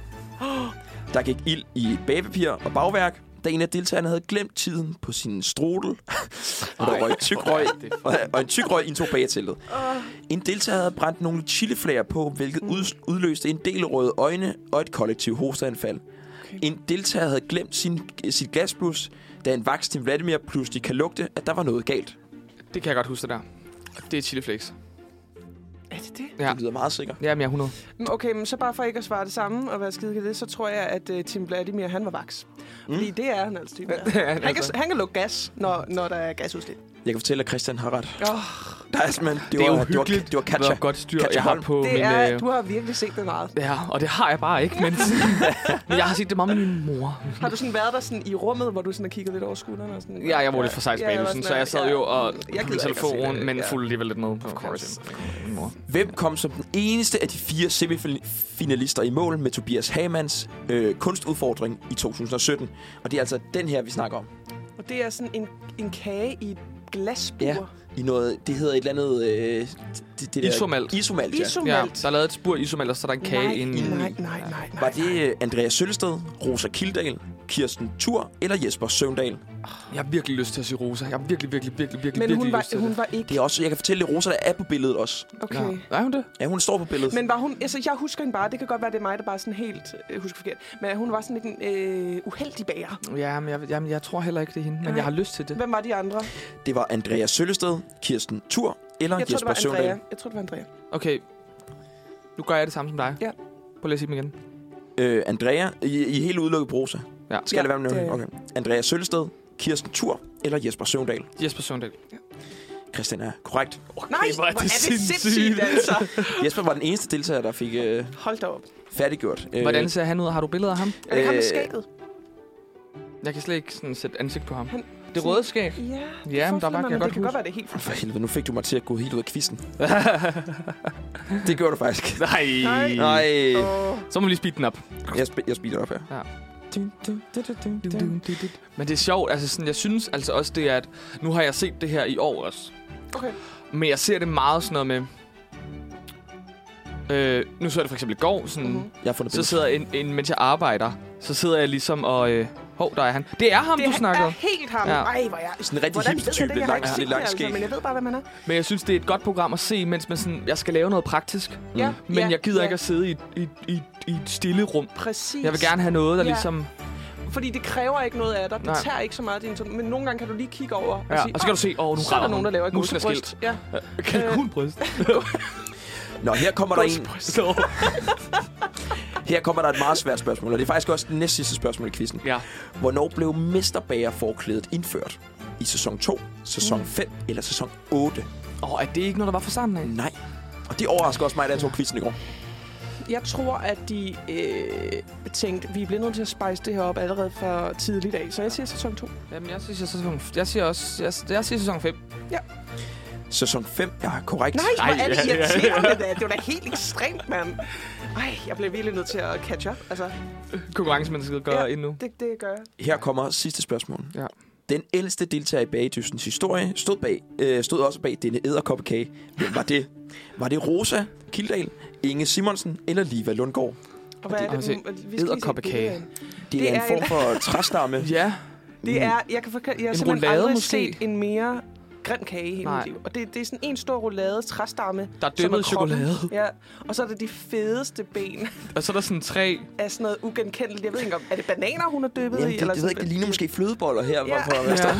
Speaker 2: Der gik ild i bagepapir og bagværk, da en af deltagerne havde glemt tiden på sin strudel. og der
Speaker 1: Ej,
Speaker 2: røg tyk
Speaker 1: hvor er
Speaker 2: røg,
Speaker 1: det
Speaker 2: og, og en tyk røg indtog bageteltet. En deltager havde brændt nogle chiliflager på, hvilket ud, udløste en del røde øjne og et kollektivt hosteanfald. En deltager havde glemt sin, sit glasblus, da en vaks til Vladimir pludselig kan lugte, at der var noget galt.
Speaker 1: Det kan jeg godt huske, det der. Det er chili flakes.
Speaker 3: Er det det?
Speaker 1: Ja.
Speaker 2: Det lyder meget sikkert.
Speaker 1: Jamen, jeg er 100.
Speaker 3: Men Okay, men så bare for ikke at svare det samme og være skide det, så tror jeg, at uh, Tim Vladimir, han var vaks. Mm. Fordi det er han altså. Det er.
Speaker 1: er han
Speaker 3: han, kan,
Speaker 1: altså.
Speaker 3: han kan lukke gas, når, når der er gasudslip.
Speaker 2: Jeg kan fortælle, at Christian har ret.
Speaker 3: Oh,
Speaker 2: Der er simpelthen, det,
Speaker 1: Det er
Speaker 2: var, det var,
Speaker 1: uhyggeligt.
Speaker 2: det var
Speaker 1: Det
Speaker 2: Katja.
Speaker 1: var godt styr,
Speaker 2: Katja
Speaker 1: jeg har
Speaker 2: Holm.
Speaker 1: på
Speaker 3: det
Speaker 1: min...
Speaker 3: er,
Speaker 1: øh,
Speaker 3: du har virkelig set det meget.
Speaker 1: Ja, og det har jeg bare ikke, men, men jeg har set det meget med min mor.
Speaker 3: Har du sådan været der sådan i rummet, hvor du sådan har kigget lidt over skulderen? Og sådan,
Speaker 1: Ja, jeg var lidt for sejt
Speaker 3: Ja, jeg var
Speaker 1: baglysen,
Speaker 3: sådan,
Speaker 1: så jeg sad jo og
Speaker 3: jeg
Speaker 1: jeg
Speaker 3: gider
Speaker 1: på min
Speaker 3: ikke at se
Speaker 1: telefon,
Speaker 3: det,
Speaker 1: men
Speaker 3: ja.
Speaker 1: fulgte alligevel lidt med. Of
Speaker 3: course.
Speaker 1: Min mor.
Speaker 2: Hvem kom som den eneste af de fire semifinalister i mål med Tobias Hamanns øh, kunstudfordring i 2017? Og det er altså den her, vi snakker om.
Speaker 3: Og det er sådan en, en kage i et glasbur.
Speaker 2: Ja.
Speaker 3: Ja.
Speaker 2: I noget, det hedder et eller andet... Øh, det, det
Speaker 1: Isomalt.
Speaker 2: Der, isomalt, ja.
Speaker 1: Ja,
Speaker 3: Isomalt.
Speaker 1: der er lavet et spur isomalt, og så er der en kage
Speaker 3: nej,
Speaker 1: inde. i.
Speaker 3: nej, nej, nej, nej.
Speaker 2: Var det øh, Andreas Sølsted, Rosa Kildal, Kirsten Tur eller Jesper Søvndal?
Speaker 1: Jeg har virkelig lyst til at sige Rosa. Jeg har virkelig, virkelig, virkelig, virkelig,
Speaker 3: Men
Speaker 1: virkelig
Speaker 3: hun
Speaker 1: lyst
Speaker 3: var,
Speaker 1: til
Speaker 3: hun
Speaker 1: det.
Speaker 3: var ikke...
Speaker 2: Det er også, jeg kan fortælle, at Rosa der er på billedet også.
Speaker 3: Okay.
Speaker 1: Ja. Er hun det?
Speaker 2: Ja, hun står på billedet.
Speaker 3: Men var hun, altså jeg husker hende bare, det kan godt være, det er mig, der bare sådan helt øh, husker forkert, men hun var sådan lidt en øh, uheldig bager.
Speaker 1: Ja, men jeg, jamen, jeg tror heller ikke, det er hende, men
Speaker 3: Nej.
Speaker 1: jeg har lyst til det.
Speaker 3: Hvem var de andre?
Speaker 2: Det var Andreas Sølsted, Kirsten Tur eller
Speaker 3: Jeg tror, det
Speaker 2: Jesper
Speaker 3: var Andrea.
Speaker 2: Søvndal.
Speaker 3: Jeg tror, det var Andrea.
Speaker 1: Okay, nu gør jeg det samme som dig.
Speaker 3: Ja.
Speaker 1: Prøv lige at sige dem igen.
Speaker 2: Øh, Andrea, I, I er helt udelukket på Rosa.
Speaker 1: Ja.
Speaker 2: Skal ja,
Speaker 3: Ja,
Speaker 2: det være med
Speaker 3: det
Speaker 2: det?
Speaker 3: er-
Speaker 2: Okay. Andreas Sølsted, Kirsten Tur eller Jesper Søvndal?
Speaker 1: Jesper Søndal.
Speaker 2: Christian er korrekt.
Speaker 3: Nej,
Speaker 1: hvor er det sindssygt.
Speaker 3: altså.
Speaker 2: Jesper var den eneste deltager, der fik øh,
Speaker 3: Hold da op.
Speaker 2: færdiggjort. Øh,
Speaker 1: Hvordan ser han ud? Har du billeder af ham?
Speaker 3: Er det ham med
Speaker 2: Øh,
Speaker 3: skægget?
Speaker 1: Jeg kan slet ikke sådan, sætte ansigt på ham.
Speaker 3: Han,
Speaker 1: Det røde skæg.
Speaker 3: Ja, det
Speaker 1: Ja, men der var-
Speaker 3: forestiller mig,
Speaker 1: jeg kan godt
Speaker 3: det
Speaker 1: huske-
Speaker 3: kan godt være, det er helt
Speaker 2: For helvede, nu fik du mig til at gå helt ud af kvisten. det gjorde du faktisk.
Speaker 1: Nej.
Speaker 3: Nej.
Speaker 2: Nej.
Speaker 3: Åh,
Speaker 1: Så må vi lige speede den op.
Speaker 2: Jeg, sp- jeg speeder op her.
Speaker 1: Ja. Men det er sjovt, altså sådan, jeg synes altså også det er, at nu har jeg set det her i år også.
Speaker 3: Okay.
Speaker 1: Men jeg ser det meget sådan noget med... Øh, nu så jeg det for eksempel i går, sådan,
Speaker 3: Mhm.
Speaker 1: mm-hmm.
Speaker 2: Jeg har fundet
Speaker 1: så
Speaker 2: billeder.
Speaker 1: sidder jeg, en, en, mens jeg arbejder, så sidder jeg ligesom og... Øh, hov, der er han. Det er ham,
Speaker 3: Det
Speaker 1: du snakkede.
Speaker 3: er helt ham.
Speaker 1: Ja.
Speaker 3: Ej, hvor jeg...
Speaker 2: Sådan en rigtig
Speaker 3: Hvordan ved jeg
Speaker 2: hipster-type,
Speaker 3: det? Jeg
Speaker 2: lidt
Speaker 3: har ikke
Speaker 2: lang-
Speaker 3: set
Speaker 2: lidt
Speaker 3: det,
Speaker 2: langt
Speaker 3: altså,
Speaker 2: skæg.
Speaker 3: men jeg ved bare, hvad man er.
Speaker 1: Men jeg synes, det er et godt program at se, mens man sådan, jeg skal lave noget praktisk.
Speaker 3: Ja,
Speaker 1: Mm. Men
Speaker 3: ja,
Speaker 1: jeg gider
Speaker 3: ja.
Speaker 1: ikke at sidde i, et- i, et- i, et- i et stille rum.
Speaker 3: Præcis.
Speaker 1: Jeg vil gerne have noget, der
Speaker 3: Ja.
Speaker 1: ligesom...
Speaker 3: Fordi det kræver ikke noget af dig. Det
Speaker 1: Nej.
Speaker 3: tager ikke så meget af din sådan, Men nogle gange kan du lige kigge over og
Speaker 1: Ja.
Speaker 3: sige,
Speaker 1: Og så kan du se, åh, oh, nu
Speaker 3: så er der nogen, der laver et
Speaker 1: Musen er
Speaker 3: gosebryst.
Speaker 1: skilt.
Speaker 3: Ja.
Speaker 1: Kalkunbryst.
Speaker 2: Nå, her kommer, der en,
Speaker 1: Så,
Speaker 2: her kommer der et meget svært spørgsmål, og det er faktisk også det næst sidste spørgsmål i quizzen.
Speaker 1: ja.
Speaker 2: Hvornår blev mesterbagerforklædet indført? I sæson 2, sæson 5 eller sæson 8?
Speaker 1: Og er det ikke noget, der var for sammen af?
Speaker 2: Nej. Og det overrasker også mig, da jeg tog quizzen i går.
Speaker 3: Jeg tror, at de øh, tænkte, vi bliver nødt til at spice det her op allerede fra tidlig dag. Så jeg siger sæson 2.
Speaker 1: Jamen, jeg synes, jeg, sæson, jeg siger også, jeg, jeg siger sæson 5.
Speaker 2: Sæson 5 er korrekt.
Speaker 3: Nej,
Speaker 1: Ej,
Speaker 3: hvor er det
Speaker 1: ja, ja, ja.
Speaker 3: irriterende, da. Det var da helt ekstremt, mand. Ej, jeg bliver virkelig nødt til at catch up. Altså,
Speaker 1: Konkurrencemennesket gør
Speaker 3: Ja.
Speaker 1: ja. endnu.
Speaker 3: det, det gør jeg.
Speaker 2: Her kommer sidste spørgsmål.
Speaker 1: Ja.
Speaker 2: Den ældste deltager i bagedystens historie stod, bag, øh, stod også bag denne æderkoppekage. Hvem var det? Var det Rosa Kildal, Inge Simonsen eller Liva Lundgaard?
Speaker 3: Og hvad er
Speaker 1: Og
Speaker 3: det?
Speaker 1: se,
Speaker 3: Vi skal lige se
Speaker 1: edderkoppekage.
Speaker 3: billedet af
Speaker 2: Det,
Speaker 3: Det
Speaker 2: er
Speaker 3: er
Speaker 2: en form for træstamme.
Speaker 1: Ja,
Speaker 3: den. Det er, jeg kan forklare, jeg har
Speaker 1: En
Speaker 3: simpelthen
Speaker 1: roulade
Speaker 3: aldrig
Speaker 1: måske?
Speaker 3: set en mere grim kage i hele
Speaker 1: Nej.
Speaker 3: mit liv. Og det, det er sådan en stor roulade træstamme.
Speaker 1: der er
Speaker 3: som
Speaker 1: dømmet
Speaker 3: kroppen.
Speaker 1: chokolade.
Speaker 3: Ja, og så er det de fedeste ben
Speaker 1: Og så er der sådan tre...
Speaker 3: af sådan noget ugenkendeligt. Jeg ved ikke om, er det bananer, hun er døbet
Speaker 2: Jamen,
Speaker 3: i?
Speaker 2: det, det, ved jeg ikke, det ligner måske flødeboller her.
Speaker 3: Ja.
Speaker 2: Ja. For,
Speaker 1: Ja.
Speaker 2: ja.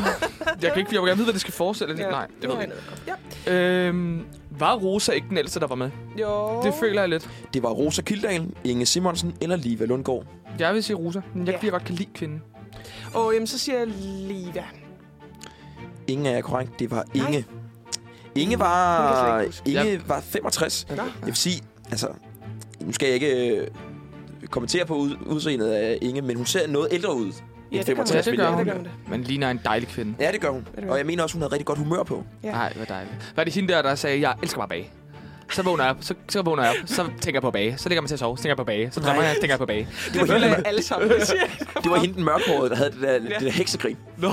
Speaker 1: Jeg kan ikke, jeg vil gerne vide, hvad det skal forestille. Ja. Nej, det ved jeg
Speaker 3: jeg
Speaker 1: ikke.
Speaker 3: Ja.
Speaker 1: Øhm, var Rosa ikke den ældste, der var med?
Speaker 3: Jo.
Speaker 1: Det føler jeg lidt.
Speaker 2: Det var Rosa Kildal, Inge Simonsen eller Liva Lundgaard.
Speaker 1: Jeg vil sige Rosa, men jeg,
Speaker 3: Ja.
Speaker 1: ja. jeg godt kan lide kvinden.
Speaker 3: Og jamen, så siger jeg Liva.
Speaker 2: Ingen er korrekt. Det var
Speaker 3: Nej.
Speaker 2: Inge. Inge
Speaker 3: Hun kan
Speaker 2: var,
Speaker 3: slet ikke huske.
Speaker 2: Inge var 65.
Speaker 3: Nå.
Speaker 2: Jeg vil sige, altså, nu skal jeg ikke øh, kommentere på ud, udseendet af Inge, men hun ser noget ældre ud.
Speaker 3: Ja,
Speaker 2: end
Speaker 3: det gør hun.
Speaker 2: 65,
Speaker 1: Ja, det
Speaker 2: vil jeg
Speaker 1: gør
Speaker 3: hun.
Speaker 2: vurdere.
Speaker 3: det.
Speaker 1: Men ligner en dejlig kvinde.
Speaker 2: Ja, det gør hun.
Speaker 3: det gør hun.
Speaker 2: Og jeg mener også, hun havde rigtig godt humør på.
Speaker 3: Ja.
Speaker 1: Nej, hvor dejligt. Var det hende der, der sagde, jeg elsker mig bage? Så vågner jeg op, så, så vågner jeg op, så tænker jeg på at bage, så ligger man til at sove, så tænker jeg på at bage, så drømmer
Speaker 2: Nej.
Speaker 1: jeg, så tænker jeg på at bage.
Speaker 2: Det var, hende,
Speaker 3: Alle sammen. Det siger jeg.
Speaker 2: det var hende den mørkhårede, der havde det der, det der heksegrin.
Speaker 1: No.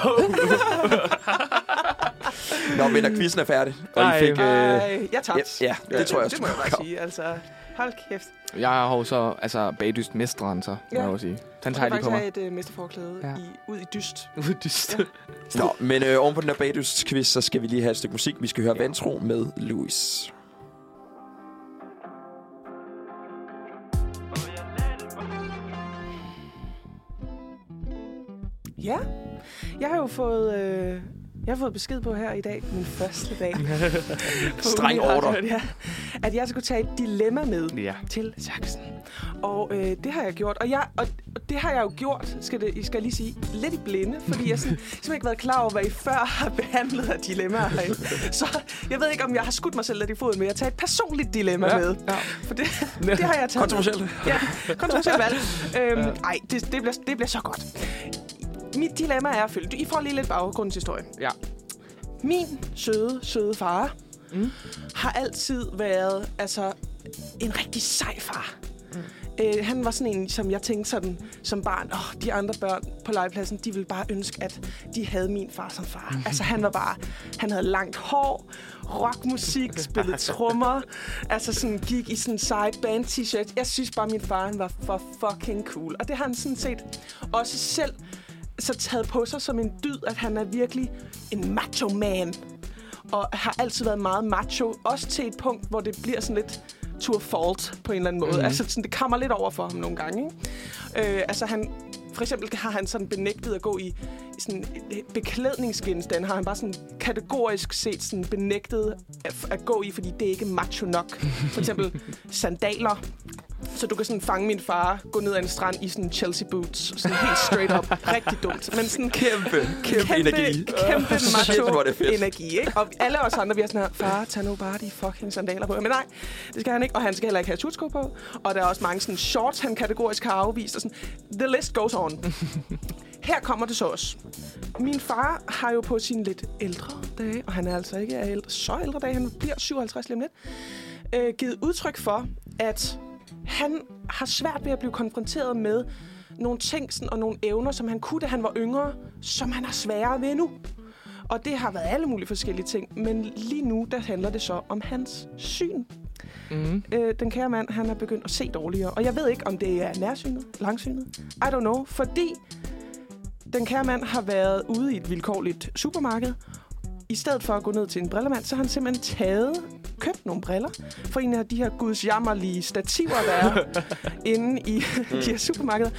Speaker 2: Nå, men når quizzen er færdig, og I
Speaker 1: Ej.
Speaker 2: fik... Øh,
Speaker 3: Ej, jeg tabte.
Speaker 2: ja, ja, det tror jeg
Speaker 3: Det
Speaker 2: også.
Speaker 3: må jeg bare sige. Altså, hold kæft.
Speaker 1: Jeg har jo så, altså, bagdyst mesteren, så, må
Speaker 3: Ja.
Speaker 1: jeg jo sige. Den
Speaker 3: Jeg
Speaker 1: tager
Speaker 3: har
Speaker 1: jeg lige
Speaker 3: faktisk
Speaker 1: på mig.
Speaker 3: have et øh, mesterforklæde
Speaker 1: Ja.
Speaker 3: ja. i, ud i dyst.
Speaker 1: Uddyst.
Speaker 2: Nå, men øh, oven på den her bagdysquiz, så skal vi lige have et stykke musik. Vi skal høre Vantro med Louis.
Speaker 3: Ja. Jeg har jo fået... Øh, jeg har fået besked på her i dag, min første dag. på
Speaker 2: Streng
Speaker 3: Uniradioen,
Speaker 2: ordre.
Speaker 3: Ja, at jeg skulle tage et dilemma med.
Speaker 1: Ja.
Speaker 3: til Saxen. Og øh, det har jeg gjort. Og, jeg, og, og det har jeg jo gjort, skal, det, I skal lige sige, lidt i blinde. Fordi jeg sådan, simpelthen ikke været klar over, hvad I før har behandlet af dilemmaer herinde. Så jeg ved ikke, om jeg har skudt mig selv lidt i foden, men jeg tager et personligt dilemma
Speaker 1: Ja,
Speaker 3: ja. med.
Speaker 1: ja.
Speaker 3: For det, det har jeg taget.
Speaker 2: Kontroversielt.
Speaker 3: Ja, kontroversielt valg. Øhm, ej, det, det, bliver, det bliver så godt. Mit dilemma er følge. I får lige lidt baggrundshistorie.
Speaker 1: Ja.
Speaker 3: Min søde, søde far mm. har altid været altså, en rigtig sej far. Mm. Øh, han var sådan en, som jeg tænkte sådan, som barn. Åh, de andre børn på legepladsen, de ville bare ønske, at de havde min far som far. Altså, han var bare... Han havde langt hår, rockmusik, spillede trommer, altså sådan gik i sådan en sej band t-shirt. Jeg synes bare, min far han var for fucking cool. Og det har han sådan set også selv så taget på sig som en dyd, at han er virkelig en macho man. Og har altid været meget macho, også til et punkt, hvor det bliver sådan lidt to a fault på en eller anden
Speaker 2: Mhm.
Speaker 3: måde. Mm. Altså sådan, det kommer lidt over for ham nogle gange. Ikke? Øh, altså han, for eksempel har han sådan benægtet at gå i sådan øh, beklædningsgenstande, har han bare sådan kategorisk set sådan benægtet at, at gå i, fordi det er ikke macho nok. For eksempel sandaler, så du kan sådan fange min far, gå ned ad en strand i sådan Chelsea boots. Sådan helt straight up. Rigtig dumt. Men sådan
Speaker 2: Kæmpe, kæmpe, kæmpe energi.
Speaker 3: Kæmpe
Speaker 2: Shit, hvor
Speaker 3: macho
Speaker 2: er det fedt.
Speaker 3: energi, ikke? Og alle os andre, vi er sådan her, far, tag nu bare de fucking sandaler på. Men nej, det skal han ikke, og han skal heller ikke have tutsko på. Og der er også mange sådan shorts, han kategorisk har afvist, og sådan, the list goes on. Her kommer det så også. Min far har jo på sine lidt ældre dage, og han er altså ikke af ældre, så ældre dage, han bliver 57 lige om lidt, øh, givet udtryk for, at han har svært ved at blive konfronteret med nogle ting sådan, og nogle evner, som han kunne, da han var yngre, som han har sværere ved nu. Og det har været alle mulige forskellige ting, men lige nu, der handler det så om hans syn.
Speaker 1: Mm.
Speaker 3: Øh, den kære mand, han er begyndt at se dårligere, og jeg ved ikke, om det er nærsynet, langsynet, I don't know, fordi den kære mand har været ude i et vilkårligt supermarked. I stedet for at gå ned til en brillemand, så har han simpelthen taget, købt nogle briller for en af de her gudsjammerlige stativer, der er inde i de her supermarkeder.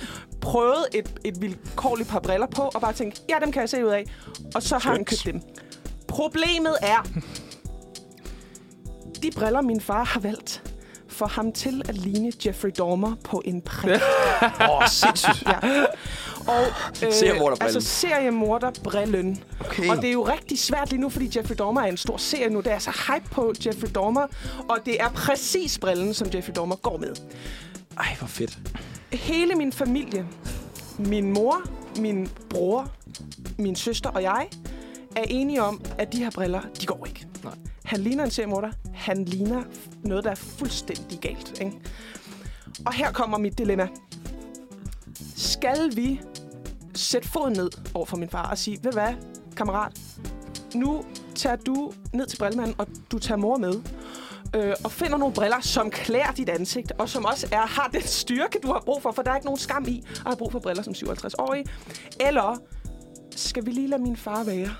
Speaker 3: Prøvet et, et vilkårligt par briller på, og bare tænkt, ja, dem kan jeg se ud af. Og så har han købt dem. Problemet er, de briller, min far har valgt, får ham til at ligne Jeffrey Dahmer på en prik.
Speaker 2: Åh, oh, sindssygt.
Speaker 3: Ja. Og, øh,
Speaker 2: Seriemorderbrillen.
Speaker 3: Altså seriemorderbrillen. Okay. Og det er jo rigtig svært lige nu, fordi Jeffrey Dahmer er en stor serie nu. Der er så hype på Jeffrey Dahmer, og det er præcis brillen, som Jeffrey Dahmer går med.
Speaker 2: Ej, hvor fedt.
Speaker 3: Hele min familie, min mor, min bror, min søster og jeg, er enige om, at de her briller, de går ikke.
Speaker 2: Nej.
Speaker 3: Han ligner en seriemorder. Han ligner noget, der er fuldstændig galt. Ikke? Og her kommer mit dilemma. Skal vi sætte foden ned over for min far og sige, ved du hvad, kammerat, nu tager du ned til brillemanden, og du tager mor med, øh, og finder nogle briller, som klæder dit ansigt, og som også er, har den styrke, du har brug for, for der er ikke nogen skam i at have brug for briller som 57-årig. Eller skal vi lige lade min far være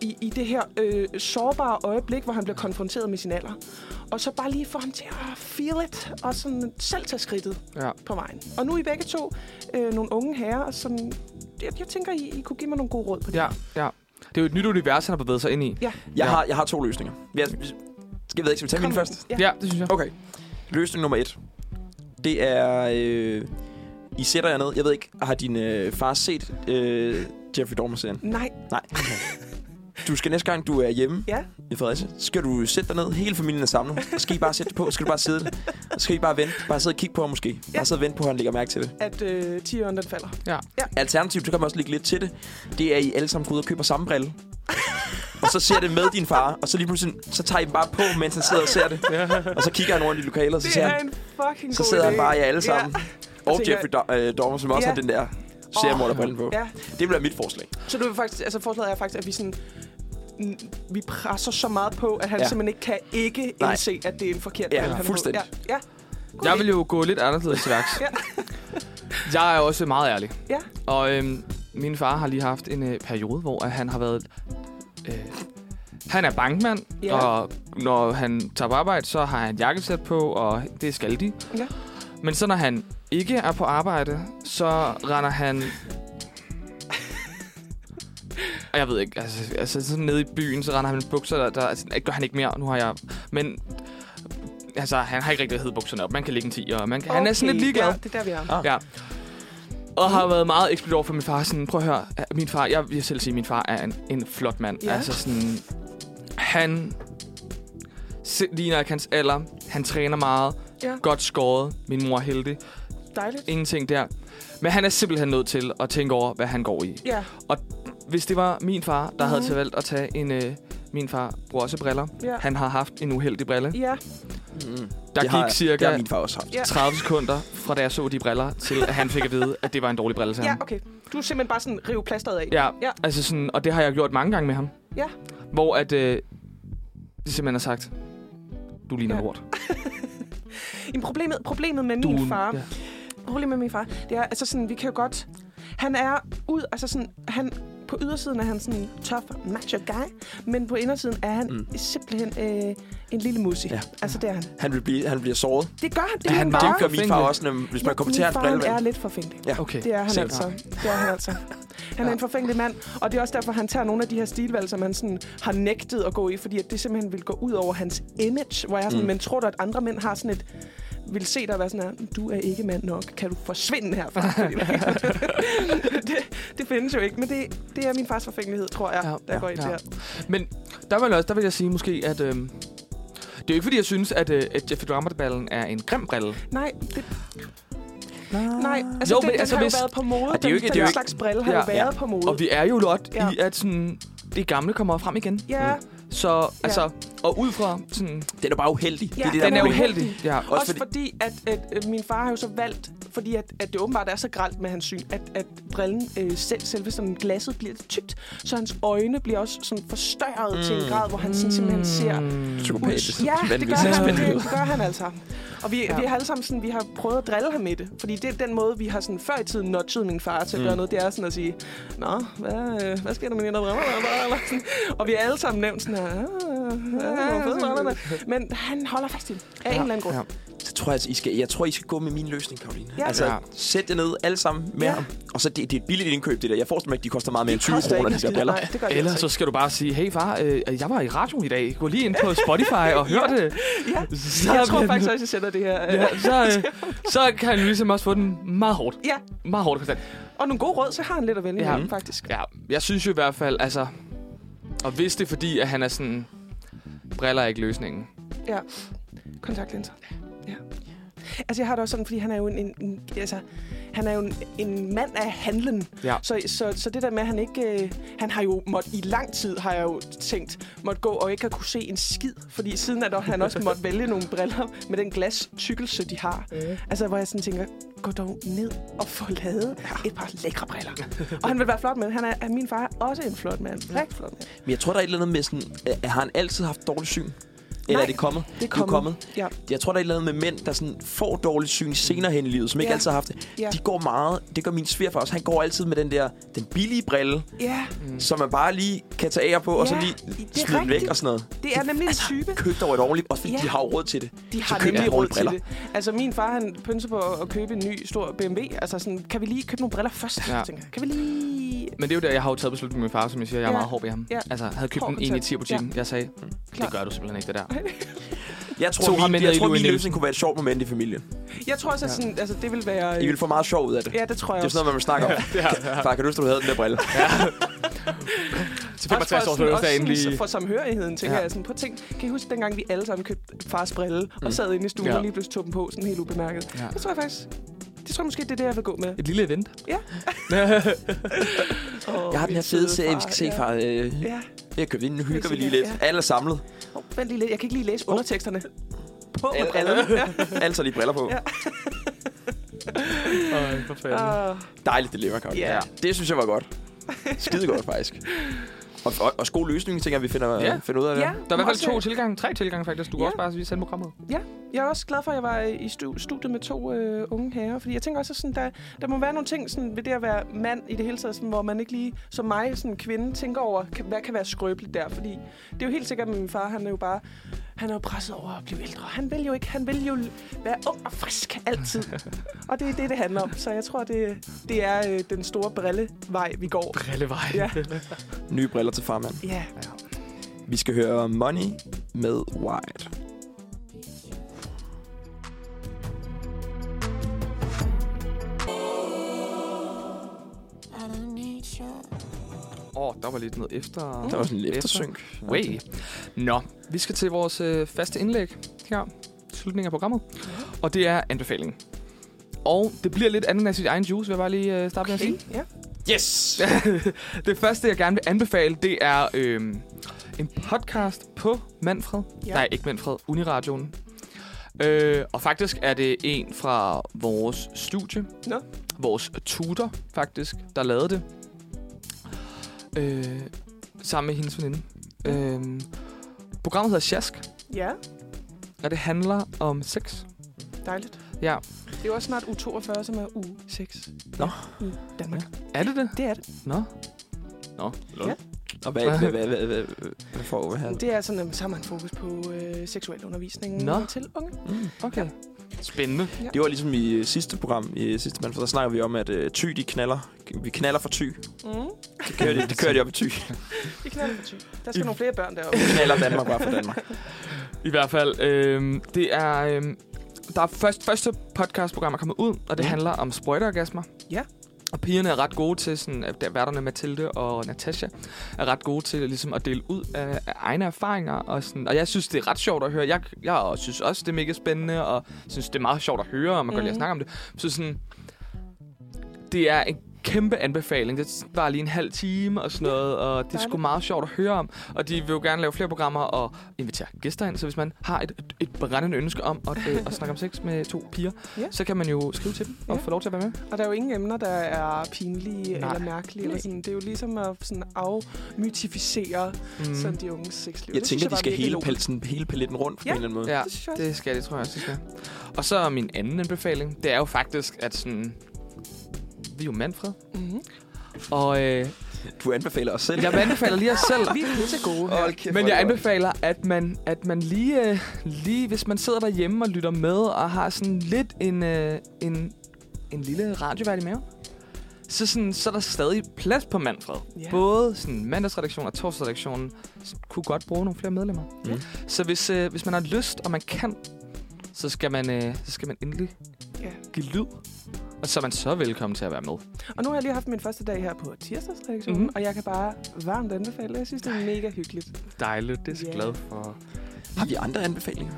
Speaker 3: i, i det her øh, sårbare øjeblik, hvor han bliver konfronteret med sin alder, og så bare lige få ham til at feel it, og sådan selv tage skridtet
Speaker 1: Ja.
Speaker 3: på vejen. Og nu er I begge to øh, nogle unge herrer, som jeg, jeg tænker, I, I kunne give mig nogle gode råd på det.
Speaker 1: ja, ja. Det er jo et nyt univers, han har bevæget sig ind i.
Speaker 3: Ja.
Speaker 2: Jeg,
Speaker 1: Ja.
Speaker 2: har, jeg har to løsninger. Jeg, skal, jeg ved ikke, skal vi tage min
Speaker 3: Kom.
Speaker 2: først?
Speaker 3: Ja.
Speaker 1: ja det synes jeg.
Speaker 2: Okay. Løsning nummer et. Det er... Øh, I sætter jer ned. Jeg ved ikke, har din øh, far set øh, Jeffrey Dahmer-serien?
Speaker 3: Nej,
Speaker 2: Nej. Du skal næste gang, du er hjemme
Speaker 3: ja.
Speaker 2: i Fredericia, så skal du sætte dig ned. Hele familien er samlet. Så skal I bare sætte det på. Så skal du bare sidde. Så skal I bare vente. Bare sidde og kigge på ham måske.
Speaker 3: Ja.
Speaker 2: Bare sidde og vente på, at han lægger mærke til det.
Speaker 3: At øh, 10'eren den falder.
Speaker 2: Alternativt, så kan man også ligge lidt til det. Det er, at I alle sammen går ud og køber samme brille. og så ser det med din far. Og så lige pludselig, så tager I dem bare på, mens han sidder og ser det. Og så kigger han rundt i lokalet, og så
Speaker 3: Det
Speaker 2: ser
Speaker 3: er
Speaker 2: han,
Speaker 3: en fucking
Speaker 2: så
Speaker 3: god
Speaker 2: sidder han
Speaker 3: idé.
Speaker 2: bare i alle sammen.
Speaker 3: Ja.
Speaker 2: Ja. Og
Speaker 3: tænker-
Speaker 2: Jeffrey Do- øh, Dahmer, som også
Speaker 3: Ja.
Speaker 2: har den der seriemorderbrillen på.
Speaker 3: ja.
Speaker 2: Det bliver mit forslag.
Speaker 3: Så du vil faktisk, altså forslaget er faktisk, at vi sådan n- vi presser så meget på, at han
Speaker 2: Ja.
Speaker 3: ja. simpelthen ikke kan ikke
Speaker 2: Nej.
Speaker 3: indse, at det er en forkert
Speaker 2: Ja,
Speaker 3: valg, han har fået.
Speaker 2: fuldstændig.
Speaker 3: Ja, ja.
Speaker 1: Jeg vil jo gå lidt anderledes til værks.
Speaker 3: Ja.
Speaker 1: Jeg er jo også meget ærlig.
Speaker 3: Ja.
Speaker 1: Og øhm, min far har lige haft en øh, periode, hvor at han har været... Øh, han er bankmand,
Speaker 3: Ja.
Speaker 1: og når han tager på arbejde, så har han et jakkesæt på, og det skal de.
Speaker 3: Ja.
Speaker 1: Men så når han ikke er på arbejde, så render han... Og Jeg ved ikke, altså, altså sådan nede i byen, så render han med bukser, der, der altså, det gør han ikke mere, nu har jeg... Men altså, han har ikke rigtig hævet bukserne op, man kan ligge en 10, og man kan, okay. han er sådan lidt ligeglad.
Speaker 3: Ja, det er der, vi er.
Speaker 2: Ah.
Speaker 1: Ja. Og har været meget eksplicit over for min far. Sådan, prøv at høre, at min far, jeg vil selv sige, at min far er en, en flot mand.
Speaker 3: Ja.
Speaker 1: Altså sådan, han se- ligner ikke hans alder. Han træner meget.
Speaker 3: Ja.
Speaker 1: Godt skåret. Min mor er heldig.
Speaker 3: Dejligt.
Speaker 1: Ingenting der. Men han er simpelthen nødt til at tænke over, hvad han går i.
Speaker 3: Ja,
Speaker 1: Hvis det var min far, der mm-hmm. havde
Speaker 3: Mhm.
Speaker 1: til valgt at tage en... Øh, min far bruger også briller.
Speaker 3: ja.
Speaker 1: Han har haft en uheldig brille.
Speaker 3: Ja,
Speaker 2: Mm.
Speaker 1: Der
Speaker 2: det
Speaker 1: gik
Speaker 2: har,
Speaker 1: cirka
Speaker 2: Det har min far også haft.
Speaker 3: ja.
Speaker 1: 30 sekunder fra da jeg så de briller, til at han fik at vide, at det var en dårlig brille til
Speaker 3: ja,
Speaker 1: ham.
Speaker 3: okay. Du er simpelthen bare sådan rive plasteret af.
Speaker 1: Ja,
Speaker 3: Ja.
Speaker 1: ja. Altså sådan, og det har jeg gjort mange gange med ham.
Speaker 3: Ja.
Speaker 1: Hvor at, øh, de simpelthen har sagt, du ligner
Speaker 3: Ja.
Speaker 1: ja. lort.
Speaker 3: Jamen, problemet, problemet med
Speaker 1: Du,
Speaker 3: min far,
Speaker 1: Ja.
Speaker 3: problemet med min far, det er, altså sådan, vi kan jo godt... Han er ud, altså sådan, han, på ydersiden er han sådan en tough macho guy, men på indersiden er han
Speaker 2: Mm.
Speaker 3: mm. simpelthen øh, en lille mussi.
Speaker 2: Ja.
Speaker 3: Ja. Altså, det er han.
Speaker 2: Han, vil blive, han bliver såret.
Speaker 3: Det gør han. Det,
Speaker 1: Er
Speaker 3: er
Speaker 1: han
Speaker 2: Det
Speaker 1: bare-
Speaker 2: gør
Speaker 3: bare.
Speaker 2: min far også, når, hvis man kommer til
Speaker 3: min
Speaker 2: at
Speaker 3: far,
Speaker 2: brille.
Speaker 3: han er lidt forfængelig.
Speaker 1: Okay.
Speaker 3: Det er han
Speaker 1: Se.
Speaker 3: altså. Det er han altså. Han er
Speaker 1: Ja.
Speaker 3: en forfængelig mand, og det er også derfor, han tager nogle af de her stilvalg, som han sådan har nægtet at gå i, fordi at det simpelthen vil gå ud over hans image, hvor jeg er sådan,
Speaker 2: Mm.
Speaker 3: mm. men tror du, at andre mænd har sådan et vil se dig og være sådan her, du er ikke mand nok, kan du forsvinde herfra? Fordi- det, det findes jo ikke, men det, det er min fars forfængelighed, tror jeg,
Speaker 1: Ja,
Speaker 3: der
Speaker 1: ja,
Speaker 3: går ind
Speaker 1: ja.
Speaker 3: ja. der.
Speaker 1: Men der vil, jeg også, der vil jeg sige måske, at... Øh, det er jo ikke, fordi jeg synes, at, øh, at Jeffrey Dahmer-ballen er en grim brille.
Speaker 3: Nej, det, Nej, altså
Speaker 1: Jo,
Speaker 3: jo, den,
Speaker 1: men altså,
Speaker 3: den altså, har jo
Speaker 1: hvis-
Speaker 3: været på mode.
Speaker 2: det er jo ikke-
Speaker 3: den,
Speaker 2: det er jo
Speaker 3: den
Speaker 2: ikke-
Speaker 3: slags brille har
Speaker 1: Ja.
Speaker 3: jo været på mode.
Speaker 1: Og vi er jo lot ja.
Speaker 3: Ja.
Speaker 1: i, at sådan, det gamle kommer frem igen.
Speaker 3: ja,
Speaker 1: Så altså, og ud fra sådan,
Speaker 2: Den er bare uheldig.
Speaker 3: Ja,
Speaker 2: det er det,
Speaker 3: den
Speaker 1: den
Speaker 2: der
Speaker 1: er
Speaker 2: problem.
Speaker 1: uheldig. Ja.
Speaker 2: Også
Speaker 3: også, også fordi, at, at, at min far har jo så valgt, fordi at, at det åbenbart er så gralt med hans syn, at, at brillen øh, selv, selve sådan glasset bliver lidt tykt, så hans øjne bliver også sådan forstørret mm. til en grad, hvor han sådan, simpelthen ser
Speaker 2: Psykopat.
Speaker 3: Ud. Ja, det gør,
Speaker 2: Vanvittigt.
Speaker 3: han,
Speaker 1: spændende.
Speaker 3: det, det gør han altså. Og vi,
Speaker 1: Ja.
Speaker 3: ja. vi har alle sammen sådan, vi har prøvet at drille ham med det. Fordi det er den måde, vi har sådan før i tiden notchet min far til at
Speaker 2: Mm.
Speaker 3: mm. gøre noget. Det er sådan at sige, Nå, hvad, øh, hvad sker der med dine briller? Eller sådan. Og vi har alle sammen nævnt sådan her, "Ah, ja, nogle fede briller." Men han holder fast i det. Af en eller anden grund.
Speaker 1: ja.
Speaker 2: Så tror jeg, altså, I skal, jeg tror, I skal gå med min løsning, Karoline.
Speaker 3: Ja.
Speaker 2: Altså,
Speaker 1: Ja.
Speaker 2: sæt jer ned alle sammen med
Speaker 3: Ja.
Speaker 2: ham. Og så, det, det er et billigt indkøb, det der. Jeg forestiller mig ikke, de koster meget mere end 20
Speaker 3: koster
Speaker 2: kroner,
Speaker 3: ikke
Speaker 2: de der
Speaker 3: en skid.
Speaker 2: briller.
Speaker 3: Nej, det gør de
Speaker 1: Eller
Speaker 3: altså
Speaker 1: så skal du bare sige, hey far, øh, jeg var i radioen i dag. Gå lige ind på Spotify og hør det.
Speaker 3: ikke. Ja.
Speaker 1: Så,
Speaker 3: Jeg tror faktisk også, jeg sender det her. øh.
Speaker 1: Ja, så, øh, så kan han ligesom også få den meget hårdt.
Speaker 3: Ja,
Speaker 1: Meget hårdt konstant.
Speaker 3: og nogle gode råd, så har han lidt at vælge
Speaker 1: Ja.
Speaker 3: imellem, faktisk.
Speaker 1: Ja, jeg synes jo i hvert fald, altså... Og hvis det er fordi, at han er sådan... Briller er ikke løsningen.
Speaker 3: Ja. Kontaktlinser. Ja. Altså, jeg har det også sådan, fordi han er jo en, en, en altså, han er jo en, en mand af handlen.
Speaker 1: Ja.
Speaker 3: Så, så, så det der med, at han ikke... Øh, han har jo måtte, i lang tid, har jeg jo tænkt, måtte gå og ikke har kunne se en skid. Fordi siden at han også måtte vælge nogle briller med den glastykkelse, de har. Altså, hvor jeg sådan tænker, gå dog ned og få lavet et par lækre briller. og han vil være flot mand. Han er, er min far er også en flot mand. Rigtig flot mand.
Speaker 2: Men jeg tror, der er et eller andet med sådan... Øh, har han altid haft dårligt syn? Eller
Speaker 3: Nej,
Speaker 2: er det kommet?
Speaker 3: Det er kommet.
Speaker 2: kommet.
Speaker 3: Ja.
Speaker 2: Jeg tror, der er et eller andet med mænd, der sådan får dårligt syn senere hen i livet, som ikke
Speaker 3: Ja.
Speaker 2: altid har haft det.
Speaker 3: Ja.
Speaker 2: De går meget... Det gør min svigerfar også. Han går altid med den der den billige brille,
Speaker 3: Ja,
Speaker 2: som man bare lige kan tage af på, og så
Speaker 3: Mm. Ja,
Speaker 2: lige
Speaker 3: det er
Speaker 2: smide den væk
Speaker 3: rigtigt.
Speaker 2: og sådan noget. Altså,
Speaker 3: det er nemlig en type.
Speaker 2: Køb dog et ordentligt, også fordi
Speaker 3: Ja.
Speaker 2: de har jo råd til det.
Speaker 3: De
Speaker 2: Så
Speaker 3: har
Speaker 2: køb
Speaker 3: nemlig
Speaker 2: nogle
Speaker 3: råd til
Speaker 2: briller.
Speaker 3: det. Altså, min far, han pynser på at købe en ny stor BMW. Altså, sådan, kan vi lige købe nogle briller først?
Speaker 1: Ja.
Speaker 3: Ja. Tænker, jeg. kan vi lige...
Speaker 1: Men det er jo der, jeg har jo taget beslutningen med min far, som jeg siger, jeg er
Speaker 3: Ja.
Speaker 1: meget hård ved ham.
Speaker 3: Ja.
Speaker 1: Altså, jeg havde købt
Speaker 3: Hård
Speaker 1: den en i
Speaker 3: kontakt.
Speaker 1: tierbutikken. Jeg sagde, "Mm, det
Speaker 3: Klar.
Speaker 1: gør du simpelthen ikke, det der.
Speaker 2: Jeg
Speaker 1: To
Speaker 2: tror,
Speaker 1: har
Speaker 2: min,
Speaker 1: mindre
Speaker 2: jeg
Speaker 1: i
Speaker 2: tror, min
Speaker 1: Louis
Speaker 2: løsning kunne være et sjovt moment i familien.
Speaker 3: Jeg tror også, at sådan, altså, det vil være...
Speaker 2: I vil få meget sjov ud af det.
Speaker 3: Ja, det tror jeg
Speaker 2: Det er
Speaker 3: også.
Speaker 2: sådan noget, man snakker om. Far, kan du huske, du havde den der brille?
Speaker 1: Til
Speaker 3: Også for
Speaker 1: 65 års
Speaker 3: sådan-
Speaker 1: fødselsdag
Speaker 3: også sådan
Speaker 1: endelig.
Speaker 3: for samhørigheden, tænker
Speaker 1: Ja.
Speaker 3: ja. jeg sådan på ting. Kan I huske, dengang vi alle sammen købte fars brille
Speaker 2: Mm.
Speaker 3: og sad inde i stuen
Speaker 1: Ja.
Speaker 3: ja. og lige pludselig tog dem på, sådan helt ubemærket?
Speaker 1: Ja.
Speaker 3: Ja. Det tror jeg faktisk... Det tror jeg måske, det er det, jeg vil gå med.
Speaker 1: Et lille event.
Speaker 3: Oh,
Speaker 2: Jeg har den her fede serie, vi skal se,
Speaker 3: Ja.
Speaker 2: far. Øh,
Speaker 3: ja.
Speaker 2: Jeg købte den, nu hygger
Speaker 3: se
Speaker 2: vi lige
Speaker 3: den,
Speaker 2: lidt. Alle er samlet.
Speaker 3: Oh, vent lige lidt. Jeg kan ikke lige læse underteksterne. På med
Speaker 2: Alle, alle,
Speaker 3: brillerne.
Speaker 2: alle tager lige briller på.
Speaker 3: Ja.
Speaker 1: Åh, for fanden.
Speaker 3: Åh,
Speaker 2: Dejligt dilemma, Karoline.
Speaker 3: Ja.
Speaker 2: Det synes jeg var godt. Skide godt, faktisk. Og, og, også god løsning, tænker jeg, vi finder,
Speaker 1: Ja.
Speaker 2: finder ud af det.
Speaker 3: Ja.
Speaker 1: Der er i hvert fald
Speaker 3: Også-
Speaker 1: to tilgange, tre tilgange faktisk. Du kan
Speaker 3: Ja.
Speaker 1: også bare vise sende programmet.
Speaker 3: Ja, jeg er også glad for, at jeg var øh, i stu- studiet med to øh, unge herrer, fordi jeg tænker også, at sådan, der, der må være nogle ting sådan, ved det at være mand i det hele taget, sådan, hvor man ikke lige, som mig, sådan en kvinde, tænker over, kan, hvad kan være skrøbeligt der, fordi det er jo helt sikkert, at min far, han er jo bare, han er jo presset over at blive ældre. Han vil jo ikke, han vil jo l- være ung og frisk altid. og det er det, det handler om. Så jeg tror, det, det er øh, den store brillevej, vi går.
Speaker 1: Brillevej.
Speaker 3: Ja.
Speaker 2: Nye briller til farmand.
Speaker 3: Ja.
Speaker 2: Vi skal høre Money med White.
Speaker 1: Åh, der var lidt noget efter...
Speaker 2: Der var sådan lidt
Speaker 1: Efter.
Speaker 2: eftersynk.
Speaker 1: Way. Nå, vi skal til vores øh, faste indlæg her. Slutningen af programmet. Og det er anbefalingen. Og det bliver lidt andet end sit egen juice, vil jeg bare lige øh, starte med at sige.
Speaker 3: Ja.
Speaker 2: Yes!
Speaker 1: Det første, jeg gerne vil anbefale, det er øh, en podcast på Manfred. Ja.
Speaker 3: Ja.
Speaker 1: Nej, ikke Manfred. Uniradioen. Øh, og faktisk er det en fra vores studie.
Speaker 3: Nå.
Speaker 1: Vores tutor, faktisk, der lavede det. Øh, sammen med hendes veninde. Øh, programmet hedder Sjask,
Speaker 3: ja,
Speaker 1: og det handler om sex.
Speaker 3: dejligt.
Speaker 1: Ja.
Speaker 3: Det er jo også snart u 42, som er u 6
Speaker 2: Nå.
Speaker 3: i Danmark.
Speaker 1: Er det det?
Speaker 3: Det er det.
Speaker 1: Nå. Nå.
Speaker 2: Ja. Og hvad, hvad, hvad, hvad, hvad, hvad får vi her?
Speaker 3: Det er sådan, at så har man fokus på øh, seksuel undervisning
Speaker 1: Nå.
Speaker 3: Nå. til unge.
Speaker 2: Mm.
Speaker 1: Okay. Spændende.
Speaker 2: Det var ligesom i øh, sidste program, i sidste mand, for der snakkede vi om, at øh, ty, de knaller. Vi knaller for ty.
Speaker 3: Mm.
Speaker 2: Det kører de, det kører de op i ty.
Speaker 3: I knalder for ty. Der skal nogle flere børn deroppe.
Speaker 2: knaller Danmark bare for Danmark.
Speaker 1: I hvert fald, øh, det er... Øh, der er først, første podcastprogram er kommet ud, og det
Speaker 2: Ja.
Speaker 1: handler om sprøjteorgasmer.
Speaker 3: Ja.
Speaker 1: Og pigerne er ret gode til, sådan, at der- værterne Mathilde og Natasha, er ret gode til ligesom, at dele ud af, af egne erfaringer. Og, sådan, og jeg synes, det er ret sjovt at høre. Jeg, jeg synes også, det er mega spændende, og synes, det er meget sjovt at høre, og man kan godt lide at
Speaker 3: Mhm.
Speaker 1: snakke om det. Så sådan, Det er en kæmpe anbefaling. Det var lige en halv time og sådan noget, og det er sgu
Speaker 3: dejligt.
Speaker 1: meget sjovt at høre om. Og de vil jo gerne lave flere programmer og invitere gæster ind, så hvis man har et, et brændende ønske om at, øh, at snakke om sex med to piger,
Speaker 3: Ja.
Speaker 1: så kan man jo skrive til dem og
Speaker 3: Ja.
Speaker 1: få lov til at være med.
Speaker 3: Og der er jo ingen emner, der er pinlige
Speaker 1: Nej.
Speaker 3: Nej. eller mærkelige. Eller sådan. Det er jo ligesom at sådan afmytificere mm. sådan de unges sexliv.
Speaker 2: Jeg
Speaker 3: Det synes
Speaker 2: tænker, de
Speaker 3: bare
Speaker 2: skal
Speaker 3: virkelig
Speaker 2: hele,
Speaker 3: logisk.
Speaker 2: pelsen, hele paletten rundt på
Speaker 3: Ja.
Speaker 2: en eller anden måde.
Speaker 1: Ja,
Speaker 3: Det synes jeg også.
Speaker 1: det skal jeg, det tror jeg også, det skal. Og så min anden anbefaling, det er jo faktisk, at sådan... Vi er jo Manfred.
Speaker 3: Mhm.
Speaker 1: Og øh,
Speaker 2: Du anbefaler os selv.
Speaker 1: jeg anbefaler lige os selv.
Speaker 3: Vi er pisse gode.
Speaker 2: Hold kæft, hvor
Speaker 1: Men
Speaker 2: er
Speaker 1: jeg
Speaker 2: det godt.
Speaker 1: anbefaler, at man, at man lige, øh, lige, hvis man sidder derhjemme og lytter med, og har sådan lidt en, øh, en, en lille radiovært i maven, så, sådan, så er der stadig plads på Manfred.
Speaker 3: Ja.
Speaker 1: Yeah. Både sådan mandagsredaktionen og torsdagsredaktionen sådan kunne godt bruge nogle flere medlemmer.
Speaker 2: Ja.
Speaker 1: Så hvis, øh, hvis man har lyst, og man kan, så skal man, øh, så skal man endelig
Speaker 3: Ja.
Speaker 1: give lyd. Og så er man så velkommen til at være med.
Speaker 3: Og nu har jeg lige haft min første dag her på tirsdagsredaktionen,
Speaker 1: Mhm.
Speaker 3: mm. og jeg kan bare varmt anbefale det. Jeg synes, det er mega hyggeligt.
Speaker 1: Dejligt, det er så
Speaker 3: Ja.
Speaker 1: yeah. glad for.
Speaker 2: Har vi andre anbefalinger?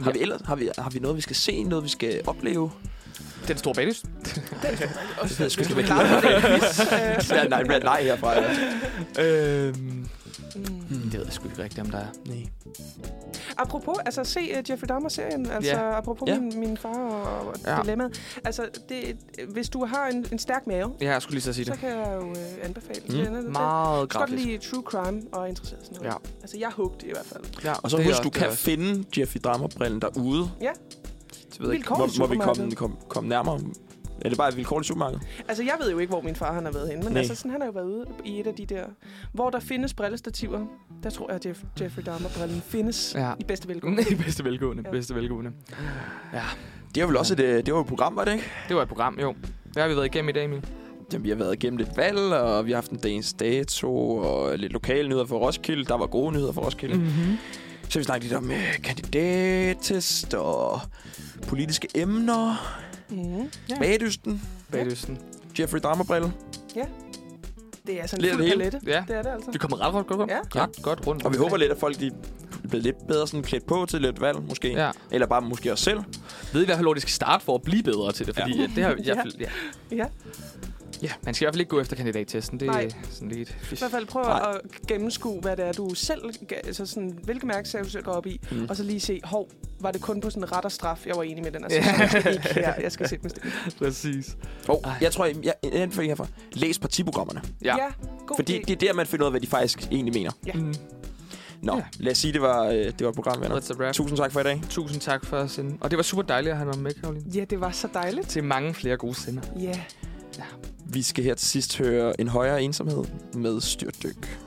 Speaker 2: Har, vi ellers, har, vi, har vi noget, vi skal se? Noget, vi skal opleve?
Speaker 1: Den store bagdyst.
Speaker 2: Det ved jeg sgu ikke, hvad
Speaker 3: Klar,
Speaker 2: det
Speaker 3: det er en quiz. Øh,
Speaker 2: hedder. Nej, nej, nej herfra.
Speaker 1: Øhm,
Speaker 3: mm.
Speaker 1: det ved jeg sgu ikke rigtigt, om der er.
Speaker 2: Nej.
Speaker 3: Apropos, altså se uh, Jeffrey Dahmer-serien, altså
Speaker 1: Ja.
Speaker 3: apropos
Speaker 2: Ja.
Speaker 3: min, min far og, og
Speaker 1: Ja.
Speaker 3: ja. dilemmaet. Altså, det, hvis du har en, en stærk mave,
Speaker 1: Ja, jeg skulle lige så sige det.
Speaker 3: så kan jeg jo uh, anbefale
Speaker 2: Mm.
Speaker 3: mm. den. den-
Speaker 1: Meget
Speaker 3: Hvis du godt
Speaker 1: grafisk.
Speaker 3: lide true crime og er interesseret i sådan noget.
Speaker 1: Ja.
Speaker 3: Altså, jeg hugged i hvert fald.
Speaker 1: Ja,
Speaker 2: Og så
Speaker 1: det er
Speaker 2: husk,
Speaker 1: også-
Speaker 2: du
Speaker 1: det er
Speaker 2: kan
Speaker 1: også-
Speaker 2: finde Jeffy Dahmer-brillen derude.
Speaker 3: Ja.
Speaker 2: Det ved jeg ikke. Må,
Speaker 3: Vilkårligt
Speaker 2: må vi komme,
Speaker 3: supermarked.
Speaker 2: komme, komme nærmere? Er det bare et vilkårligt supermarked?
Speaker 3: Altså, jeg ved jo ikke, hvor min far han har været henne, men
Speaker 2: Nej.
Speaker 3: altså, sådan, han har jo været ude i et af de der, hvor der findes brillestativer. Der tror jeg, at Jeff, Jeffrey Dahmer-brillen findes
Speaker 1: Ja.
Speaker 3: ja. i bedste velgående.
Speaker 1: Nej, bedste velgående,
Speaker 3: Ja.
Speaker 1: bedste velgående.
Speaker 2: Det var vel også et, øh, det var et program, var det ikke?
Speaker 1: Det var et program, jo. Hvad har vi været igennem i dag, Emil?
Speaker 2: Jamen, vi har været igennem lidt valg, og vi har haft en dagens dato, og lidt lokale nyheder for Roskilde. Der var gode nyheder for Roskilde. Mm.
Speaker 1: Mhm.
Speaker 2: Så har vi snakket lidt om øh, kandidattest og politiske emner.
Speaker 3: Mm-hmm.
Speaker 1: Ja.
Speaker 2: Bagdysten,
Speaker 1: Bagdysten.
Speaker 2: Jeffrey Dahmer-brille.
Speaker 3: Det er sådan
Speaker 2: Lidt
Speaker 3: en
Speaker 2: af
Speaker 3: fuld
Speaker 2: det hele.
Speaker 3: palette.
Speaker 1: Ja,
Speaker 3: Det er det altså.
Speaker 1: vi kommer ret, ret godt rundt.
Speaker 3: Ja.
Speaker 1: Ret godt rundt.
Speaker 2: Og vi håber lidt, at folk de bliver lidt bedre sådan klædt på til lidt valg, måske.
Speaker 1: Ja.
Speaker 2: Eller bare måske os selv.
Speaker 1: Ved I, hvad hvor de skal starte for at blive bedre til det? Fordi
Speaker 2: Ja.
Speaker 1: ja. det har jeg,
Speaker 3: Ja.
Speaker 1: ja.
Speaker 3: Ja.
Speaker 1: ja. man skal i hvert fald ikke gå efter kandidattesten. Det er
Speaker 3: Nej.
Speaker 1: sådan lidt...
Speaker 3: I hvert fald prøv
Speaker 2: Nej.
Speaker 3: at gennemskue, hvad det er, du selv... Altså sådan, hvilke mærkesager du selv går op i.
Speaker 2: Mm.
Speaker 3: Mm. Og så lige se, hov, var det kun på sådan ret og straf, jeg var enig med den. Altså,
Speaker 1: Ja.
Speaker 3: jeg skal ikke her, jeg skal sætte mig stille.
Speaker 1: Præcis.
Speaker 2: Og
Speaker 1: Ej.
Speaker 2: jeg tror, jeg, jeg en anbefaling herfra. Læs partiprogrammerne.
Speaker 1: Ja. ja.
Speaker 3: god
Speaker 2: Fordi
Speaker 3: idé.
Speaker 2: det er der, man finder ud af, hvad de faktisk egentlig mener.
Speaker 1: Mm.
Speaker 2: Nå,
Speaker 1: Ja.
Speaker 2: ja. lad os sige, det var, øh, det var et program, venner.
Speaker 1: That's a wrap.
Speaker 2: Tusind tak for i dag.
Speaker 1: Tusind tak for at sende. Og det var super dejligt at have dig med, Karoline.
Speaker 3: Ja, det var så dejligt.
Speaker 1: Til mange flere gode sender.
Speaker 3: Ja.
Speaker 2: Vi skal her til sidst høre en højere ensomhed med styrtdyk.